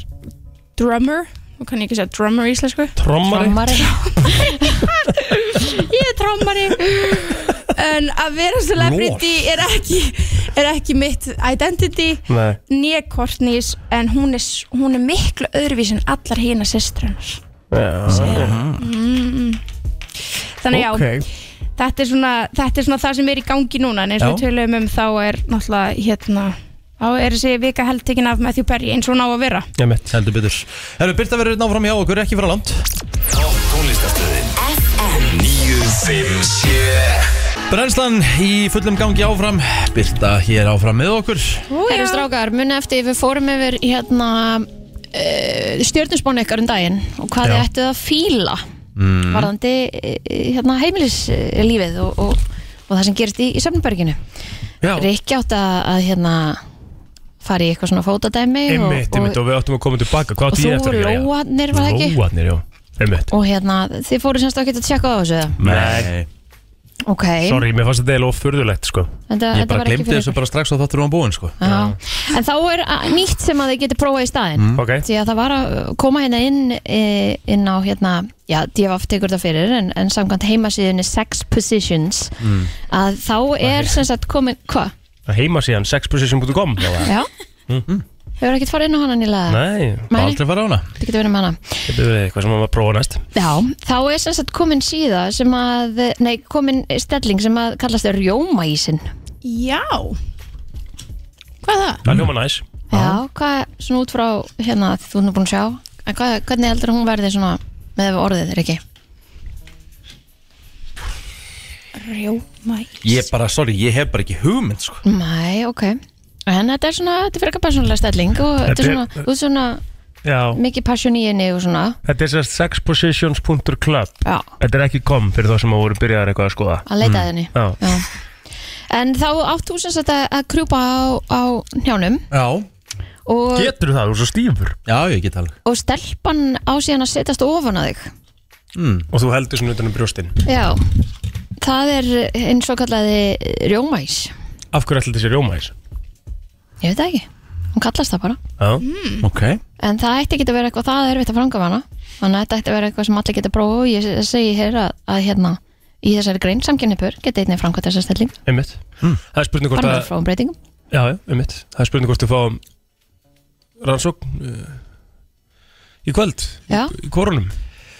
Speaker 8: drummer og kann ég ekki segja drummer í íslensku
Speaker 2: Trommari
Speaker 8: ég er trommari en að vera celebrity er ekki, er ekki mitt identity
Speaker 2: Nei,
Speaker 8: né Courtney's en hún er, s- hún er miklu öðruvís en allar hina sýstrunar
Speaker 2: já,
Speaker 8: þannig já, þetta er, svona, þetta er svona það sem er í gangi núna en eins og
Speaker 1: Já.
Speaker 8: við tölum um þá er náttúrulega hérna, þá er þessi vika heldtekin af Matthew Perry eins og hún á að vera
Speaker 2: ég mitt
Speaker 1: Heldur byttur Herru, Birta verður náfram hjá okkur, ekki frá langt
Speaker 5: Tónlistastöðin FM 957
Speaker 1: Brennslan í fullum gangi áfram Birta hér áfram með okkur
Speaker 3: Herru strákar, muni eftir við fórum yfir hérna uh, stjörnusbánu ykkar um daginn og hvað
Speaker 1: Já.
Speaker 3: þið ættu að fíla varðandi eh, hérna, heimilislífið og, og, og það sem gerist í, í söfnberginu
Speaker 1: Já,
Speaker 3: Rikki átt að, að hérna fara í eitthvað svona fótadæmi og,
Speaker 2: Einmitt, einmitt,
Speaker 3: og,
Speaker 2: og við áttum að koma tilbaka Hvað
Speaker 3: og
Speaker 2: átti
Speaker 3: þú
Speaker 2: ég eftir að gera?
Speaker 3: lóanir var það ekki
Speaker 2: Lóarnir, já, einmitt
Speaker 3: og hérna, þið fóru semst að geta að tjekka á þessu eða?
Speaker 2: Nei,
Speaker 3: ok,
Speaker 2: sorry, mér fannst þetta eiginlega of furðulegt, sko
Speaker 3: þetta,
Speaker 1: Ég
Speaker 3: þetta
Speaker 1: bara
Speaker 3: var ekki
Speaker 1: glemdi
Speaker 3: fyrir
Speaker 1: þessu bara strax og þáttur um búin sko
Speaker 3: Já. En þá er að- nýtt sem að þið getur prófað í staðinn
Speaker 2: Ok,
Speaker 3: Því að það var að koma hérna inn eh, inn á hérna, já, DFF tekur það fyrir en, en samkvæmt heimasíðunni Sex Positions að þá er sem sagt komin, hva?
Speaker 2: heima síðan sexposition.com
Speaker 3: Já? Hefur ekkert farið inn á hana nýlega?
Speaker 2: Nei,
Speaker 1: Bara
Speaker 3: Nei,
Speaker 1: Aldrei fara á hana
Speaker 3: það getur verið með hana
Speaker 2: þetta verið eitthvað sem maður að prófa næst
Speaker 3: Já, þá er sem sagt komin síða sem að, nei, komin stelling sem að kallast rjómaísin
Speaker 8: já hvað er það?
Speaker 2: Það er hljóma næs
Speaker 3: Já, hvað, svona út frá hérna, þú erum búin að sjá en hvað, hvernig heldur hún verði svona með orðið, Riki?
Speaker 8: Rjómæ
Speaker 1: Ég bara, sorry, ég hef bara ekki hugmynd sko
Speaker 3: Nei, ok En þetta er svona, þetta er fyrir eitthvað persónulega stelling og þetta er
Speaker 2: Þetta
Speaker 3: svona,
Speaker 2: er-
Speaker 3: þú er svona
Speaker 2: Já,
Speaker 3: mikið passion í henni og svona
Speaker 2: þetta er sérst sexpositions.club
Speaker 3: Já,
Speaker 2: Þetta er ekki kom fyrir þá sem að voru byrjaðar eitthvað að skoða
Speaker 3: að leita að henni
Speaker 2: Já,
Speaker 3: Mm, Já En þá átt þú sem sagt að, að krjúpa á, á njánum
Speaker 1: Já,
Speaker 3: og,
Speaker 2: getur það, þú er svo stífur
Speaker 1: já, ég get alveg
Speaker 3: og stelpan á síðan að setjast ofan á þig
Speaker 2: Og þú heldur svona utan um brjóstin
Speaker 3: Já Það er eins og kallaði rjómæs
Speaker 2: Af hverju ætlir þessi rjóma þess?
Speaker 3: Ég veit það ekki, hún kallast það bara
Speaker 2: Já,
Speaker 1: Ok
Speaker 3: En það ætti ekki að vera eitthvað það erfitt að franga hana Þannig að þetta ætti að vera eitthvað sem allir geta prófa og ég segi hér að, að hérna í þessari grein samkynniðpör geti einnig framkvæmt þessa stelling
Speaker 2: einmitt Það er spurning hvort
Speaker 3: bara
Speaker 2: að
Speaker 3: með fráum breytingum
Speaker 2: Já, já, einmitt Það er spurning hvort við fáum rannsókn uh, í kvöld
Speaker 3: Já,
Speaker 2: í korunum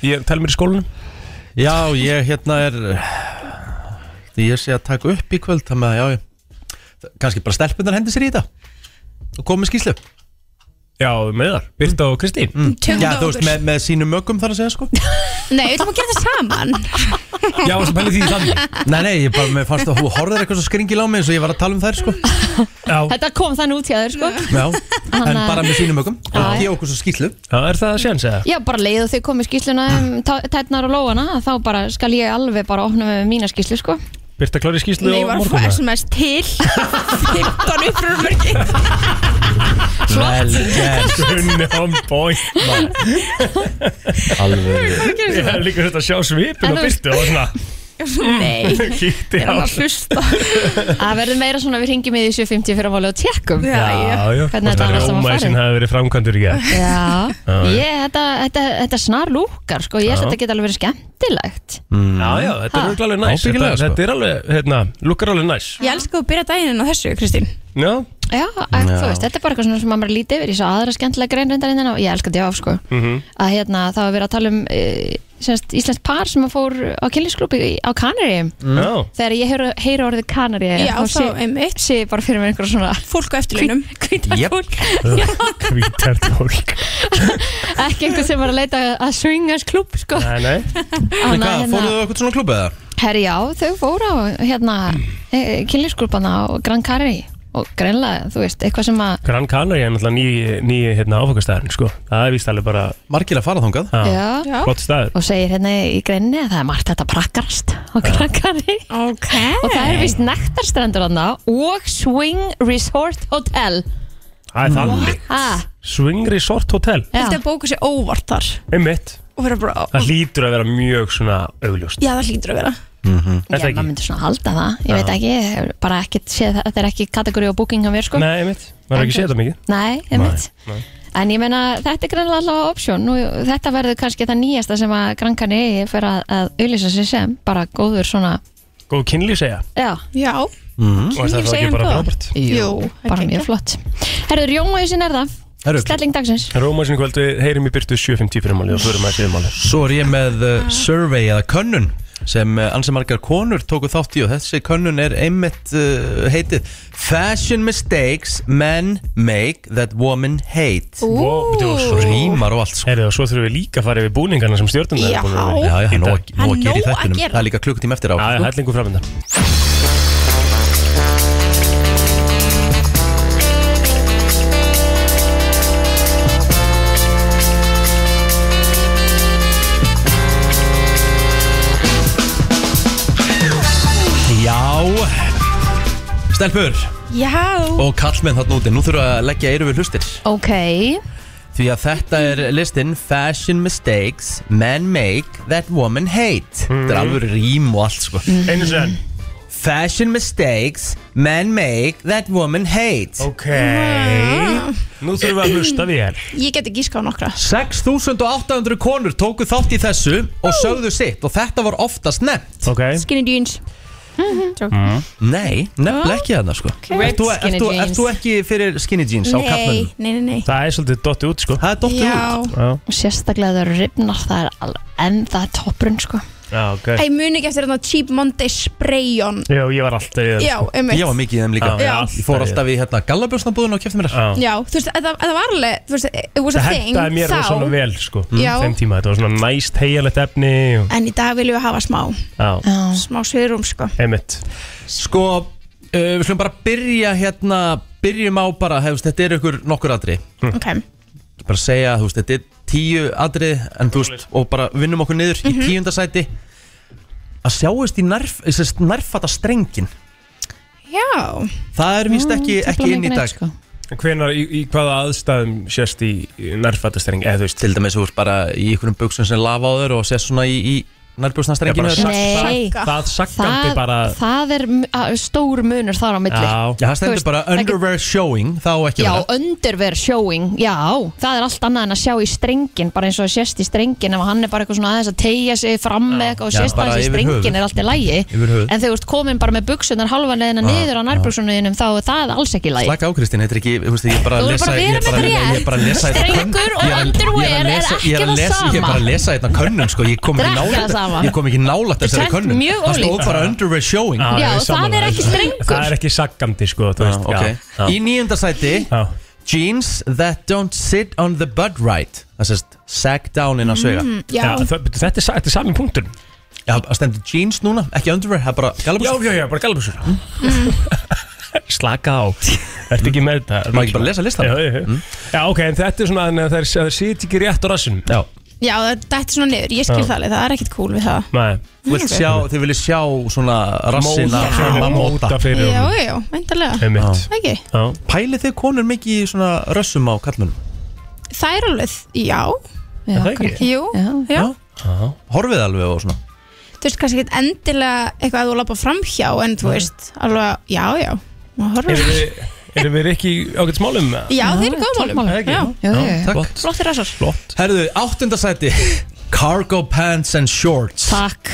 Speaker 2: Ég tel mér í skólanum
Speaker 1: Já, ég hérna er Því ég sé að taka upp í kvöld Það með að, já, ég kannski bara stelpunar hendi sér í þetta Og komið skýslu
Speaker 2: Já, með þar, Birta og Kristín
Speaker 8: tökum
Speaker 1: Já,
Speaker 8: það
Speaker 1: þú
Speaker 8: okkur
Speaker 1: veist, með, með sínum mögum þar að segja sko
Speaker 8: Nei, við ætlum að gera það saman
Speaker 2: Já, sem pæli því þannig
Speaker 1: Nei, nei, ég bara, mér fannst að hún horfður eitthvað svo skringil á mig eins og ég var að tala um þær sko
Speaker 2: Já,
Speaker 3: þetta kom þannig út hjá þér sko
Speaker 1: Já, en bara með sínum mögum
Speaker 3: Já,
Speaker 1: Og ég okkur svo skýslu
Speaker 2: Já, er það að sjans eða?
Speaker 3: Já, bara leið og þau komið skýsluna um tá- tærnar og lóana að þá bara skal ég alveg bara opna með mína skýslu sko
Speaker 2: Birta klári skýslu
Speaker 8: Nei, ég
Speaker 2: og
Speaker 8: var að fá
Speaker 2: morgunna
Speaker 8: SMS til 15 uppröðumörki
Speaker 1: Vel, yes
Speaker 2: Gunni on point maður.
Speaker 1: Alveg
Speaker 2: Ég hef líka þetta að sjá svipin
Speaker 3: En
Speaker 2: og
Speaker 3: þú veist-
Speaker 2: byrtu og svona
Speaker 8: Nei,
Speaker 2: kíkti
Speaker 8: er hann
Speaker 2: á
Speaker 8: að hlusta
Speaker 3: Það verður meira svona við ringjum í því 7.50 fyrir að máli og tjekkum
Speaker 8: Já, já.
Speaker 2: já
Speaker 3: Hvernig þetta annars var
Speaker 2: Rómæsin
Speaker 3: farið
Speaker 2: hafi verið framkvæmdur í gær
Speaker 3: Já,
Speaker 2: Já, já.
Speaker 3: ég, þetta, þetta, þetta snar lúkar sko, ég held
Speaker 2: Já.
Speaker 3: að þetta geta alveg verið skemmtilegt
Speaker 2: Já, já, þetta er
Speaker 3: Ha.
Speaker 2: örugglega alveg næs
Speaker 1: Ábyggilega,
Speaker 2: Þetta
Speaker 1: sko.
Speaker 2: þetta er alveg, hérna, lukkar alveg næs
Speaker 8: Ég elska að þú byrja daginn á þessu, Kristín
Speaker 2: Já,
Speaker 3: Já, en, þú veist, þetta er bara eitthvað svona sem maður er lítið yfir, ég sá aðra skemmtilega grein reyndar innan og ég elska þetta af sko
Speaker 2: Mhm.
Speaker 3: að hérna, það var verið að tala um e, semst, íslensk par sem að fór á kynlísklúpi í- á Kanaríum
Speaker 2: já
Speaker 3: þegar ég heyri, heyri orðið kanari
Speaker 8: Já,
Speaker 3: þá
Speaker 8: þá
Speaker 3: sé,
Speaker 8: einmitt.
Speaker 3: sé ég bara fyrir mér einhver svona
Speaker 8: Fólk á eftirlunum
Speaker 3: hvítar
Speaker 1: Jep.
Speaker 3: fólk,
Speaker 2: Hvítar fólk
Speaker 3: ekki einhver sem var að leita að swingers klúb sko.
Speaker 2: Nei, nei
Speaker 1: En
Speaker 3: Þannig að,
Speaker 1: hvað, fóruðu þau eitthvað svona klubbu eða?
Speaker 3: herri já, þau fóru á hérna, e, kynlísklúpana á Gran Canary og greinlega, þú veist, eitthvað sem að
Speaker 2: Gran Canaria er náttúrulega ný, ný hérna, áfokastæðin, sko Það er víst alveg bara
Speaker 1: Margir að fara þangað
Speaker 2: já,
Speaker 3: já,
Speaker 8: Já.
Speaker 2: Flott stæður
Speaker 3: og segir hérna í greinni að það er margt þetta prakkarast á Gran Canary
Speaker 8: Ok
Speaker 3: og það er vist nektarstrandur hann og Swing Resort Hotel
Speaker 2: Það er þannig
Speaker 3: ah,
Speaker 2: Swing Resort Hotel
Speaker 3: já.
Speaker 8: Þetta bóku sér óvart þar
Speaker 2: Einmitt
Speaker 8: og vera bara
Speaker 2: Það hlýtur að vera mjög svona augljóst
Speaker 8: Já, það hlýtur að vera
Speaker 3: Já, maður myndi svona halda það, ég
Speaker 2: Já.
Speaker 3: veit ekki, ég hef bara ekkert séð það, þetta er ekki kategóri á booking á mér sko.
Speaker 2: Nei, einmitt, maður er ekki séð þetta mikið
Speaker 3: Nei, einmitt.
Speaker 2: Nei.
Speaker 3: En ég meina, þetta er greinlega allavega option og þetta verður kannski það nýjasta sem að Grankan eigi fyrir að, að auðlýsa sig sem, bara góður svona,
Speaker 2: Góð kynlíf segja
Speaker 3: já,
Speaker 9: Já,
Speaker 2: Og er það þá ekki
Speaker 9: segjum
Speaker 2: bara
Speaker 9: það.
Speaker 2: frábært
Speaker 9: jú,
Speaker 3: bara mjög flott. Herður, Jónvæðisinn er það,
Speaker 1: Herru,
Speaker 3: stelling dagsins.
Speaker 2: Róma sinni kvöld, við heyrim í byrtu 7.50 fyrir máli og förum að segja máli
Speaker 1: Svo er ég með uh, survey eða könnun sem uh, ansi margar konur tóku þátt í og þessi könnun er einmitt uh, heitið Fashion mistakes men make that women hate
Speaker 2: Wow, þetta var svo
Speaker 1: Rímar og allt sko
Speaker 2: Herðu, og svo þurfum við líka að fara yfir búningarna sem stjórnum
Speaker 9: Já.
Speaker 1: Já, já, nú að,
Speaker 9: Það
Speaker 1: nú að
Speaker 9: er
Speaker 1: gera í
Speaker 9: nóg að
Speaker 1: þættinum
Speaker 9: gera.
Speaker 1: Það er líka klukkutíma eftir á
Speaker 2: Já, já, hellingu framöndan
Speaker 1: Já Stelpur
Speaker 8: Já,
Speaker 1: og kallmenn þarna úti Nú þurfum við að leggja eyru við hlustir
Speaker 3: Ok,
Speaker 1: Því að þetta er listin Fashion mistakes men make that women hate Þetta
Speaker 2: Mm.
Speaker 1: er alveg rím og allt sko
Speaker 2: Einu sen
Speaker 1: Fashion mistakes men make that women hate
Speaker 2: Ok Nú þurfum við að hlusta við hér
Speaker 9: ég get ekki skáð nokkra
Speaker 1: 6800 konur tóku þátt í þessu og sögðu sitt og þetta var oftast nefnt
Speaker 2: Ok
Speaker 9: Skinny jeans
Speaker 1: Nei, nefnilega ekki þarna sko
Speaker 3: Ripped
Speaker 1: Ert þú- ert
Speaker 3: skinny
Speaker 1: þú-
Speaker 3: jeans.
Speaker 1: Ert þú ekki fyrir skinny jeans á
Speaker 9: Nei,
Speaker 1: kallmennum?
Speaker 9: nei, nei, nei
Speaker 2: Það er svolítið dotti út sko
Speaker 1: Það er dottur út
Speaker 9: Já,
Speaker 2: Já,
Speaker 3: og sérstaklega það eru ripnar, það er alveg enn það er toppurinn sko.
Speaker 2: já, Ah, ok
Speaker 9: Æ, muni ekki eftir þarna Cheap Monday sprayon
Speaker 2: Já, ég var alltaf í þeim
Speaker 9: Já, um
Speaker 1: Ég var mikið í þeim líka
Speaker 2: Já, já,
Speaker 1: Ég fór alltaf í hérna gallabjósnabúðun og kefti mér þær.
Speaker 2: Já.
Speaker 9: Já, þú veist, að það, að það var alveg Þú veist, it was a
Speaker 2: Það
Speaker 9: thing
Speaker 2: hendaði mér
Speaker 9: þá
Speaker 2: rosalega vel sko
Speaker 9: Já.
Speaker 2: Þeim tíma, þetta var svona næst heijalegt efni og,
Speaker 9: En í dag viljum við hafa smá
Speaker 2: Já,
Speaker 9: Smá sviðrúm, sko
Speaker 2: einmitt
Speaker 1: Sko, uh, við slum bara byrja hérna Byrjum á bara, hefst, þetta er ykkur nokkur aðri
Speaker 2: Hm.
Speaker 9: Ok,
Speaker 1: bara segja, þú veist, þetta er tíu atrið en þú veist, og bara vinnum okkur niður
Speaker 3: Mhm.
Speaker 1: í tíundasæti að sjáist í nærf, sérst, nærfata strengin
Speaker 9: já
Speaker 1: það er
Speaker 3: Mm,
Speaker 1: vist ekki, ekki inn í dag
Speaker 3: sko.
Speaker 2: Hvenar, í, í hvaða aðstæðum sést í nærfattastæring eða þú veist
Speaker 1: til dæmis, þú veist, bara í einhverjum buksum sem lafa á þér og sést svona í, í
Speaker 2: Já,
Speaker 1: nærbjóðsnastrenginu
Speaker 2: bara
Speaker 1: já,
Speaker 2: sagt-
Speaker 3: Nei,
Speaker 2: það- Það sakkandi
Speaker 3: það,
Speaker 2: bara
Speaker 3: það er m- að- stór munur þar á milli.
Speaker 2: Já,
Speaker 1: það stendur
Speaker 3: Þú veist,
Speaker 1: bara
Speaker 3: ekki-
Speaker 1: underwear showing þá ekki
Speaker 3: Já,
Speaker 1: vera.
Speaker 3: underwear showing, já, það er allt annað en að sjá í strengin, bara eins og að sést í strengin ef hann er bara eitthvað svona aðeins að tegja sig fram með eitthvað og
Speaker 1: Já,
Speaker 3: sést
Speaker 1: bara
Speaker 3: aðeins í
Speaker 1: yfir höfuð.
Speaker 3: strengin er allt í lægi
Speaker 1: Yfir höfuð.
Speaker 3: en þegar þú ert komin bara með buksunar halva leðina niður á nærbuksunuðinum þá er það alls ekki í lægi
Speaker 1: Slaka á Kristín, þetta er ekki, þú veist, ég er bara
Speaker 3: Þú
Speaker 1: að
Speaker 3: verður
Speaker 1: lesa
Speaker 3: bara að
Speaker 1: ég
Speaker 3: vera
Speaker 1: er bara-
Speaker 3: með þetta
Speaker 1: Ég er bara að lesa
Speaker 3: rétt.
Speaker 1: þetta
Speaker 3: Strengur
Speaker 1: könn-
Speaker 3: og
Speaker 1: ég er að-
Speaker 3: underwear
Speaker 1: ég er að
Speaker 3: er
Speaker 1: lesa- ég
Speaker 3: ekki
Speaker 1: að
Speaker 3: það
Speaker 1: lesa- Ég er bara að
Speaker 3: sama.
Speaker 1: lesa þetta könnun, sko Ég kom ekki
Speaker 3: Þetta er ekki það
Speaker 1: nálægt
Speaker 3: sama.
Speaker 1: Ég kom ekki nálægt
Speaker 3: Þetta er
Speaker 1: þessari könnun
Speaker 3: mjög
Speaker 1: Það stóð
Speaker 3: ólíkt.
Speaker 1: bara underwear showing
Speaker 2: Já,
Speaker 3: Já,
Speaker 2: ég er
Speaker 3: það
Speaker 2: sammála
Speaker 3: er
Speaker 2: þér.
Speaker 3: ekki strengur.
Speaker 2: Það er ekki sakkandi sko, þú
Speaker 1: Já,
Speaker 2: veist
Speaker 1: ok.
Speaker 2: já,
Speaker 1: Í
Speaker 2: já.
Speaker 1: nýjunda sæti
Speaker 2: Já.
Speaker 1: Jeans that don't sit on the butt right Það sést sack down inn á svega
Speaker 9: Já,
Speaker 2: Já, það- betur, þetta er, sa- þetta er sami punktur
Speaker 1: Já, það stendur jeans núna, ekki underwear Það er bara
Speaker 2: Já,
Speaker 1: galabús
Speaker 2: já, já, bara galabusur Slaka á Ertu ekki með þetta?
Speaker 1: Má ekki bara lesa Mm. listan?
Speaker 2: Já, já, já. já ok, en þetta er svona þannig að það er sýtt ekki rétt á rassin
Speaker 1: Já,
Speaker 9: já það dætti svona niður Ég skil
Speaker 2: Já.
Speaker 9: það alveg, það er ekkit cool við það
Speaker 2: Nei,
Speaker 1: Þú vilt sjá, þið viljið sjá svona rassina
Speaker 2: Móta fyrir honum, móta fyrir
Speaker 9: Já,
Speaker 2: honum.
Speaker 9: já, endalega
Speaker 2: Einmitt.
Speaker 9: Ekki,
Speaker 2: Já.
Speaker 1: Pælið þið konur mikið í svona rössum á kallmennum?
Speaker 9: það er alveg, já
Speaker 3: Já,
Speaker 2: það ekki?
Speaker 3: kannski.
Speaker 9: Jú,
Speaker 3: Já.
Speaker 9: já
Speaker 1: Horfið alveg og svona
Speaker 9: Þú veist, kannski ekkit endilega eitthvað að þú lappa framhjá En þú veist, alveg, já, já Má horfa.
Speaker 2: Erum við- Erum við ekki ágætt smálum?
Speaker 9: Já, þeir eru
Speaker 3: toppmálum.
Speaker 9: góðmálum Já,
Speaker 3: Jú, jú, jú.
Speaker 1: Takk
Speaker 9: flottir rassar
Speaker 2: Flott
Speaker 1: Herðu, áttundasæti Cargo pants and shorts
Speaker 3: Takk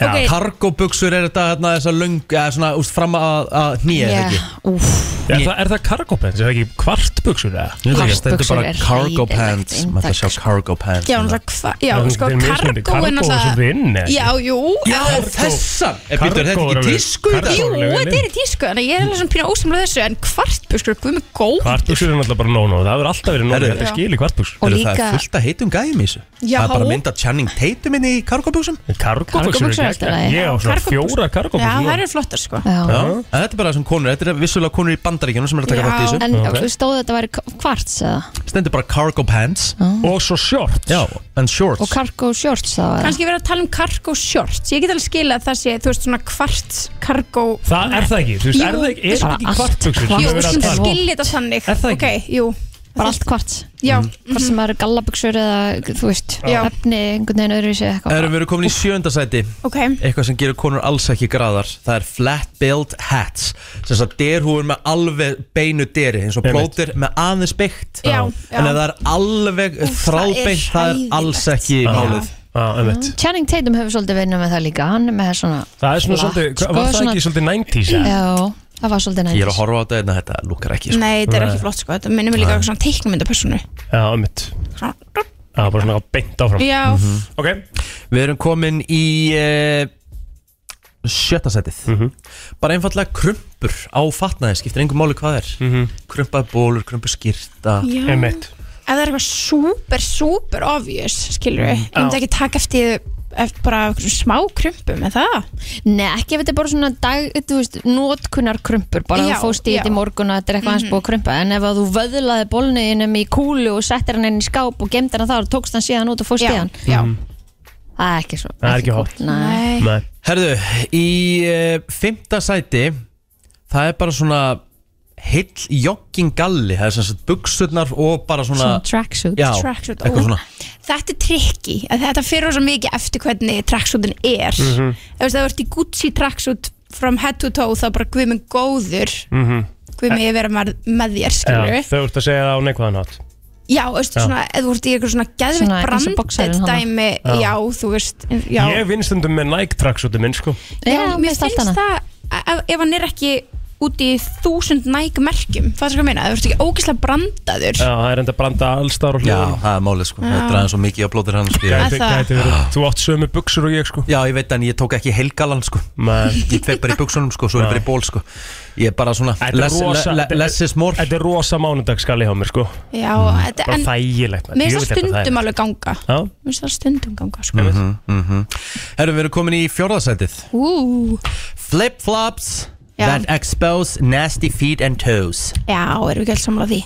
Speaker 2: Já.
Speaker 1: Cargo buksur er þetta hérna þessar löng eða svona úst, fram að, að nýja yeah. ekki
Speaker 3: úff
Speaker 2: Er það, er það kargópens? Er það ekki kvartbuksur? eða?
Speaker 1: Ég veit ekki,
Speaker 3: Plastbuxur
Speaker 1: stendur bara
Speaker 3: er
Speaker 1: cargo
Speaker 3: hræðilegt
Speaker 1: pants Maður ætlar að sjá
Speaker 3: inntak,
Speaker 1: cargo pants hérna.
Speaker 9: Já, náttúrulega, hva- já,
Speaker 2: Það er
Speaker 9: sko,
Speaker 2: mjög mismunandi.
Speaker 9: kargó er
Speaker 2: Kargó er svo
Speaker 9: náttúrulega
Speaker 2: vinn eða?
Speaker 9: Já, jú,
Speaker 1: Já, þessan Er
Speaker 2: Cargo
Speaker 1: býtur þetta
Speaker 2: er
Speaker 1: ekki
Speaker 2: alveg-
Speaker 1: tísku í dag?
Speaker 2: Cargo.
Speaker 9: Jú,
Speaker 2: Klárlega
Speaker 9: þetta
Speaker 2: vinnin.
Speaker 9: er í tísku Þannig að ég er alveg svona pínu ósamlega þessu En kvartbukskur, guð með góð
Speaker 2: Kvartbuksur er náttúrulega bara nóg-nóg Það hefur alltaf verið nóg
Speaker 1: Herru.
Speaker 2: Þetta er
Speaker 9: Já.
Speaker 2: skil í kvartbuksur
Speaker 3: Og
Speaker 1: Eru Það
Speaker 3: líka-
Speaker 1: er fullt að heitum gæmi þessu
Speaker 9: Já.
Speaker 1: Það er bara mynd að Channing Tatum inn í cargo buksum
Speaker 2: Kargóbuksur
Speaker 3: Kargóbuxur er
Speaker 2: er
Speaker 3: alltaf í lagi.
Speaker 2: ekki Ég á svona
Speaker 9: Kargóbuxur. Já,
Speaker 2: fjórar
Speaker 9: það
Speaker 2: kargópensur
Speaker 9: eru flottar sko
Speaker 3: Já.
Speaker 1: Já En Þetta er bara sem konur Þetta er vissulega konur í bandaríkjunum sem er að taka
Speaker 9: Já.
Speaker 1: þátt í þessu
Speaker 3: En
Speaker 2: Ok.
Speaker 3: stóð þetta væri kvarts eða?
Speaker 1: Stendur bara cargo pants
Speaker 2: Og svo short
Speaker 1: Já, and
Speaker 3: Og
Speaker 1: shorts
Speaker 3: cargo shorts þá eða?
Speaker 9: Kannski verið að tala um kargó shorts Ég get alveg skila að það sé, þú veist, svona kvart kargó
Speaker 2: Það er það ekki, þú veist,
Speaker 9: Jú,
Speaker 2: er það ekki, er
Speaker 3: bara
Speaker 2: það ekki
Speaker 3: allt
Speaker 2: kvartbuksur sem
Speaker 3: kvartbuksur.
Speaker 9: Jú,
Speaker 2: við erum að
Speaker 9: svona
Speaker 2: tala um?
Speaker 9: skilja þetta þannig
Speaker 2: Er það ekki? Mm.
Speaker 9: Ok, jú
Speaker 3: bara allt hvort
Speaker 8: Já,
Speaker 3: hvort sem maður er gallabuxur eða þú veist,
Speaker 8: Já.
Speaker 3: efni einhvern veginn öðruvísi eða eitthvað
Speaker 1: Erum við komin í sjönda sæti
Speaker 8: ok
Speaker 1: Eitthvað sem gerir konur alls ekki graðar Það er flat billed hats Sem þess að derhúfur með alveg beinu deri Eins og
Speaker 2: Einmitt.
Speaker 1: plótir með aðeins beikt
Speaker 8: Já, já.
Speaker 1: En ef það er alveg þrábeint Það er
Speaker 8: hræðilegt.
Speaker 1: alls ekki málið
Speaker 2: Já, einmitt
Speaker 3: Channing Tatum hefur svolítið vinnað með það líka hann er með svona,
Speaker 2: Það er svona
Speaker 3: Flatt,
Speaker 2: svolítið, hva-
Speaker 3: sko,
Speaker 2: var það
Speaker 3: svona-
Speaker 2: ekki svolítið 90s eða?
Speaker 3: já, það var svolítið
Speaker 1: Ég er að
Speaker 3: næst
Speaker 1: horfa á þetta en þetta lúkar ekki sko.
Speaker 8: Nei, þetta er ekki flott sko, þetta minnir mig líka á svona teiknumyndapersonu
Speaker 2: Já, einmitt
Speaker 8: Svona-
Speaker 2: Já, bara svona beint áfram
Speaker 8: Já,
Speaker 2: Ok,
Speaker 1: Við erum komin í uh, Sjötta sætið Bara einfallega krumpur á fatnaði Skiptir engum máli hvað er mm -hmm. Krumpað bólur, krumpað skýrta
Speaker 8: já
Speaker 2: einmitt
Speaker 8: Ef það er eitthvað super, super obvious skilur við, ég myndi
Speaker 2: Já.
Speaker 8: ekki taka eftir eftir bara einhverjum smá krumpum en það,
Speaker 3: Nei, ekki ef þetta er bara svona dag, þú veist, notkunnar krumpur bara
Speaker 8: Já,
Speaker 3: þú fóst í
Speaker 8: já.
Speaker 3: þetta í morgun og þetta er eitthvað hans búið að krumpa en ef að þú vöðlaði bólniðinum í kúlu og settir hann inn í skáp og gemdir hann þar og tókst hann síðan út og fóst í
Speaker 8: já,
Speaker 3: hann
Speaker 8: já
Speaker 2: Mhm.
Speaker 3: það er ekki svo
Speaker 2: Það er ekki
Speaker 3: cool.
Speaker 2: hot.
Speaker 3: Nei.
Speaker 8: Nei.
Speaker 2: Nei,
Speaker 1: Herðu, í uh, Fymta sæti Það er bara svona Heill jogginggalli Það er svona buksurnar og bara svona
Speaker 3: Svona tracksuit
Speaker 1: Já,
Speaker 8: tracksuit, ó.
Speaker 1: eitthvað svona
Speaker 8: þetta er trikki, þetta fyrir svo mikið eftir hvernig tracksuitin er mm
Speaker 2: Mhm.
Speaker 8: -hmm. ef þú ert í Gucci tracksuit from head to toe þá bara guð minn góður mm -hmm. guð minn ég vera með, með þér
Speaker 2: Mhm.
Speaker 8: skilur
Speaker 2: já,
Speaker 8: við,
Speaker 2: þau ert að segja það á neikvæðan hátt
Speaker 8: já, veistu
Speaker 2: Já.
Speaker 8: svona ef þú ert í eitthvað svona
Speaker 3: Svona
Speaker 8: geðvitt
Speaker 3: eins og
Speaker 8: brandið
Speaker 3: boxarinn hana.
Speaker 8: dæmi, já. þú veist já,
Speaker 2: Ég finnst stundum með Nike tracksuitin minn, sko
Speaker 3: Já,
Speaker 8: mér finnst
Speaker 3: hana.
Speaker 8: það ef, ef hann er ekki út í þúsund næg merkjum, það er hvað ég meina, þú ert ekki ógislega brandaður
Speaker 2: Já, það er enda að branda allstar og
Speaker 1: Já,
Speaker 2: hljóðan
Speaker 1: það er málið sko Það draði svo mikið á blóðir hann sko. Ég-
Speaker 2: Gæti,
Speaker 8: Það-
Speaker 2: gæti verið, þú átt sömu buksur og ég, sko
Speaker 1: Já, ég veit en ég tók ekki heilgalan sko
Speaker 2: Men,
Speaker 1: ég fekk bara í buksunum sko, svo er ég bara í ból sko ég er bara svona
Speaker 2: Þetta er
Speaker 1: less,
Speaker 2: rosa-
Speaker 1: le, le, less is more
Speaker 2: Þetta er rosa mánudagsgalli hjá mér, sko
Speaker 8: já, þetta,
Speaker 2: Bara
Speaker 8: en
Speaker 2: þægilegt maður.
Speaker 8: mér
Speaker 2: Ég
Speaker 8: finnst
Speaker 2: veit
Speaker 8: það
Speaker 2: þetta
Speaker 8: stundum
Speaker 2: þægilegt.
Speaker 8: alveg ganga
Speaker 2: Já, Mhm.
Speaker 8: mér finnst það stundum ganga sko.
Speaker 2: einmitt.
Speaker 1: Herru, við erum komin í fjórðasætið
Speaker 8: ú,
Speaker 1: Flip flops
Speaker 8: Já.
Speaker 1: that expose nasty feet and toes
Speaker 8: já, erum við ekki alls samlað því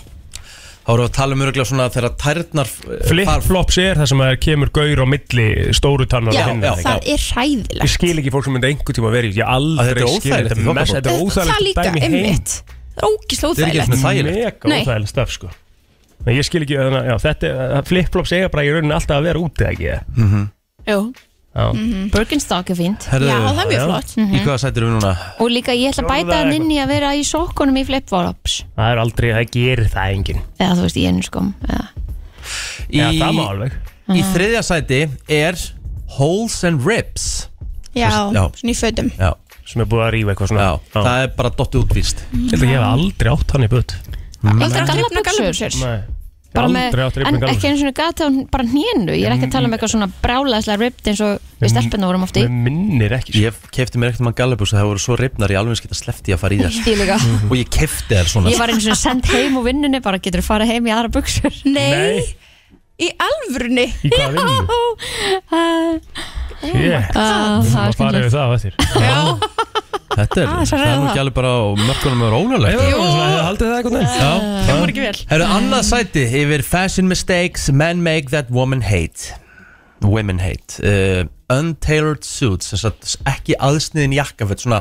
Speaker 1: Þá erum við að tala um öruglega svona þegar tærnar eh,
Speaker 2: Flip-flops er það sem að kemur gaur á milli stóru tannar
Speaker 8: já,
Speaker 2: og hinna,
Speaker 1: já.
Speaker 2: ekki?
Speaker 8: það er
Speaker 2: Ég
Speaker 8: hræðilegt
Speaker 2: skil ekki fólk sem myndi einhver tíma verið Ég
Speaker 1: Að þetta
Speaker 2: aldrei
Speaker 1: er
Speaker 2: skil
Speaker 1: óþægilegt
Speaker 2: Þetta
Speaker 1: í
Speaker 2: er mest- þetta er
Speaker 8: það, það
Speaker 2: óþægilegt
Speaker 8: líka,
Speaker 2: dæmi í heim
Speaker 8: einmitt það er ógislega
Speaker 1: Þetta er ekki
Speaker 8: óþægilegt
Speaker 1: svona þægilegt.
Speaker 2: Mega
Speaker 8: Nei.
Speaker 2: óþægilegt stöf sko Nei, Ég skil ekki, þannig að- já, þetta, það- flip-flops eiga bara í rauninni alltaf að vera úti, ekki?
Speaker 3: Jú.
Speaker 2: Já.
Speaker 3: Mhm. Birkenstock er
Speaker 2: Mm-hmm.
Speaker 3: fínt
Speaker 1: Herru,
Speaker 8: já, Mm-hmm. það er mjög
Speaker 2: Já.
Speaker 8: flott
Speaker 1: Í hvaða sæti erum við núna?
Speaker 3: og líka ég ætla að
Speaker 2: Fjórða
Speaker 3: bæta hann
Speaker 2: eitthvað.
Speaker 3: inn í að vera í sokkunum í flipflops
Speaker 2: Það er aldrei, það gerir það enginn
Speaker 3: eða þú veist, í ennskum eða.
Speaker 1: Í,
Speaker 2: Já, það má alveg
Speaker 8: Mhm.
Speaker 1: í þriðja sæti er holes and ribs
Speaker 8: já,
Speaker 1: Já.
Speaker 8: svona í fötum
Speaker 1: Já,
Speaker 2: Sem er búið að rífa eitthvað svona
Speaker 1: já. það er bara dotti útvíst
Speaker 8: Mhm.
Speaker 2: Ég held að ég hef aldrei átt hann í butt
Speaker 3: Aldrei
Speaker 8: Rifnar
Speaker 3: gallabuxur
Speaker 8: gallabuxur.
Speaker 2: Nei Ég hef
Speaker 3: Bara
Speaker 2: Mm. Aldrei átt Mm. rifna
Speaker 3: með- en ekki
Speaker 2: galvur
Speaker 3: eins og gata hún bara hnénu ég er ekki að tala um eitthvað svona brálaðislega ripped eins og við
Speaker 2: Mm.
Speaker 3: stelpunum vorum oft í
Speaker 2: Mér minnir ekki sko.
Speaker 1: Ég kefti mér ekkert mann gallabús það voru svo ripnar ég alveg skita slefti að fara í þess
Speaker 3: ég líka
Speaker 2: Mm.
Speaker 1: og ég kefti þær svona
Speaker 3: ég var eins og send heim úr vinnunni bara getur þú farið heim í aðra buksur
Speaker 8: nei,
Speaker 2: Nei,
Speaker 8: í alvörni
Speaker 2: í hvaða vinnu? Yeah.
Speaker 3: það
Speaker 2: Það
Speaker 3: er
Speaker 2: farið
Speaker 3: skemmtilegt
Speaker 2: við það á eftir
Speaker 1: Þetta er,
Speaker 8: Ah, svo
Speaker 1: það er
Speaker 8: ræða
Speaker 1: nú
Speaker 8: það.
Speaker 1: ekki alveg bara á mörkunum með
Speaker 2: Ég
Speaker 1: rónulegt
Speaker 2: var bara svona, hefði Haldið það eitthvað neins
Speaker 8: það voru ekki vel
Speaker 1: Herru, annað sæti yfir Fashion mistakes men make that women hate Women hate uh, Untailored suits sem sagt, Ekki aðsniðin jakkafett Svona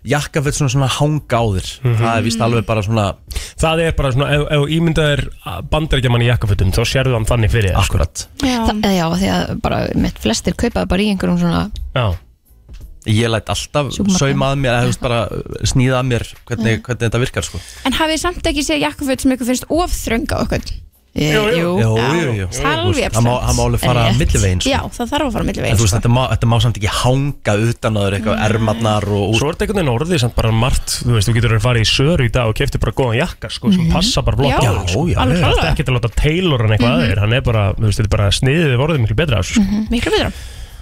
Speaker 1: jakkafett svona, svona hanga á þér Það er vist alveg bara svona
Speaker 2: Það er bara svona, ef, ef ímyndaðir bandaríkjaman í jakkafötum, þá sérðu hann þannig fyrir þér, sko.
Speaker 1: Akkurat
Speaker 8: já,
Speaker 3: Já, því að bara mitt flestir kaupaði bara í einhverjum svona
Speaker 2: Já,
Speaker 1: Ég læt alltaf
Speaker 3: Sjúkmakan.
Speaker 1: sauma að mér eða þú veist, bara uh, Sníða að mér hvernig, hvernig þetta virkar sko.
Speaker 8: en hafið þið samt ekki séð jakkaföt sem ykkur finnst ofþröng á okkur
Speaker 3: Ég-
Speaker 2: Jú, jú.
Speaker 1: Jú,
Speaker 8: Já.
Speaker 1: jú, jú
Speaker 8: Það er alveg
Speaker 1: Þú veist, Það má
Speaker 8: abstrakt.
Speaker 1: það má alveg fara
Speaker 3: Rétt.
Speaker 1: millivegin sko.
Speaker 8: já, það þarf að fara millir
Speaker 1: En
Speaker 8: veginn
Speaker 1: þú veist,
Speaker 8: sko.
Speaker 1: þetta má, þetta má samt ekki hanga utan á þér eitthvað ermarnar og úr
Speaker 2: Svo er þetta einhvern veginn orðið samt bara margt Þú veist, þú getur að fara í söru í dag og kefti bara góðan jakka sko,
Speaker 3: Mhm.
Speaker 2: sem passa bara blott
Speaker 8: Já,
Speaker 2: á þig, sko.
Speaker 1: já, já.
Speaker 8: alveg
Speaker 2: Það er
Speaker 8: klálega,
Speaker 2: ekki að láta tailor hann
Speaker 3: Mhm.
Speaker 2: eitthvað aðeir Hann er bara, þú veist, þetta er bara sniðið við orðið miklu betra af þessu, sko.
Speaker 8: miklu betra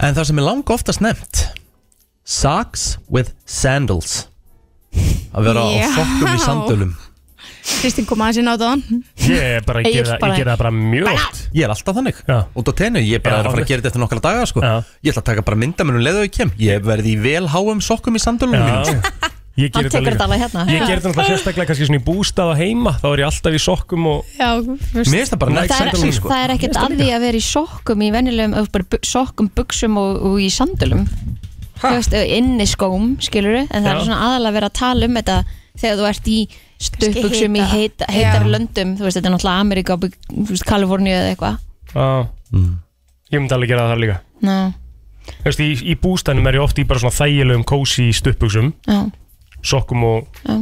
Speaker 1: En það sem er langa oftast nefnt Socks with sandals Að vera
Speaker 8: Já.
Speaker 1: á sokkum í sandölum
Speaker 8: Kristín kom aðeins inn á það
Speaker 2: Ég er bara, ég
Speaker 3: Ég
Speaker 2: gera,
Speaker 3: bara-
Speaker 2: ég gera það bara mjög oft
Speaker 1: Ég er alltaf þannig
Speaker 2: Já.
Speaker 1: Út á tennu, ég er bara
Speaker 2: Já,
Speaker 1: að fara að
Speaker 2: alveg.
Speaker 1: gera þetta eftir nokkala daga sko.
Speaker 2: Já.
Speaker 1: Ég ætla að taka bara mynda mér um leiðu og ég kem Ég verði í vel háum sokkum í sandölum mínum
Speaker 2: Já, ég
Speaker 3: Mhm. Hann
Speaker 2: gera
Speaker 3: tekur þetta
Speaker 2: þetta
Speaker 3: alveg
Speaker 2: líka
Speaker 3: hérna
Speaker 2: Ég gera þetta náttúrulega sérstaklega kannski svona í bústaða heima Þá er ég alltaf í sokkum og
Speaker 8: Já, veist,
Speaker 1: Mér finnst það bara
Speaker 2: Það
Speaker 1: nægt
Speaker 3: Það er,
Speaker 1: sandölum sko.
Speaker 3: það er ekkert að því að vera í sokkum í venjulegum, eða bara bu- sokkum, buksum og, og í sandölum Þú veist, inn í skóm, skilur en það
Speaker 2: Já.
Speaker 3: er svona aðalega að vera að tala um þetta þegar þú ert í stuttbuxum í heita, heitar löndum þú veist, þetta er náttúrulega Ameríka og bygg- þú veist, Kaliforníu eða eitthvað
Speaker 2: Já Ég myndi alveg gera það þar líka
Speaker 3: Ná,
Speaker 2: Þú veist, í, í bústænum er ég oft í bara svona þægilegum kósi stuppuksum,
Speaker 3: já,
Speaker 2: sokkum og
Speaker 3: já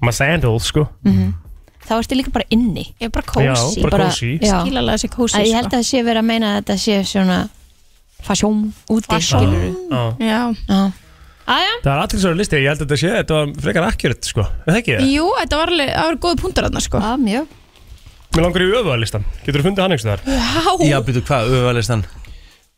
Speaker 2: my sandals, sko
Speaker 3: þá ertu líka bara inni
Speaker 8: Ég er bara kósi
Speaker 2: Já, bara kósí.
Speaker 8: Skilalega þessi sko. kósi
Speaker 3: Að ég held að það sé verið að meina að þetta sé svona fasjón úti
Speaker 8: Fasjón.
Speaker 3: skilurðu.
Speaker 2: Já.
Speaker 8: Já
Speaker 3: Já. Aðja,
Speaker 2: Það er allir svo listi, ég held að þetta sé þetta var frekar akkurat, sko, er það ekki það?
Speaker 8: Jú, þetta var alveg, það var góð punktur þarna sko
Speaker 3: að mjög
Speaker 2: Mér langar í öfuðalistan, getur þú fundið hann einhvers þar?
Speaker 1: Já, byrju, hvað, öfælistan?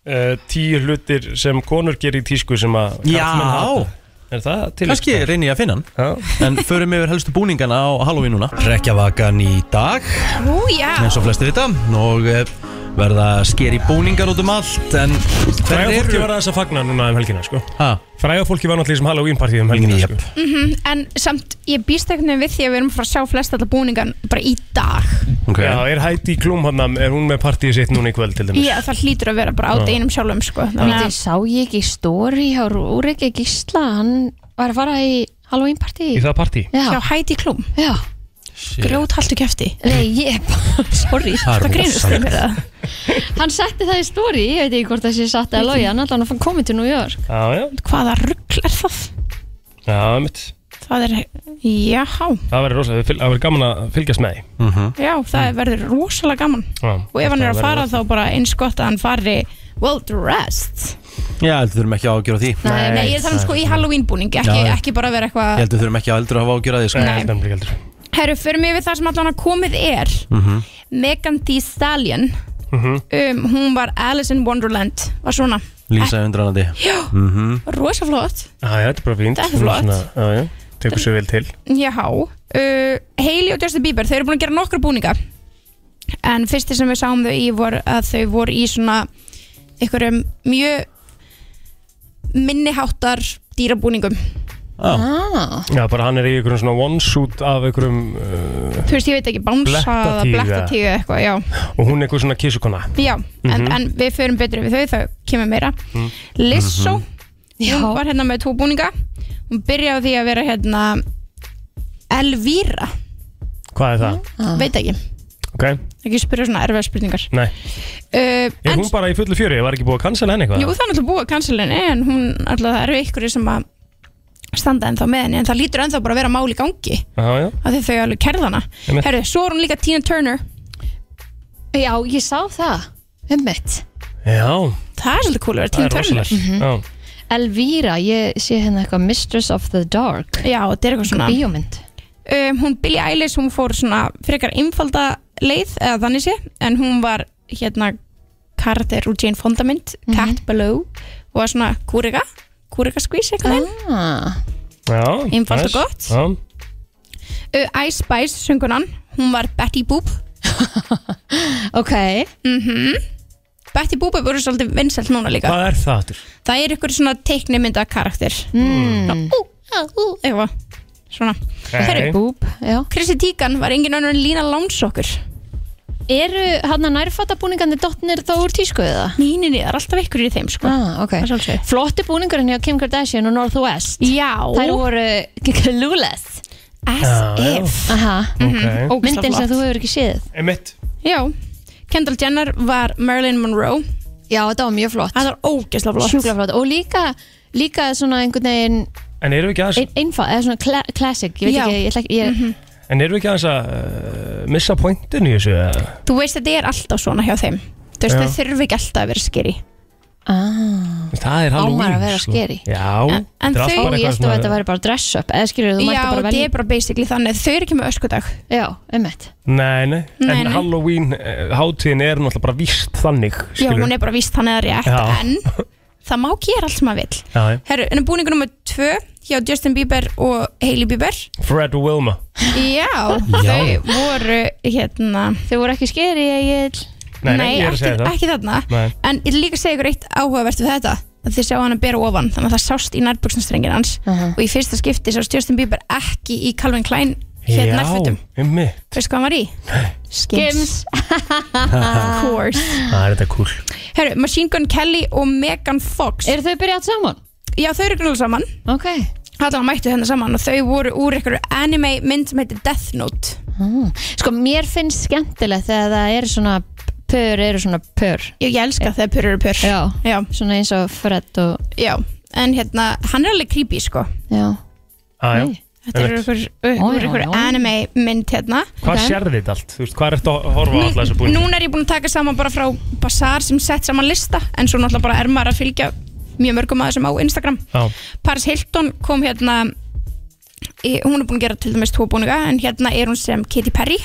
Speaker 2: Uh, tíu hlutir sem konur gerir í tísku sem að
Speaker 1: Já.
Speaker 2: karlmenn hata. Er það til?
Speaker 1: Kanski reyni ég að finna hann
Speaker 2: Já.
Speaker 1: En förum yfir helstu búningana á Halloween núna Rekkjavakan í dag
Speaker 8: Ú, já
Speaker 1: eins og flesti vita og eh, verða skeri búningar út um allt en
Speaker 2: Fræga
Speaker 1: hver
Speaker 2: fólki
Speaker 1: eru
Speaker 2: var aðeins að fagna núna um helgina, sko
Speaker 1: ha,
Speaker 2: Fræga fólki var náttúrulega í sem Halloween partíð um helgina,
Speaker 1: Jep.
Speaker 2: sko
Speaker 8: En samt, ég býst ekkert við því að við erum að fara að sjá flest allar búningan bara í dag
Speaker 1: okay.
Speaker 2: Já, er Heidi Klum hann, er hún með partíð sitt núna í kvöld til dæmis?
Speaker 8: Já, það hlýtur að vera bara á deginum sjálfum sko Þannig
Speaker 3: Þetta sá ég ekki í stóri hjá Rúrik Gísla, hann var að fara í Halloween party
Speaker 2: Í það partí?
Speaker 3: Já,
Speaker 8: að sjá Heidi Klum
Speaker 3: já,
Speaker 8: Grjóthaltu kæfti
Speaker 3: nei, ég bara,
Speaker 1: Það
Speaker 3: sorry
Speaker 1: er
Speaker 8: Það um hérna. grínust
Speaker 1: rosalegt.
Speaker 8: þér fyrir það
Speaker 3: Hann setti það í stóri, ég veit ekki hvort það sé satt eða logi, hann allan að fann komið til New York
Speaker 2: Já, já,
Speaker 8: Hvaða rugl er það?
Speaker 2: já, mitt
Speaker 8: Það er, já,
Speaker 2: Það verður rosalega, það verður gaman að fylgjast með því
Speaker 8: já, það
Speaker 1: Mm.
Speaker 8: verður rosalega gaman
Speaker 2: Já.
Speaker 8: Og ef hann
Speaker 2: Það
Speaker 8: er að
Speaker 2: verður
Speaker 8: fara
Speaker 2: rosa-
Speaker 8: þá bara eins gott að hann fari well dressed
Speaker 1: Já, heldur þurfum ekki að ágjöra því Ég
Speaker 8: Nei, ég er þannig sko í Halloween búning ekki,
Speaker 1: Já, já.
Speaker 8: ekki bara vera eitthvað
Speaker 1: heldur þurfum ekki að heldur að hafa ágjöra því sko.
Speaker 2: Nei, ég held að hann blikja aldrei
Speaker 8: Herru, förum yfir það sem allan að komið er Megan Thee Stallion um, Hún var Alice in Wonderland Var svona,
Speaker 1: Lísa í undralandi
Speaker 8: já, rosa flott
Speaker 2: Já, já, þetta er bara fínt
Speaker 8: Þetta er flott.
Speaker 2: Svona, Já, já, tekur sér vel til
Speaker 8: Já, uh, Hailey og Justin Bieber Þau eru búin að gera nokkra búninga En fyrsti sem við sáum þau í var að þau voru í svona einhverjum mjög minniháttar dýrabúningum
Speaker 3: ah,
Speaker 2: Já, bara hann er í einhverjum svona one-suit af einhverjum uh,
Speaker 8: Þú veist, ég veit ekki, bánsa eða
Speaker 2: Blettatíga.
Speaker 8: blettatíga eða eitthvað, já
Speaker 2: og hún er einhver svona kísukona
Speaker 8: Já, en, en við förum betur yfir þau, þá kemur meira Lissó,
Speaker 3: Já.
Speaker 8: hún var hérna með tvo búninga Hún byrjaði á því að vera hérna Elvíra,
Speaker 2: Hvað er það?
Speaker 8: veit ekki
Speaker 2: Ok,
Speaker 8: Ekki spyrja svona erfiða spurningar
Speaker 2: nei
Speaker 8: uh,
Speaker 2: Er
Speaker 8: en,
Speaker 2: hún bara í fullu fjöri? Var ekki búið að cancela henni eitthvað?
Speaker 8: Jú, það er náttúrulega búið að kansalinn En hún, alltaf það eru ykkur sem að standa ennþá með henni En það lítur ennþá bara að vera mál í gangi
Speaker 2: Já, já,
Speaker 8: Af því þau alveg kerðana
Speaker 2: Einmitt.
Speaker 8: Herru, svo er hún líka Tina Turner
Speaker 3: já, ég sá það, ummitt
Speaker 2: já
Speaker 8: Það er svolítið cool að vera
Speaker 2: Það
Speaker 8: Tina
Speaker 2: er
Speaker 8: Turner
Speaker 2: rosalegt Já,
Speaker 3: Elvíra, ég sé hérna eitthvað Mistress of the Dark,
Speaker 8: Já, þetta er eitthvað svona
Speaker 3: bíómynd
Speaker 8: um, hún Billie Eilish hún fór svona frekar einfalda leið eða þannig sé en hún var hérna karakter úr Jane Fonda mynd
Speaker 3: Mhm.
Speaker 8: Cat Below og var svona kúrika kúrika skvís eitthvað
Speaker 3: ah,
Speaker 8: ah.
Speaker 2: já
Speaker 8: Einfalt og
Speaker 2: nice.
Speaker 8: gott.
Speaker 2: Já,
Speaker 3: Mhm.
Speaker 8: uh, Ice Spice söngunan hún var Betty Boop
Speaker 3: Ok,
Speaker 8: Betty Boop er verið svolítið vinsælt núna líka
Speaker 2: hvað er það aftur?
Speaker 8: það er ykkur svona teiknimynda karakter mm. ú, á, ú, eitthvað svona Herru,
Speaker 2: Nei.
Speaker 3: búb, já
Speaker 8: Chrissy Teigan var engin önnur en Lína Lánsokur
Speaker 3: Eru hann að nærfattabúningandi dottnir þá úr tísku eða?
Speaker 8: Níninni, það er alltaf ykkur í þeim sko
Speaker 3: Ah, ok.
Speaker 8: Það er svolítið.
Speaker 3: Flotti búningurinn hjá Kim Kardashian og Northwest
Speaker 8: Já,
Speaker 3: Þær voru clueless
Speaker 8: as
Speaker 2: Já, já.
Speaker 8: if
Speaker 3: Aha.
Speaker 8: Mhm.
Speaker 2: Ok,
Speaker 3: Myndin sem
Speaker 8: flott.
Speaker 3: þú hefur ekki séð
Speaker 2: emitt
Speaker 8: Já, Kendall Jenner var Marilyn Monroe
Speaker 3: Já, þetta var mjög flott
Speaker 8: Það var ógeðslega flott
Speaker 3: Sjúklega flott Og líka, líka svona einhvern veginn
Speaker 2: En eru við ekki aðeins
Speaker 3: ein, einfald, eða svona kla classic Ég veit
Speaker 8: Já.
Speaker 3: ekki, ég, ætla ekki ég,
Speaker 2: En erum við ekki aðeins að uh, missa pointin í þessu? eða?
Speaker 8: Þú veist þetta er alltaf svona hjá þeim Þú veist
Speaker 2: Já.
Speaker 8: það þurfi ekki alltaf að vera skeri
Speaker 3: ah.
Speaker 2: Það er Halloween
Speaker 3: maður að vera
Speaker 2: sko.
Speaker 3: skeri?
Speaker 2: Já
Speaker 8: En- en
Speaker 2: þetta er allt
Speaker 8: þau-
Speaker 2: bara
Speaker 3: Ó,
Speaker 2: eitthvað
Speaker 3: ég held að
Speaker 2: svona-
Speaker 3: þetta væri bara dress up Eða skilur þú
Speaker 8: Já,
Speaker 3: mætti bara
Speaker 8: þetta
Speaker 3: velja
Speaker 8: er bara basically þannig Þau eru ekki með öskudag
Speaker 3: Já, einmitt
Speaker 2: Nei, nei,
Speaker 8: Nei,
Speaker 2: en
Speaker 8: nei.
Speaker 2: Halloween eh, hátíðin er náttúrulega bara víst þannig
Speaker 8: Já,
Speaker 2: skilurðu.
Speaker 8: hún er bara víst þannig að rétt
Speaker 2: Já.
Speaker 8: En það má gera allt sem maður vill
Speaker 2: Já, já.
Speaker 8: Herru, en búningur nummer tvö hjá Justin Bieber og Hailey Bieber
Speaker 2: Fred og Wilma
Speaker 8: Já, þau voru hérna
Speaker 3: Þau voru ekki skeri, ég
Speaker 2: Nei, nei, ég er að
Speaker 8: ekki,
Speaker 2: segja það
Speaker 8: ekki þarna
Speaker 2: Nei.
Speaker 8: En ég vil líka segja ykkur eitt áhugavert við þetta að þið sjá hann að bera ofan þannig að það sást í nærbuksunstrengin hans og í fyrsta skipti sást Justin Bieber ekki í Calvin Klein hér nærfutum
Speaker 2: ymmi
Speaker 8: Veistu hvað hann var í? Skims Of course
Speaker 2: Það er þetta cool
Speaker 8: Herru, Machine Gun Kelly og Megan Fox
Speaker 3: Eru þau byrjað saman?
Speaker 8: Já, þau eru grunnlega saman
Speaker 3: Ok
Speaker 8: allan mættu þennan saman og þau voru úr einhverju anime mynd sem heitir Death Note
Speaker 3: Mm. Sko, mér finnst skemmtilegt þegar það eru svona pör, eru svona pör.
Speaker 8: ég, ég elska þegar purr eru purr
Speaker 3: Já,
Speaker 8: já,
Speaker 3: svona eins og Fred og,
Speaker 8: já. en hérna, hann er alveg creepy sko
Speaker 3: já.
Speaker 2: ah, já.
Speaker 3: Nei.
Speaker 8: þetta eru
Speaker 2: Einmitt.
Speaker 8: einhver, einhver,
Speaker 3: já,
Speaker 8: einhver
Speaker 3: já.
Speaker 8: anime mynd hérna
Speaker 2: Hvað
Speaker 3: Ok.
Speaker 2: sérði þetta allt? Þú veist, hvað ertu að horfa á alltaf þessu
Speaker 8: Nú-
Speaker 2: búin?
Speaker 8: núna er ég búin að taka saman bara frá Bazaar sem sett saman lista en svo náttúrulega bara er maður að fylgja mjög mörgum að þessum á Instagram
Speaker 2: Já,
Speaker 8: Paris Hilton kom hérna í, hún er búin að gera til dæmis tvo búninga en hérna er hún sem Katy Perry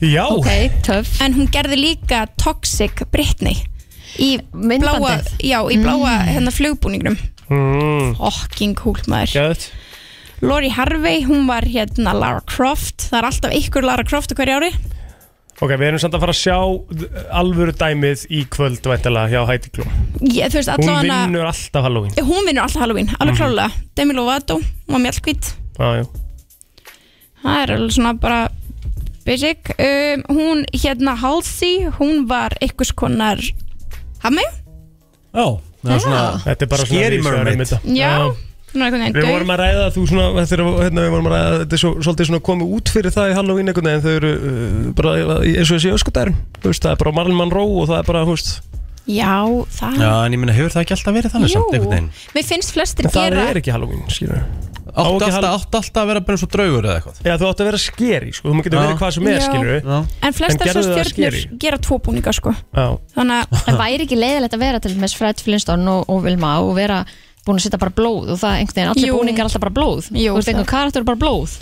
Speaker 2: já.
Speaker 3: Ok, töff.
Speaker 8: en hún gerði líka Toxic Britney í bláa,
Speaker 3: Myndbandið.
Speaker 8: já, í bláa hérna flugbúningnum
Speaker 2: Mm,
Speaker 8: Fucking cool maður
Speaker 2: geðvægt.
Speaker 8: Lori Harvey, hún var hérna Lara Croft það er alltaf ykkur Lara Croft á hverju ári
Speaker 2: Ok, við erum samt að fara að sjá alvöru dæmið í kvöld væntalega hjá Heidi Klum.
Speaker 8: ég, þú veist,
Speaker 2: Hún
Speaker 8: allavega hana-
Speaker 2: vinnur Mhm. alltaf Halloween.
Speaker 8: Já, hún vinnur alltaf Halloween, alveg klálega Demi Lovato, hún var mjölkvít
Speaker 2: Já, já.
Speaker 8: það er alveg svona bara basic um, hún hérna Halsey, hún var einhvers konar hammi,
Speaker 1: Já, það er svona
Speaker 2: Þetta er bara svona
Speaker 1: Scary
Speaker 2: vísar um
Speaker 1: Mermaid.
Speaker 2: þetta.
Speaker 8: já, hún var einhvern veginn
Speaker 2: Við
Speaker 8: dauf.
Speaker 2: vorum að ræða þú svona, þetta er, hérna, við vorum að ræða, þetta er svo, svolítið svona komið út fyrir það í Halloween einhvern veginn, þau eru uh, bara í- eins og þessi öskudærin, þú veist, það er bara Marlon Monroe og það er bara, þú veist,
Speaker 8: já, það
Speaker 1: Já, en ég minna, hefur það ekki alltaf verið þannig samt einhvern veginn?
Speaker 8: mér finnst flestir
Speaker 2: en það
Speaker 8: gera
Speaker 2: er ekki Halloween, skilur við.
Speaker 1: Átti
Speaker 2: ekki
Speaker 1: alltaf,
Speaker 2: hal-
Speaker 1: átti alltaf að vera bara eins og draugur eða eitthvað
Speaker 2: Já, þú átt að vera skeri, sko, þú getur
Speaker 1: Já.
Speaker 2: verið hvað sem er,
Speaker 8: Já.
Speaker 2: skilur við.
Speaker 1: Já,
Speaker 8: en flestar
Speaker 2: En
Speaker 8: svo
Speaker 2: gerðu það
Speaker 8: stjörnur
Speaker 2: scary?
Speaker 8: gera tvo búninga sko
Speaker 2: Já,
Speaker 8: þannig að
Speaker 3: En væri ekki leiðilegt að vera til með Fred Flintstone og, og Vilma og vera búin að setja bara blóð og það einhvern veginn, allir
Speaker 8: Jú.
Speaker 3: búningar alltaf bara blóð
Speaker 8: Jú,
Speaker 3: Þú veist, einhvern
Speaker 8: það-
Speaker 3: karakter er bara blóð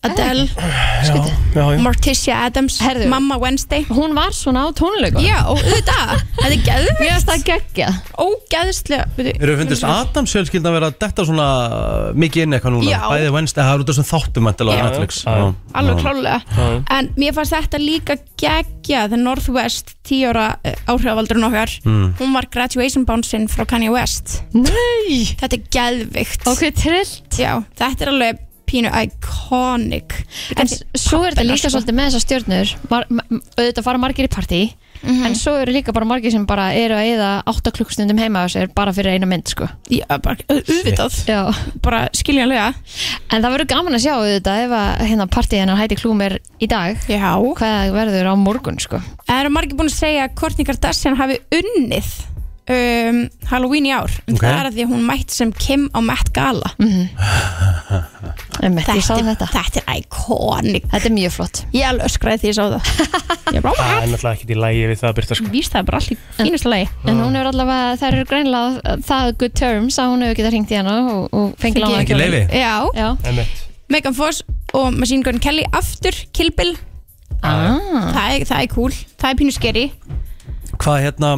Speaker 8: Adele,
Speaker 2: já, já, já.
Speaker 8: Morticia Adams
Speaker 3: Herðu.
Speaker 8: Mamma Wednesday
Speaker 3: Hún var svona á tónleikum
Speaker 8: já, og auðvitað, þetta er
Speaker 3: Mér finnst
Speaker 8: geðvegt
Speaker 3: það geggja
Speaker 8: ógeðslega veitu,
Speaker 1: Eru fundist Adams fjölskyldan vera að detta svona uh, mikið inn eitthvað núna?
Speaker 8: Já.
Speaker 1: Bæði Wednesday, það er út af svona þáttum endilega á
Speaker 8: Já.
Speaker 1: Netflix
Speaker 2: Já.
Speaker 8: alveg klálega
Speaker 2: Já.
Speaker 8: en mér fannst þetta líka geggja þegar Northwest, 10 ára eh, áhrifavaldurinn okkar, hún var graduation bouncing frá Kanye West
Speaker 3: Nei
Speaker 8: þetta er geðvikt
Speaker 3: Ok, trill
Speaker 8: Já, þetta er alveg pínu iconic
Speaker 3: En s- svo er þetta
Speaker 8: sko.
Speaker 3: líka svolítið með þessar stjörnur mar, ma- m- auðvitað fara margir í partí
Speaker 8: Mhm. Mm.
Speaker 3: en svo eru líka bara margir sem bara eru að eða 8 klukkustundum heima á sér bara fyrir eina mynd sko.
Speaker 8: já, bara, au- auðvitað,
Speaker 3: Já.
Speaker 8: bara skiljanlega
Speaker 3: En það verður gaman að sjá auðvitað ef að hérna, partíð hennar hæti klúmir í dag
Speaker 8: Já,
Speaker 3: hvað verður á morgun sko.
Speaker 8: það eru margir búin að segja að Kourtney Kardashian hafi unnið um, Halloween í ár en
Speaker 1: Ok.
Speaker 8: það er að því að hún mætti sem Kim á Met Gala
Speaker 3: Einmitt, ég sagði þetta
Speaker 8: þetta er iconic
Speaker 3: Þetta er mjög flott
Speaker 8: Ég alveg öskraði því ég sá það Ég bara,
Speaker 2: Það
Speaker 8: ómæg,
Speaker 2: er náttúrulega ekkert í lægi við það, Birta, sko.
Speaker 8: víst það er bara allt í fínustu lagi
Speaker 3: En hún hefur allavega, það eru greinlega það good terms að hún hefur getað hringt í hana og, og fengið lána
Speaker 1: Fengið leyfi.
Speaker 8: Já,
Speaker 3: Já
Speaker 2: Einmitt.
Speaker 8: Megan Foss og Machine Gun Kelly aftur, Kill Bill
Speaker 3: ah.
Speaker 8: það, er, það er cool, það er pínu skeri
Speaker 1: Hvað hérna,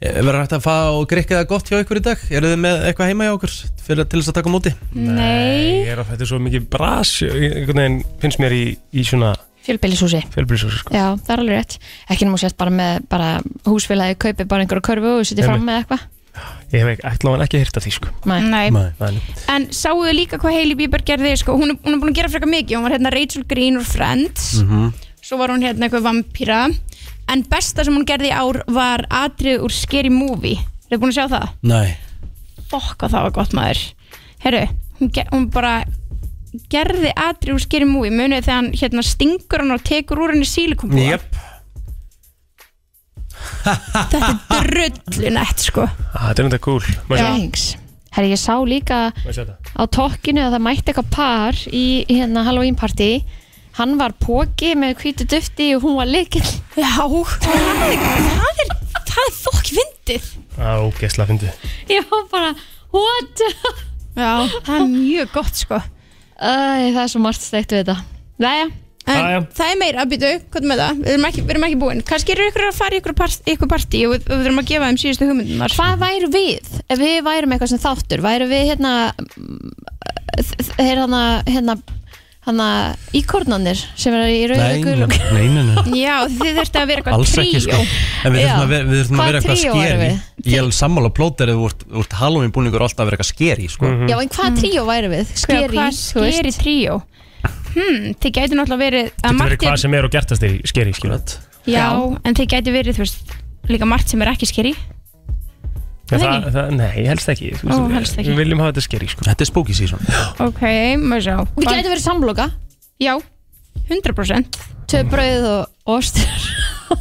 Speaker 1: eh, verður hægt að fá og grikka það gott hjá ykkur í dag? Eru þið með eitthvað heima hjá okkur fyrir, til þess að taka á móti?
Speaker 8: Nei
Speaker 2: Ég er að þetta er svo mikið bras, einhvern veginn finnst mér í, í svona
Speaker 3: Fjölbýlisúsi
Speaker 2: fjölbrísúsi, sko.
Speaker 3: Já, það er alveg rétt Ekki nema sérst bara með bara húsfélagi kaupi bara einhverja körfu og setja fram með eitthvað
Speaker 2: Ég hef ekki, ætla hann ekki að hýrta því, sko.
Speaker 3: Nei.
Speaker 8: Nei.
Speaker 2: Nei,
Speaker 8: En sáu þau líka hvað Hailey Bieber gerði sko, hún, er- hún er búin að gera frekar mikið, hún var hérna Rachel Green úr Friends Svo var hún hérna eitthvað vampíra En besta sem hún gerði í ár var atrið úr Scary Movie Þau búin að sjá það?
Speaker 1: Nei,
Speaker 8: fokk og það var gott maður herru, hún, ge- hún bara gerði atri úr skeri múi munið þegar hann hérna stingur hann og tekur úr henni sílikumbúa
Speaker 1: jöp
Speaker 8: þetta er drullunett sko
Speaker 2: Ah, Þetta er náttúrulega cool. Má ég sjá-
Speaker 3: Thanks Herri, ég sá líka
Speaker 2: má ég sjá þetta?
Speaker 3: á tokkinu að það mætti eitthvað par í hérna Halloween party Hann var póki með hvítu dufti og hún var lykill
Speaker 8: já, það er það er, það er fokk fyndið
Speaker 2: Á, gæsla fyndið.
Speaker 3: Ég var bara, what?
Speaker 8: já, það er mjög gott sko
Speaker 3: Æ, það er svo margt steikt við þetta Jæja,
Speaker 8: En
Speaker 2: Jæja.
Speaker 8: það er meira, býtu, hvað er með það? Við erum ekki, við erum ekki búin. Kannski eru ykkur að fara í ykkur, part, ykkur partí og við, við erum að gefa þeim síðustu hugmyndunar.
Speaker 3: hvað væru við? Ef við værum eitthvað sem þáttur, væru við hérna Þeir hana, hérna Hanna íkornanir sem er í
Speaker 1: Nei,
Speaker 3: rauðu
Speaker 1: nei,
Speaker 3: gulum
Speaker 1: nei, nei, nei.
Speaker 8: Já, þið þurftu að vera eitthvað
Speaker 1: Alls ekki sko
Speaker 8: tríó.
Speaker 1: En við
Speaker 3: Já.
Speaker 1: þurfum að vera, við þurfum að
Speaker 3: Hvaða
Speaker 1: vera eitthvað
Speaker 3: tríó erum
Speaker 1: skeri
Speaker 3: við?
Speaker 1: Ég er sammála plóter eða þú ert Halloween búningur alltaf að vera eitthvað skeri sko.
Speaker 3: Já, en hvað tríó væru við?
Speaker 8: Skeri,
Speaker 3: Skeri,
Speaker 8: hvað
Speaker 3: Mm. þú veist.
Speaker 8: skeri tríó? Hmm, þið gæti náttúrulega verið að
Speaker 2: Þetta verður
Speaker 8: margt er-
Speaker 2: hvað sem er og gertast þér í skeri, skilur.
Speaker 1: Akkurat.
Speaker 8: Já, en þið gæti verið, þú veist, líka margt sem er ekki skeri
Speaker 2: Já, það, það, nei, helst ekki, þú veist,
Speaker 8: Ó, helst ekki.
Speaker 2: Við viljum hafa þetta skeri sko.
Speaker 1: Þetta er spooky season
Speaker 8: Ok, maður sjá
Speaker 3: Við gætum verið samloka
Speaker 8: Já, 100%
Speaker 1: Mm.
Speaker 3: Tvö brauð og ost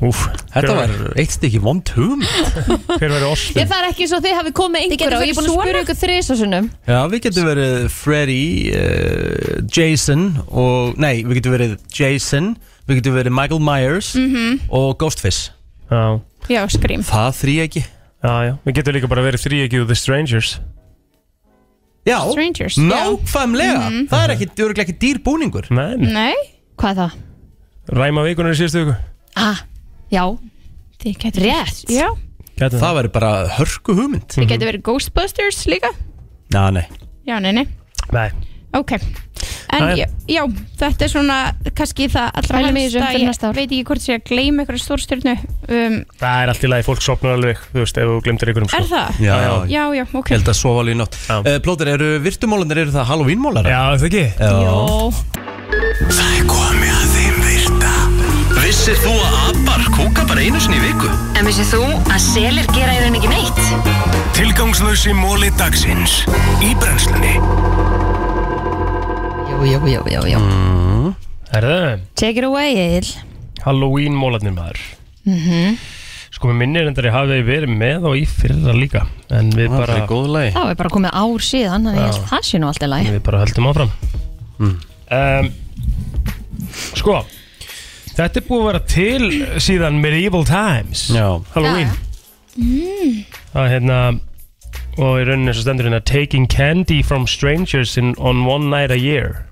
Speaker 2: Úf,
Speaker 1: Þetta var eitt stykki vond hum
Speaker 2: Hver verður ostin?
Speaker 3: Ég það er ekki svo þið hafi komið einhver
Speaker 9: gætu
Speaker 3: og ég
Speaker 9: farið
Speaker 3: er búin að
Speaker 9: svona?
Speaker 3: spyrja ykkur þrisasunum
Speaker 1: Já, við getum verið Freddy, uh, Jason og, nei, við getum verið Jason Við getum verið Michael Myers
Speaker 3: Mhm.
Speaker 1: og Ghostface
Speaker 2: Já,
Speaker 8: Já, skrím
Speaker 1: Það þrý ekki
Speaker 2: já, já Við getum líka bara verið þrý ekki úr The Strangers
Speaker 1: Já,
Speaker 8: Strangers, já.
Speaker 1: nákvæmlega
Speaker 3: Mhm.
Speaker 1: Það er ekki, örugglega ekki dýr búningur
Speaker 2: Nei,
Speaker 8: Nei,
Speaker 3: Hvað er það?
Speaker 2: ræma vikunar í síðustu viku
Speaker 3: Ah, já,
Speaker 8: þið getur
Speaker 3: rétt
Speaker 8: Já,
Speaker 2: Gætum
Speaker 1: Það verður bara hörku hugmynd
Speaker 8: þið getur verið Ghostbusters líka
Speaker 1: Já, nei
Speaker 8: Já, nei, nei
Speaker 2: Nei,
Speaker 8: Ok, en
Speaker 2: Jæja.
Speaker 8: já, já, þetta er svona kannski það allra
Speaker 3: Pælum í
Speaker 8: helsta,
Speaker 3: þessu fyrir
Speaker 8: ég
Speaker 3: næsta ár.
Speaker 8: veit ekki hvort sé að gleyma ykkur stórstjörnu um,
Speaker 2: það er allt í lagi, fólk sopnar alveg Þú veist, ef þú glemtir ykkur um sko
Speaker 8: Er það?
Speaker 1: Já,
Speaker 2: já.
Speaker 1: ég
Speaker 8: Já, já, ok
Speaker 1: held að sofa alveg í nótt
Speaker 2: Já.
Speaker 1: uh, Plóter, eru virtumólanar, eru það Halloweenmólar?
Speaker 2: Já, það ekki
Speaker 1: Já,
Speaker 5: Það er komið að þeim virta Vissir þú að abar kúka bara einu sinni í viku?
Speaker 10: En vissið þú að selir gera í rauninni ekki neitt?
Speaker 5: Tilgangslösi móli dagsins Í brennslunni
Speaker 3: Jú, jú, jú, jú, jú
Speaker 1: Mm.
Speaker 2: Er það?
Speaker 3: Take it away, Egil
Speaker 2: Halloween mólarnir maður
Speaker 8: Mhm.
Speaker 2: Sko, mér minnir endar ég hafi verið með og í fyrra líka En við
Speaker 1: það
Speaker 2: bara
Speaker 1: er góð lagi
Speaker 3: Þá er bara komið ár síðan, þannig ég
Speaker 2: Já.
Speaker 3: held að það sé nú allt í lagi
Speaker 2: En Við bara höldum áfram
Speaker 1: Hmm.
Speaker 2: um, Sko Þetta er búið að vera til síðan Medieval Times
Speaker 1: Já.
Speaker 2: Halloween Það er hérna og í rauninni svo stendur hérna Taking candy from strangers in, on one night a year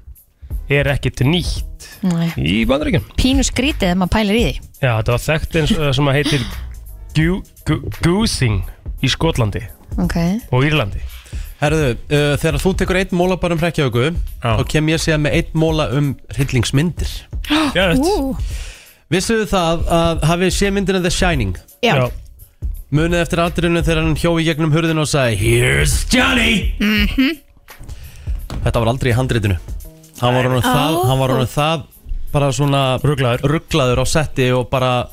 Speaker 2: er ekkert nýtt
Speaker 3: Nei.
Speaker 2: í bandaríkjum
Speaker 3: Pínu skrítið ef maður pælir í því
Speaker 2: Já, þetta var þekkt eins eh, sem að heitir gú- gú- Goosing í Skotlandi
Speaker 3: Ok
Speaker 2: og Írlandi
Speaker 1: Herðu, uh, þegar þú tekur einn móla bara um hrekkjaöku
Speaker 2: Já.
Speaker 1: þá kem ég að segja með einn móla um hryllingsmyndir
Speaker 2: Gert.
Speaker 1: Vissuðu það að hafið sé myndina The Shining
Speaker 8: Já,
Speaker 2: Já,
Speaker 1: munið eftir atriðinu þegar hann hjói gegnum hurðinu og sagði Here's Johnny Þetta var aldrei í handritinu Hann var honum það, hann var honum það bara svona
Speaker 2: Ruglaður.
Speaker 1: rugglaður á setti og bara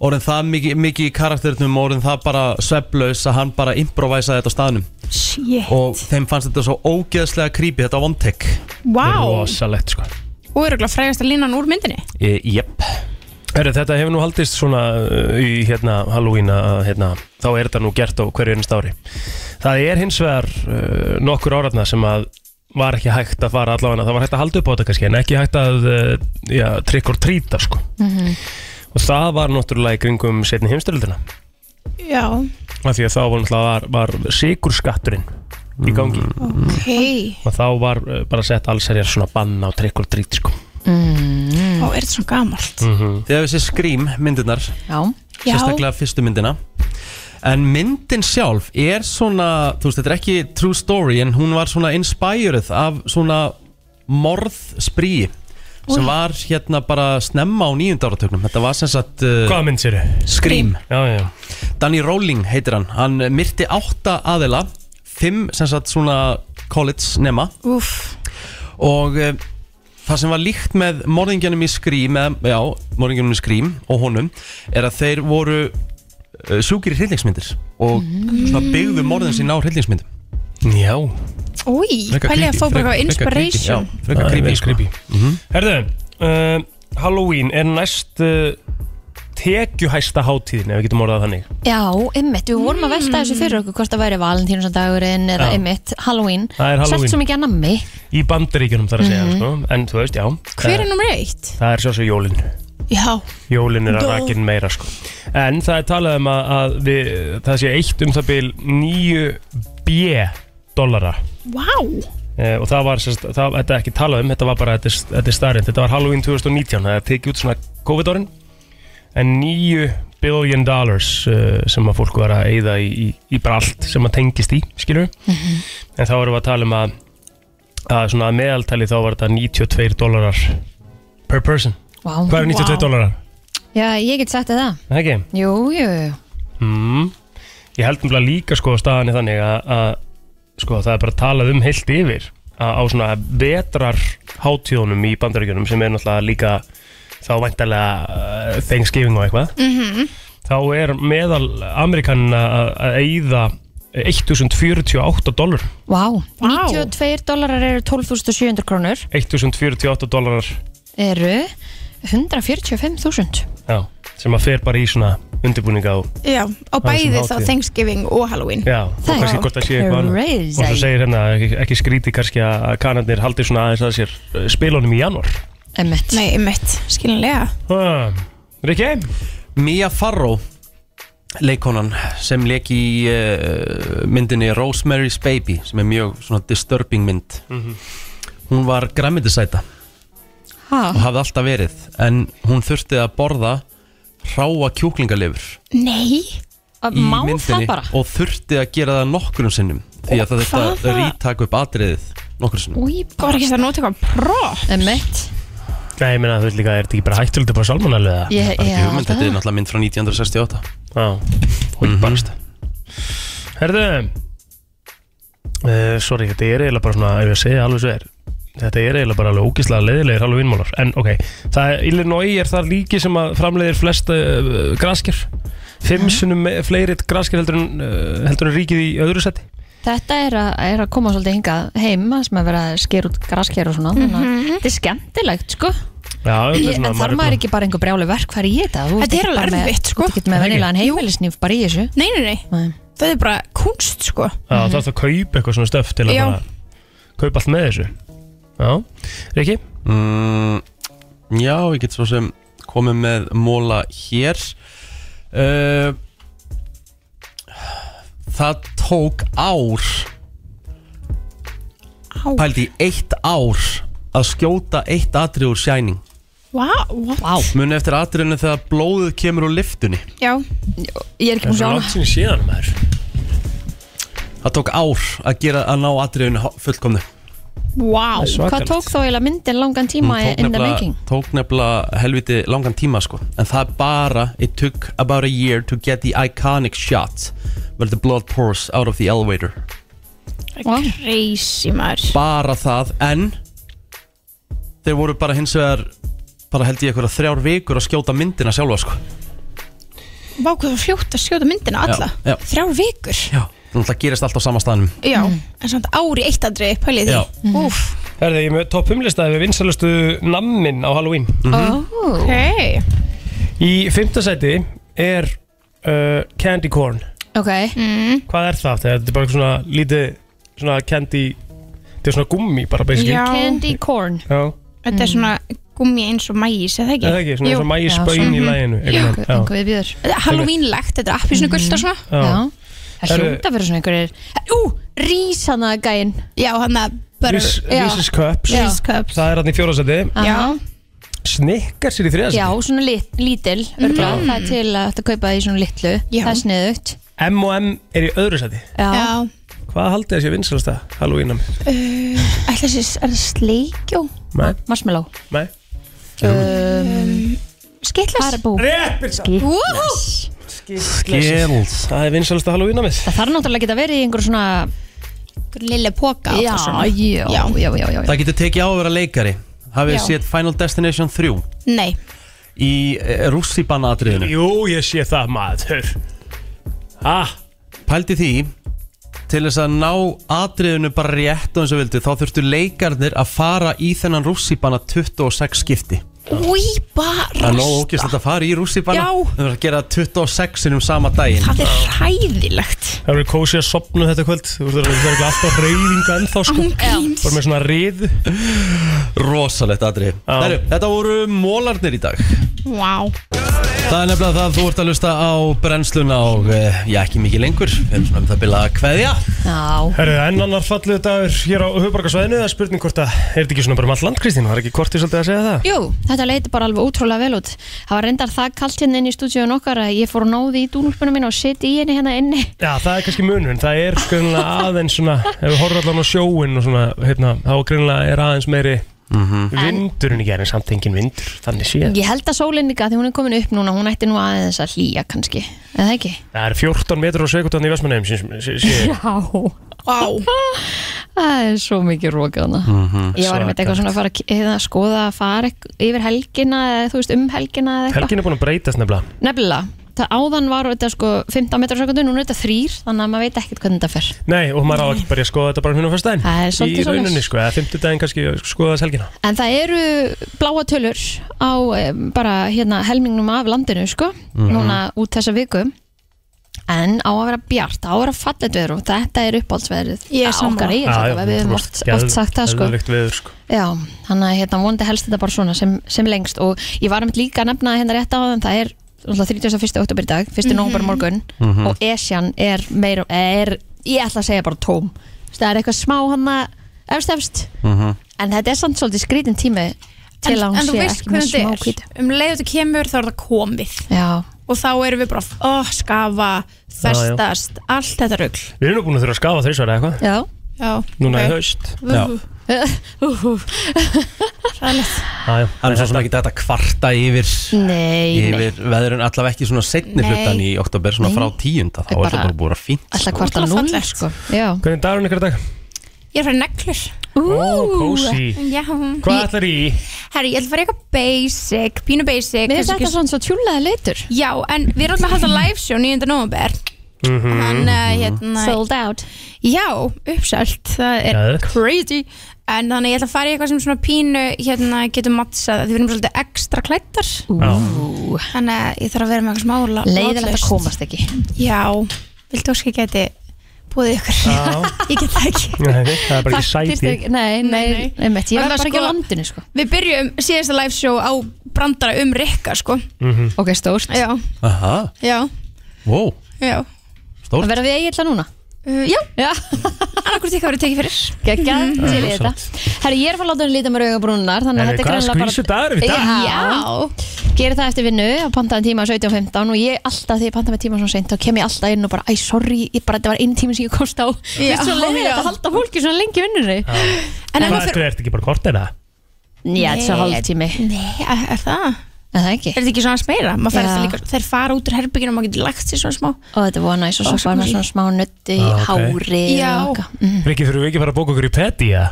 Speaker 1: orðin það mikið miki í karakterinum og orðin það bara sveflaus að hann bara improvisaði þetta á staðnum
Speaker 8: shit
Speaker 1: og þeim fannst þetta svo ógeðslega creepy þetta var one take
Speaker 8: Vá,
Speaker 2: rosalegt sko
Speaker 8: og er okkur frægast að lína hann úr myndinni
Speaker 2: Eh,
Speaker 1: e, Jep
Speaker 2: Herri, þetta hefur nú haldist svona uh, í hérna, Halloween að hérna, þá er þetta nú gert á hverju einnst ári Það er hins vegar uh, nokkur áratna sem að var ekki hægt að fara allavega það var hægt að halda upp á þetta kannski en ekki hægt að uh, já, trikk og trýta sko. og það var náttúrulega í kringum setni heimstöldina
Speaker 8: Já,
Speaker 2: af því að þá var, náttúrulega var, var sigurskatturinn í gangi
Speaker 1: Mm.
Speaker 8: hei
Speaker 2: og þá var uh, bara sett allserjar svona banna á trikk og trýt sko.
Speaker 3: Mm.
Speaker 8: Ó, er þetta svona gamalt
Speaker 1: Þegar þessi skrím myndirnar
Speaker 3: Já
Speaker 1: Mm.
Speaker 8: Já,
Speaker 1: sérstaklega fyrstu myndina en myndin sjálf er svona þú veist, þetta er ekki true story en hún var svona inspired af svona morðsprý sem var hérna bara snemma á nýjunda áratögnum þetta var sem sagt uh,
Speaker 2: Hvaða mynd sér þið?
Speaker 1: Scream
Speaker 2: Já, já,
Speaker 1: Danny Rowling heitir hann hann myrti átta aðila fimm sem sagt svona college nema
Speaker 8: úff
Speaker 1: og uh, það sem var líkt með morðingjanum í skrím eða, já, morðingjanum í skrím og honum er að þeir voru uh, sjúkir í hryllingsmyndir og svona byggðu morðin sín á hryllingsmyndum
Speaker 2: já
Speaker 8: Úi,
Speaker 1: Frekar
Speaker 8: pælið að
Speaker 1: creepy,
Speaker 8: fá bara
Speaker 1: frekar-
Speaker 8: eitthvað
Speaker 1: frekar creepy,
Speaker 8: inspiration
Speaker 1: já, frekar
Speaker 2: Það er
Speaker 1: creepy,
Speaker 2: vel Mhm.
Speaker 1: sko.
Speaker 2: creepy. Herðu, uh, Halloween er næst uh, tekjuhæsta hátíðin ef við getum orðað það þannig
Speaker 3: Já, ymmit, við vorum að velta þessu fyrir okkur hvort það væri valentínusadagurinn eða
Speaker 2: Já.
Speaker 3: ymmit, Halloween
Speaker 2: Það er Halloween.
Speaker 3: Selt svo mikið að nammi
Speaker 2: í bandaríkjunum þar að segja sko. en þú veist, já
Speaker 8: Mhm. Hver
Speaker 1: Eh.
Speaker 8: er
Speaker 2: það,
Speaker 8: nummer eitt?
Speaker 2: það er sjálfsög jólin
Speaker 8: Já,
Speaker 2: jólin er að rakin meira sko. en það er talað um að, að við, það sé eitt um það bil 9 b dollara
Speaker 8: vá
Speaker 2: Uh, og það var, sérst, það, þetta er ekki talað um þetta var bara, þetta er, þetta er starrið þetta var Halloween 2019, það er tekið út svona COVID-árin en 9 billion dollars uh, sem að fólk var að eyða í, í, í bara allt sem að tengist í, skilur en þá erum við að tala um að að svona að meðaltali þá var þetta 92 dólarar per person
Speaker 3: Vá
Speaker 2: hvað er 92 dólarar?
Speaker 3: Já, ég get sagt þér það
Speaker 2: það ekki?
Speaker 3: Jú, jú, jú
Speaker 2: Mm. Ég held umlega líka sko staðan er þannig að, að sko það er bara talað um heilt yfir að á svona vetrar hátíðunum í bandaríkjunum sem er náttúrulega líka þá væntalega uh, Thanksgiving og eitthvað þá er meðal Amerikanin að að eyða 1048 dólar
Speaker 3: Vá, 92 dólarar eru 12.700 krónur
Speaker 2: 1048 dólarar
Speaker 3: eru 145.000
Speaker 2: já, sem að fer bara í svona undirbúninga á
Speaker 9: Já, á
Speaker 2: Það er sem
Speaker 9: bæði þá
Speaker 2: hátíð.
Speaker 9: Thanksgiving og Halloween
Speaker 2: Já, og
Speaker 9: Það er
Speaker 2: kannski hvort það sé eitthvað annað.
Speaker 9: crazy.
Speaker 2: Og svo segir hérna, ekki, ekki skríti kannski að að kanarnir haldi svona aðeins að sér uh, spilunum í janúar
Speaker 3: Emmett
Speaker 9: Nei, emmett, skilinlega
Speaker 2: ah, Rikki?
Speaker 1: Mia Farrow leikonan sem leik í uh, myndinni Rosemary's Baby sem er mjög svona disturbing mynd
Speaker 6: Mhm.
Speaker 1: hún var græmyndisæta og hafði alltaf verið en hún þurfti að borða hráa kjúklingalifur
Speaker 9: Nei
Speaker 1: í myndinni og þurfti að gera það nokkrum sinnum því að það þetta
Speaker 9: hvaða-
Speaker 1: rítaka upp atriðið nokkrum sinnum
Speaker 9: Úi, bara Var ekki það að nota eitthvað pró
Speaker 3: Emmett
Speaker 2: Nei, ég meina, þú veit líka, er þetta ekki bara hættulega bara salmonellu eða?
Speaker 3: Ég- Bara ekki já, hugmynd,
Speaker 1: þetta er náttúrulega mynd frá 1968
Speaker 2: Já, hún mm barst Herðu uh, Sorry, þetta er eiginlega bara svona ef ég segi alveg svo er Þetta er eiginlega bara alveg ógislega leiðilegir Halloweenmálar En ok, það er Illinois er það líki sem að framleiðir flest uh, graskir Fimm sinnum me- fleiri graskir heldur en, uh, heldur en ríkið í öðru seti
Speaker 3: Þetta er að, er að koma svolítið hingað heima sem að vera að sker út grasker og svona þannig
Speaker 9: Mhm.
Speaker 3: að þetta er skemmtilegt sko
Speaker 2: Já, þetta er
Speaker 3: Ég,
Speaker 2: svona
Speaker 3: en þarf maður ekki bara einhver brjálu verkfæri í þetta Þú ert
Speaker 9: Þetta er
Speaker 3: ekki
Speaker 9: alveg
Speaker 3: bara með-
Speaker 9: erfitt, sko.
Speaker 3: Þú ert ekki
Speaker 9: Er það
Speaker 3: með
Speaker 9: ekki?
Speaker 3: venjulegan heimilisnýf bara í þessu
Speaker 9: Nei, nei, nei, það er bara kunst sko
Speaker 2: Já, það þarf að kaupa eitthvað svona stöf til að
Speaker 9: Já.
Speaker 2: bara kaupa allt með þessu Já, Riki?
Speaker 1: Mm, já, ég get svo sem komið með móla hér uh, Það tók ár
Speaker 9: Ár.
Speaker 1: Pældi í eitt ár að skjóta eitt atri úr Shining
Speaker 9: Vá, what?
Speaker 1: Muni eftir atriðinu þegar blóðið kemur úr liftunni
Speaker 9: Já,
Speaker 3: ég er ekki búin að sjá hana.
Speaker 2: sinni síðan maður
Speaker 1: Það tók ár að gera að ná atriðinu fullkomnu Það
Speaker 3: Vá,
Speaker 1: er svakalegt.
Speaker 3: hvað tók þá eiginlega myndin langan tíma
Speaker 1: Hún tók
Speaker 3: in the
Speaker 1: nefnilega-
Speaker 3: making
Speaker 1: Tók nefnilega helviti langan tíma sko En það er bara It took about a year to get the iconic shot Where the blood pours out of the elevator
Speaker 9: crazy maður
Speaker 1: Bara það En Þeir voru bara hins vegar Bara held ég eitthvað þrjár vikur að skjóta myndina sjálfa sko
Speaker 9: Vá, hvað það var fljótt að skjóta myndina alla
Speaker 1: Já, já.
Speaker 9: Þrjár vikur
Speaker 1: Já, það gerist allt á sama staðnum
Speaker 9: Já, en samt ári eitt andri pælið því
Speaker 2: Já.
Speaker 9: Úf,
Speaker 2: Herði, ég er með topp 5 lista við vinsalustu nammin á Halloween
Speaker 3: Oh,
Speaker 9: ok
Speaker 2: Í fymta seti er uh, candy corn
Speaker 3: Ok mm.
Speaker 2: Hvað er það? Þetta er bara svona lítið svona candy Þetta er svona gummi bara basically
Speaker 3: Candy corn
Speaker 2: Já
Speaker 9: Þetta er svona gummi eins og mæs, eða ekki?
Speaker 2: Er það ekki? Svona eins og
Speaker 9: Jú.
Speaker 2: maís
Speaker 9: Já,
Speaker 2: bönn í
Speaker 9: svona.
Speaker 2: læginu
Speaker 9: Jú.
Speaker 2: einhvern veginn. Já.
Speaker 9: Þetta er Halloween-legt, þetta er appi svona gullt og svona
Speaker 2: Já. Já.
Speaker 3: Það
Speaker 2: Herru-
Speaker 3: hljóta verið svona
Speaker 9: Mm.
Speaker 3: einhverjir Ú, rís hana gæinn
Speaker 9: Já, hana
Speaker 2: Reese- Reese's Cups
Speaker 3: Já.
Speaker 2: Það er hann í fjóra seti
Speaker 3: Já.
Speaker 2: Snickers er í þriða
Speaker 3: Já,
Speaker 2: seti
Speaker 3: svona lit, lítil
Speaker 9: Mhm.
Speaker 3: örgla,
Speaker 2: Mm.
Speaker 3: Það er til að þetta kaupa í svona litlu Það er sniðugt
Speaker 2: M&M er í öðru seti
Speaker 3: Já,
Speaker 2: Hvað haldið þessi vinsalasta Halloween nammi?
Speaker 9: Uh, ætla þessi, er það sleikjó?
Speaker 2: Nei,
Speaker 3: Marshmallow
Speaker 2: nei
Speaker 3: um,
Speaker 9: Skittlas
Speaker 3: Harabú
Speaker 2: Rétt
Speaker 3: Skittlas
Speaker 2: Skittles Það er vinsalasta Halloween nammið
Speaker 3: Það þarf náttúrulega að geta verið í einhver svona
Speaker 9: Lille póka
Speaker 3: já, já, já, já, já, já.
Speaker 1: Það getur tekið á að vera leikari Hafið þið
Speaker 9: Já.
Speaker 1: séð Final Destination 3
Speaker 9: Nei,
Speaker 1: Í eh, rússibanna atriðinu
Speaker 2: Jú, ég sé það maður Ha?
Speaker 1: Pældi því Til þess að ná atriðinu bara rétt og eins og vildi Þá þurftu leikarnir að fara í þennan rússibanna 26 skipti
Speaker 9: úi, bara
Speaker 1: Það er nógu ógist að fara í rússibanna
Speaker 9: Já.
Speaker 1: Það verður að gera það 26 sinum sama daginn
Speaker 9: Það er hræðilegt
Speaker 2: Það eru kósi að sopnu þetta kvöld Þú veist það eru örugglega alltaf reyfinga ennþá sko
Speaker 9: grínst.
Speaker 2: Bara með svona rið
Speaker 1: Rosalegt atrið Heru, Þetta voru mólarnir í dag
Speaker 9: Vá
Speaker 1: Það er nefnilega það þú ert að lusta á brennsluna og eh, já ekki mikið lengur Við erum svona um það bila að kveðja
Speaker 3: Já
Speaker 2: Herru, enn annar fallið dagur hér á höfubarkasvæðinu Það er spurning hvort að, er þetta ekki svona bara um allt land Kristín? Var ekki kortið svolítið að segja það?
Speaker 3: Jú, þetta leiti bara alveg útrúlega vel út Það var reyndar það kalt hérna inn í stúdíun okkar að ég fór að náði í dúnúlpunum minn og seti í henni hérna inni
Speaker 2: Já, það er kannski munurinn, það er greinlega aðeins svona Ef við horfum allan á sjóin og svona, hérna, þá greinlega er aðeins meiri Vindurinn í gerðin, samt engin vindur, þannig séð
Speaker 3: Ég held að sólinn líka því hún er komin upp núna hún ætti nú aðeins að hlýja kannski eða ekki?
Speaker 2: Það er 14 metrar á sekundan í Vestmanneim
Speaker 3: Já Það er svo mikið rókaðna Ég var einmitt eitthvað svona að fara að k- eða skoða að fara ekk- yfir helgina eða þú veist um helgina eða eitthvað
Speaker 2: Helgin er búin að breytast nefnilega
Speaker 3: Nefnilega, það áðan var þetta sko 15 metrar á sekundu, núna er þetta þrýr þannig að maður veit ekkert hvernig þetta fer
Speaker 2: Nei, og maður á ekki bara að skoða þetta bara hún á fyrstæðin
Speaker 3: Það er svolítið
Speaker 2: Í rauninni,
Speaker 3: svoleiðis.
Speaker 2: sko, eða fimmtudaginn kannski skoða þess helgina
Speaker 3: En það eru bláa tölur á em, bara hérna helmingnum af landinu sko,
Speaker 2: Mhm.
Speaker 3: núna út þessa viku en á að vera bjart, á að vera fallet veður og þetta er uppáhaldsveðrið
Speaker 8: Ég
Speaker 3: Á
Speaker 8: er sammála.
Speaker 3: okkar eigin
Speaker 2: Já, já,
Speaker 3: við höfum
Speaker 2: þú
Speaker 3: oft,
Speaker 2: varst
Speaker 3: oft sagt það sko
Speaker 2: geðveikt veður, sko.
Speaker 3: Já, þannig að hérna vonandi helst þetta bara svona sem, sem lengst og ég var um líka að nefna hérna rétt á þann það er náttúrulega 31. oktober í dag 1. mm
Speaker 8: Mhm.
Speaker 3: morgun
Speaker 8: Mhm.
Speaker 3: og Esjan er meira, er, ég ætla að segja bara tóm Þú veist, það er eitthvað smá hann að efst efst, en þetta er samt svolítið skrítin tími til að hún
Speaker 8: Mhm. en þú
Speaker 3: sé
Speaker 8: veist
Speaker 3: ekki með
Speaker 8: hvernig
Speaker 3: smá
Speaker 8: þetta
Speaker 3: kvítu
Speaker 8: er um leið og þetta kemur þá er það komið
Speaker 3: Já,
Speaker 8: og þá erum við bara oh, skafa, festast, allt þetta rugl
Speaker 2: Við erum nú búin að þurfa að skafa þess eða eitthvað
Speaker 3: Já,
Speaker 8: já
Speaker 2: Núna í
Speaker 8: ok.
Speaker 2: haust
Speaker 8: Já.
Speaker 1: Það er svo sem ekki þetta kvarta yfir
Speaker 3: Nei, nei
Speaker 1: yfir veðurinn allavega ekki svona setni
Speaker 3: Nei.
Speaker 1: hlutan í oktober svona
Speaker 3: Nei.
Speaker 1: frá tíunda þá er
Speaker 3: Bara-
Speaker 1: þetta bara búið að fínt
Speaker 3: Alltaf hvort að núna sko Já
Speaker 2: Hvernig dagur hún ykkur dag?
Speaker 8: ég er að fara í neglur
Speaker 2: Ó, kósí.
Speaker 8: já,
Speaker 2: Hvað ætlar í?
Speaker 8: herri, ég ætla að fara í eitthvað basic pínu
Speaker 3: Mér
Speaker 8: basic
Speaker 3: finnst
Speaker 8: kannski
Speaker 3: þetta
Speaker 8: ekki-
Speaker 3: svona svo tjúlaði litur
Speaker 8: já, en við erum alltaf að halda live show 9. november en uh,
Speaker 2: Mm.
Speaker 8: hérna
Speaker 3: Sold out
Speaker 8: já, uppselt, það er
Speaker 11: Geðvegt.
Speaker 8: crazy en þannig ég ætla að fara í eitthvað sem svona pínu hérna getur mattsað því við erum svolítið ekstra klættar þannig að ég þarf að vera með eitthvað smála
Speaker 3: Leiðilegt að komast ekki
Speaker 8: já, viltu óski geti búið ykkur
Speaker 2: Já.
Speaker 8: ég get það ekki
Speaker 2: Nei, það er bara ekki
Speaker 3: Þarftir
Speaker 2: sæti
Speaker 3: þau- Nei, nei, nei, mitt, ég
Speaker 8: En
Speaker 3: var
Speaker 8: það
Speaker 3: bara ekki á
Speaker 8: sko-
Speaker 3: landinu sko
Speaker 8: Við byrjum síðasta live show á brandara um Rikka sko
Speaker 3: Ok, stórt
Speaker 8: Já,
Speaker 1: Aha,
Speaker 8: já,
Speaker 1: wow,
Speaker 8: já
Speaker 1: stórt
Speaker 3: Það verða við eiginlega núna
Speaker 8: uh, Já,
Speaker 3: Já.
Speaker 8: annarkvært ykkar verið tekið fyrir
Speaker 3: Gekka,
Speaker 8: Mhm.
Speaker 3: til í
Speaker 8: Já,
Speaker 3: þetta Herri, ég er að fara að láta henni líta mér augabrúnar Þannig
Speaker 2: Nei,
Speaker 3: að þetta er
Speaker 2: hvað
Speaker 3: greinlega bara
Speaker 2: skvísu dagur er í dag?
Speaker 3: Já, gerir það eftir vinnu að pantaðan tíma 17.15 og ég alltaf þegar ég pantaði með tíma svona seint þá kem ég alltaf inn og bara, æ, sorry, ég bara, þetta var einn tíma sem ég komst á Þú
Speaker 8: Já,
Speaker 3: veist, svo leiðir
Speaker 8: já.
Speaker 3: þetta að halda fólki svona lengi í vinnunni
Speaker 8: En ef
Speaker 2: Hvað
Speaker 8: maður
Speaker 2: ætlar, sko, ertu ekki bara kort eða?
Speaker 3: Já, þetta er svo
Speaker 8: Nei,
Speaker 3: hálftími
Speaker 8: Nei, er er það?
Speaker 3: En það ekki
Speaker 8: Er þetta ekki svona aðeins meira? Maður fer
Speaker 3: Já.
Speaker 8: alltaf líka, þeir fara út úr herbygginu og maður getur lagt sér svona smá
Speaker 3: Og þetta var næs og svo var maður svona smá nutti í
Speaker 2: Já, ok.
Speaker 3: hári
Speaker 8: Já.
Speaker 3: og eitthvað.
Speaker 2: Rikki, þurfum við ekki bara að bóka okkur í peti, eða?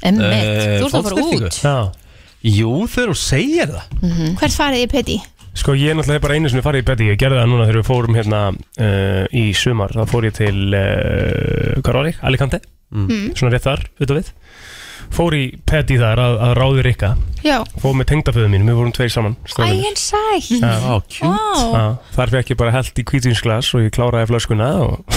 Speaker 3: Einmitt,
Speaker 2: Eh,
Speaker 3: þú ert að fara út
Speaker 1: Já Jú, þegar þú segir það
Speaker 8: Hvert farið þið peti?
Speaker 2: Sko ég er náttúrulega bara einu sinni farið í beti Ég gerði það núna þegar við fórum hérna uh, í sumar Þá fór ég til, uh, hvað var ég? Alicante
Speaker 8: Mm.
Speaker 2: Svona rétt þar, auðvitað við Fór í peti þar að, að ráði Rikka
Speaker 8: Já,
Speaker 2: Fór með tengdaföðu mín, við vorum tveir saman strákarnir.
Speaker 8: æginn sætt
Speaker 2: Já.
Speaker 8: Vá.
Speaker 2: Já, Þar fekk ég bara held í kvítvinsglas og ég kláraði flöskuna og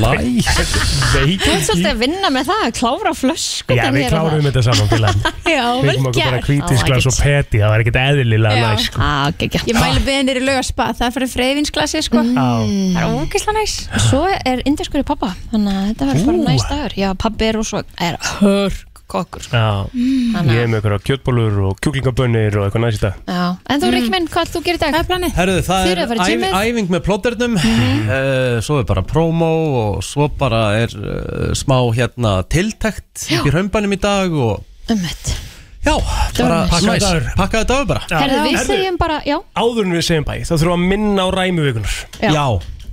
Speaker 2: Læ
Speaker 3: Þú ert svolítið að hérna. vinna með það, að klára flösku
Speaker 2: Já, við kláruðum þetta saman félagin
Speaker 3: Já,
Speaker 2: Við
Speaker 3: vel
Speaker 2: fengum okkur bara
Speaker 3: gert
Speaker 2: kvítvinsglas og peti Það var ekkert eðlilega
Speaker 8: Já.
Speaker 2: næ sko.
Speaker 3: Ah, okay,
Speaker 8: Ég mæli beðin þér í laugaspa, það er fyrir freyðvinsglasi sko
Speaker 2: Mhm.
Speaker 8: Það er ógislega næs
Speaker 3: Svo er indiskur í pappa Þannig að þetta verður bara næst dagur Já, pappi er og svo er hörg kokkur
Speaker 2: Já, ég er með okkur á kjötbólur og kjúklingabönnir og eitthvað næst í dag
Speaker 3: Já, en þú Ríkki minn, hvað ætlar þú að gera í dag? Hvað Mm. er planið?
Speaker 1: Herðu, það
Speaker 3: Þið
Speaker 1: er
Speaker 3: eru að fara í Mhm.
Speaker 1: æf,
Speaker 3: gymið?
Speaker 1: æfing með plotternum uh, Svo er bara promo og svo bara er uh, smá hérna tiltækt upp í raunbænum í dag og
Speaker 3: Ömmett
Speaker 1: já, bara
Speaker 3: var næs.
Speaker 1: pakkaði dagur Pakkaði dagur bara
Speaker 3: Herðu, við segjum bara, já
Speaker 2: Áður en við segjum bæ, þá þurfum við að minna á ræmuvikunar
Speaker 3: Já. Já.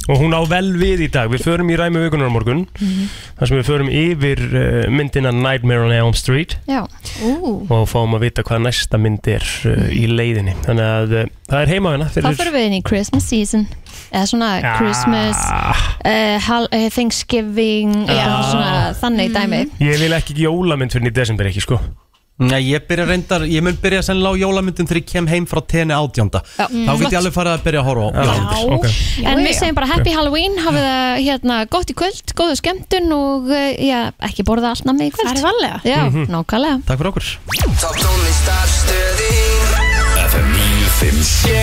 Speaker 2: Og hún á vel við í dag, við förum í ræmuvikunar á morgun
Speaker 3: Mhm.
Speaker 2: Þar sem við förum yfir uh, myndina Nightmare on Elm Street
Speaker 3: Já, ú
Speaker 2: Og fáum að vita hvað næsta mynd er uh, í leiðinni Þannig að uh, það er heimavinna
Speaker 3: Þá fyrir við inn í Christmas season Eða svona
Speaker 2: Ja.
Speaker 3: Christmas
Speaker 2: Ah,
Speaker 3: uh, hal, uh, Thanksgiving
Speaker 2: Ja.
Speaker 3: eitthvað svona, Þannig dæmi
Speaker 2: Ég vil ekki jólamynd fyrir í desember ekki sko
Speaker 1: Nei, ég byrja reyndar, ég mun byrja sennilega á jólamyndum þegar ég kem heim frá tenni átjánda
Speaker 3: Já.
Speaker 1: Þá get ég alveg farið að byrja að horfa á jólamyndir
Speaker 2: ok.
Speaker 3: En við segjum bara happy Halloween, hafið það hérna, gott í kvöld, góða skemmtun og eh, já, ekki borða allt nammi í kvöld. Það er
Speaker 8: valega.
Speaker 3: Já, nákvæmlega.
Speaker 1: Takk fyrir okkur
Speaker 5: Top tónlist af stöðin FM 957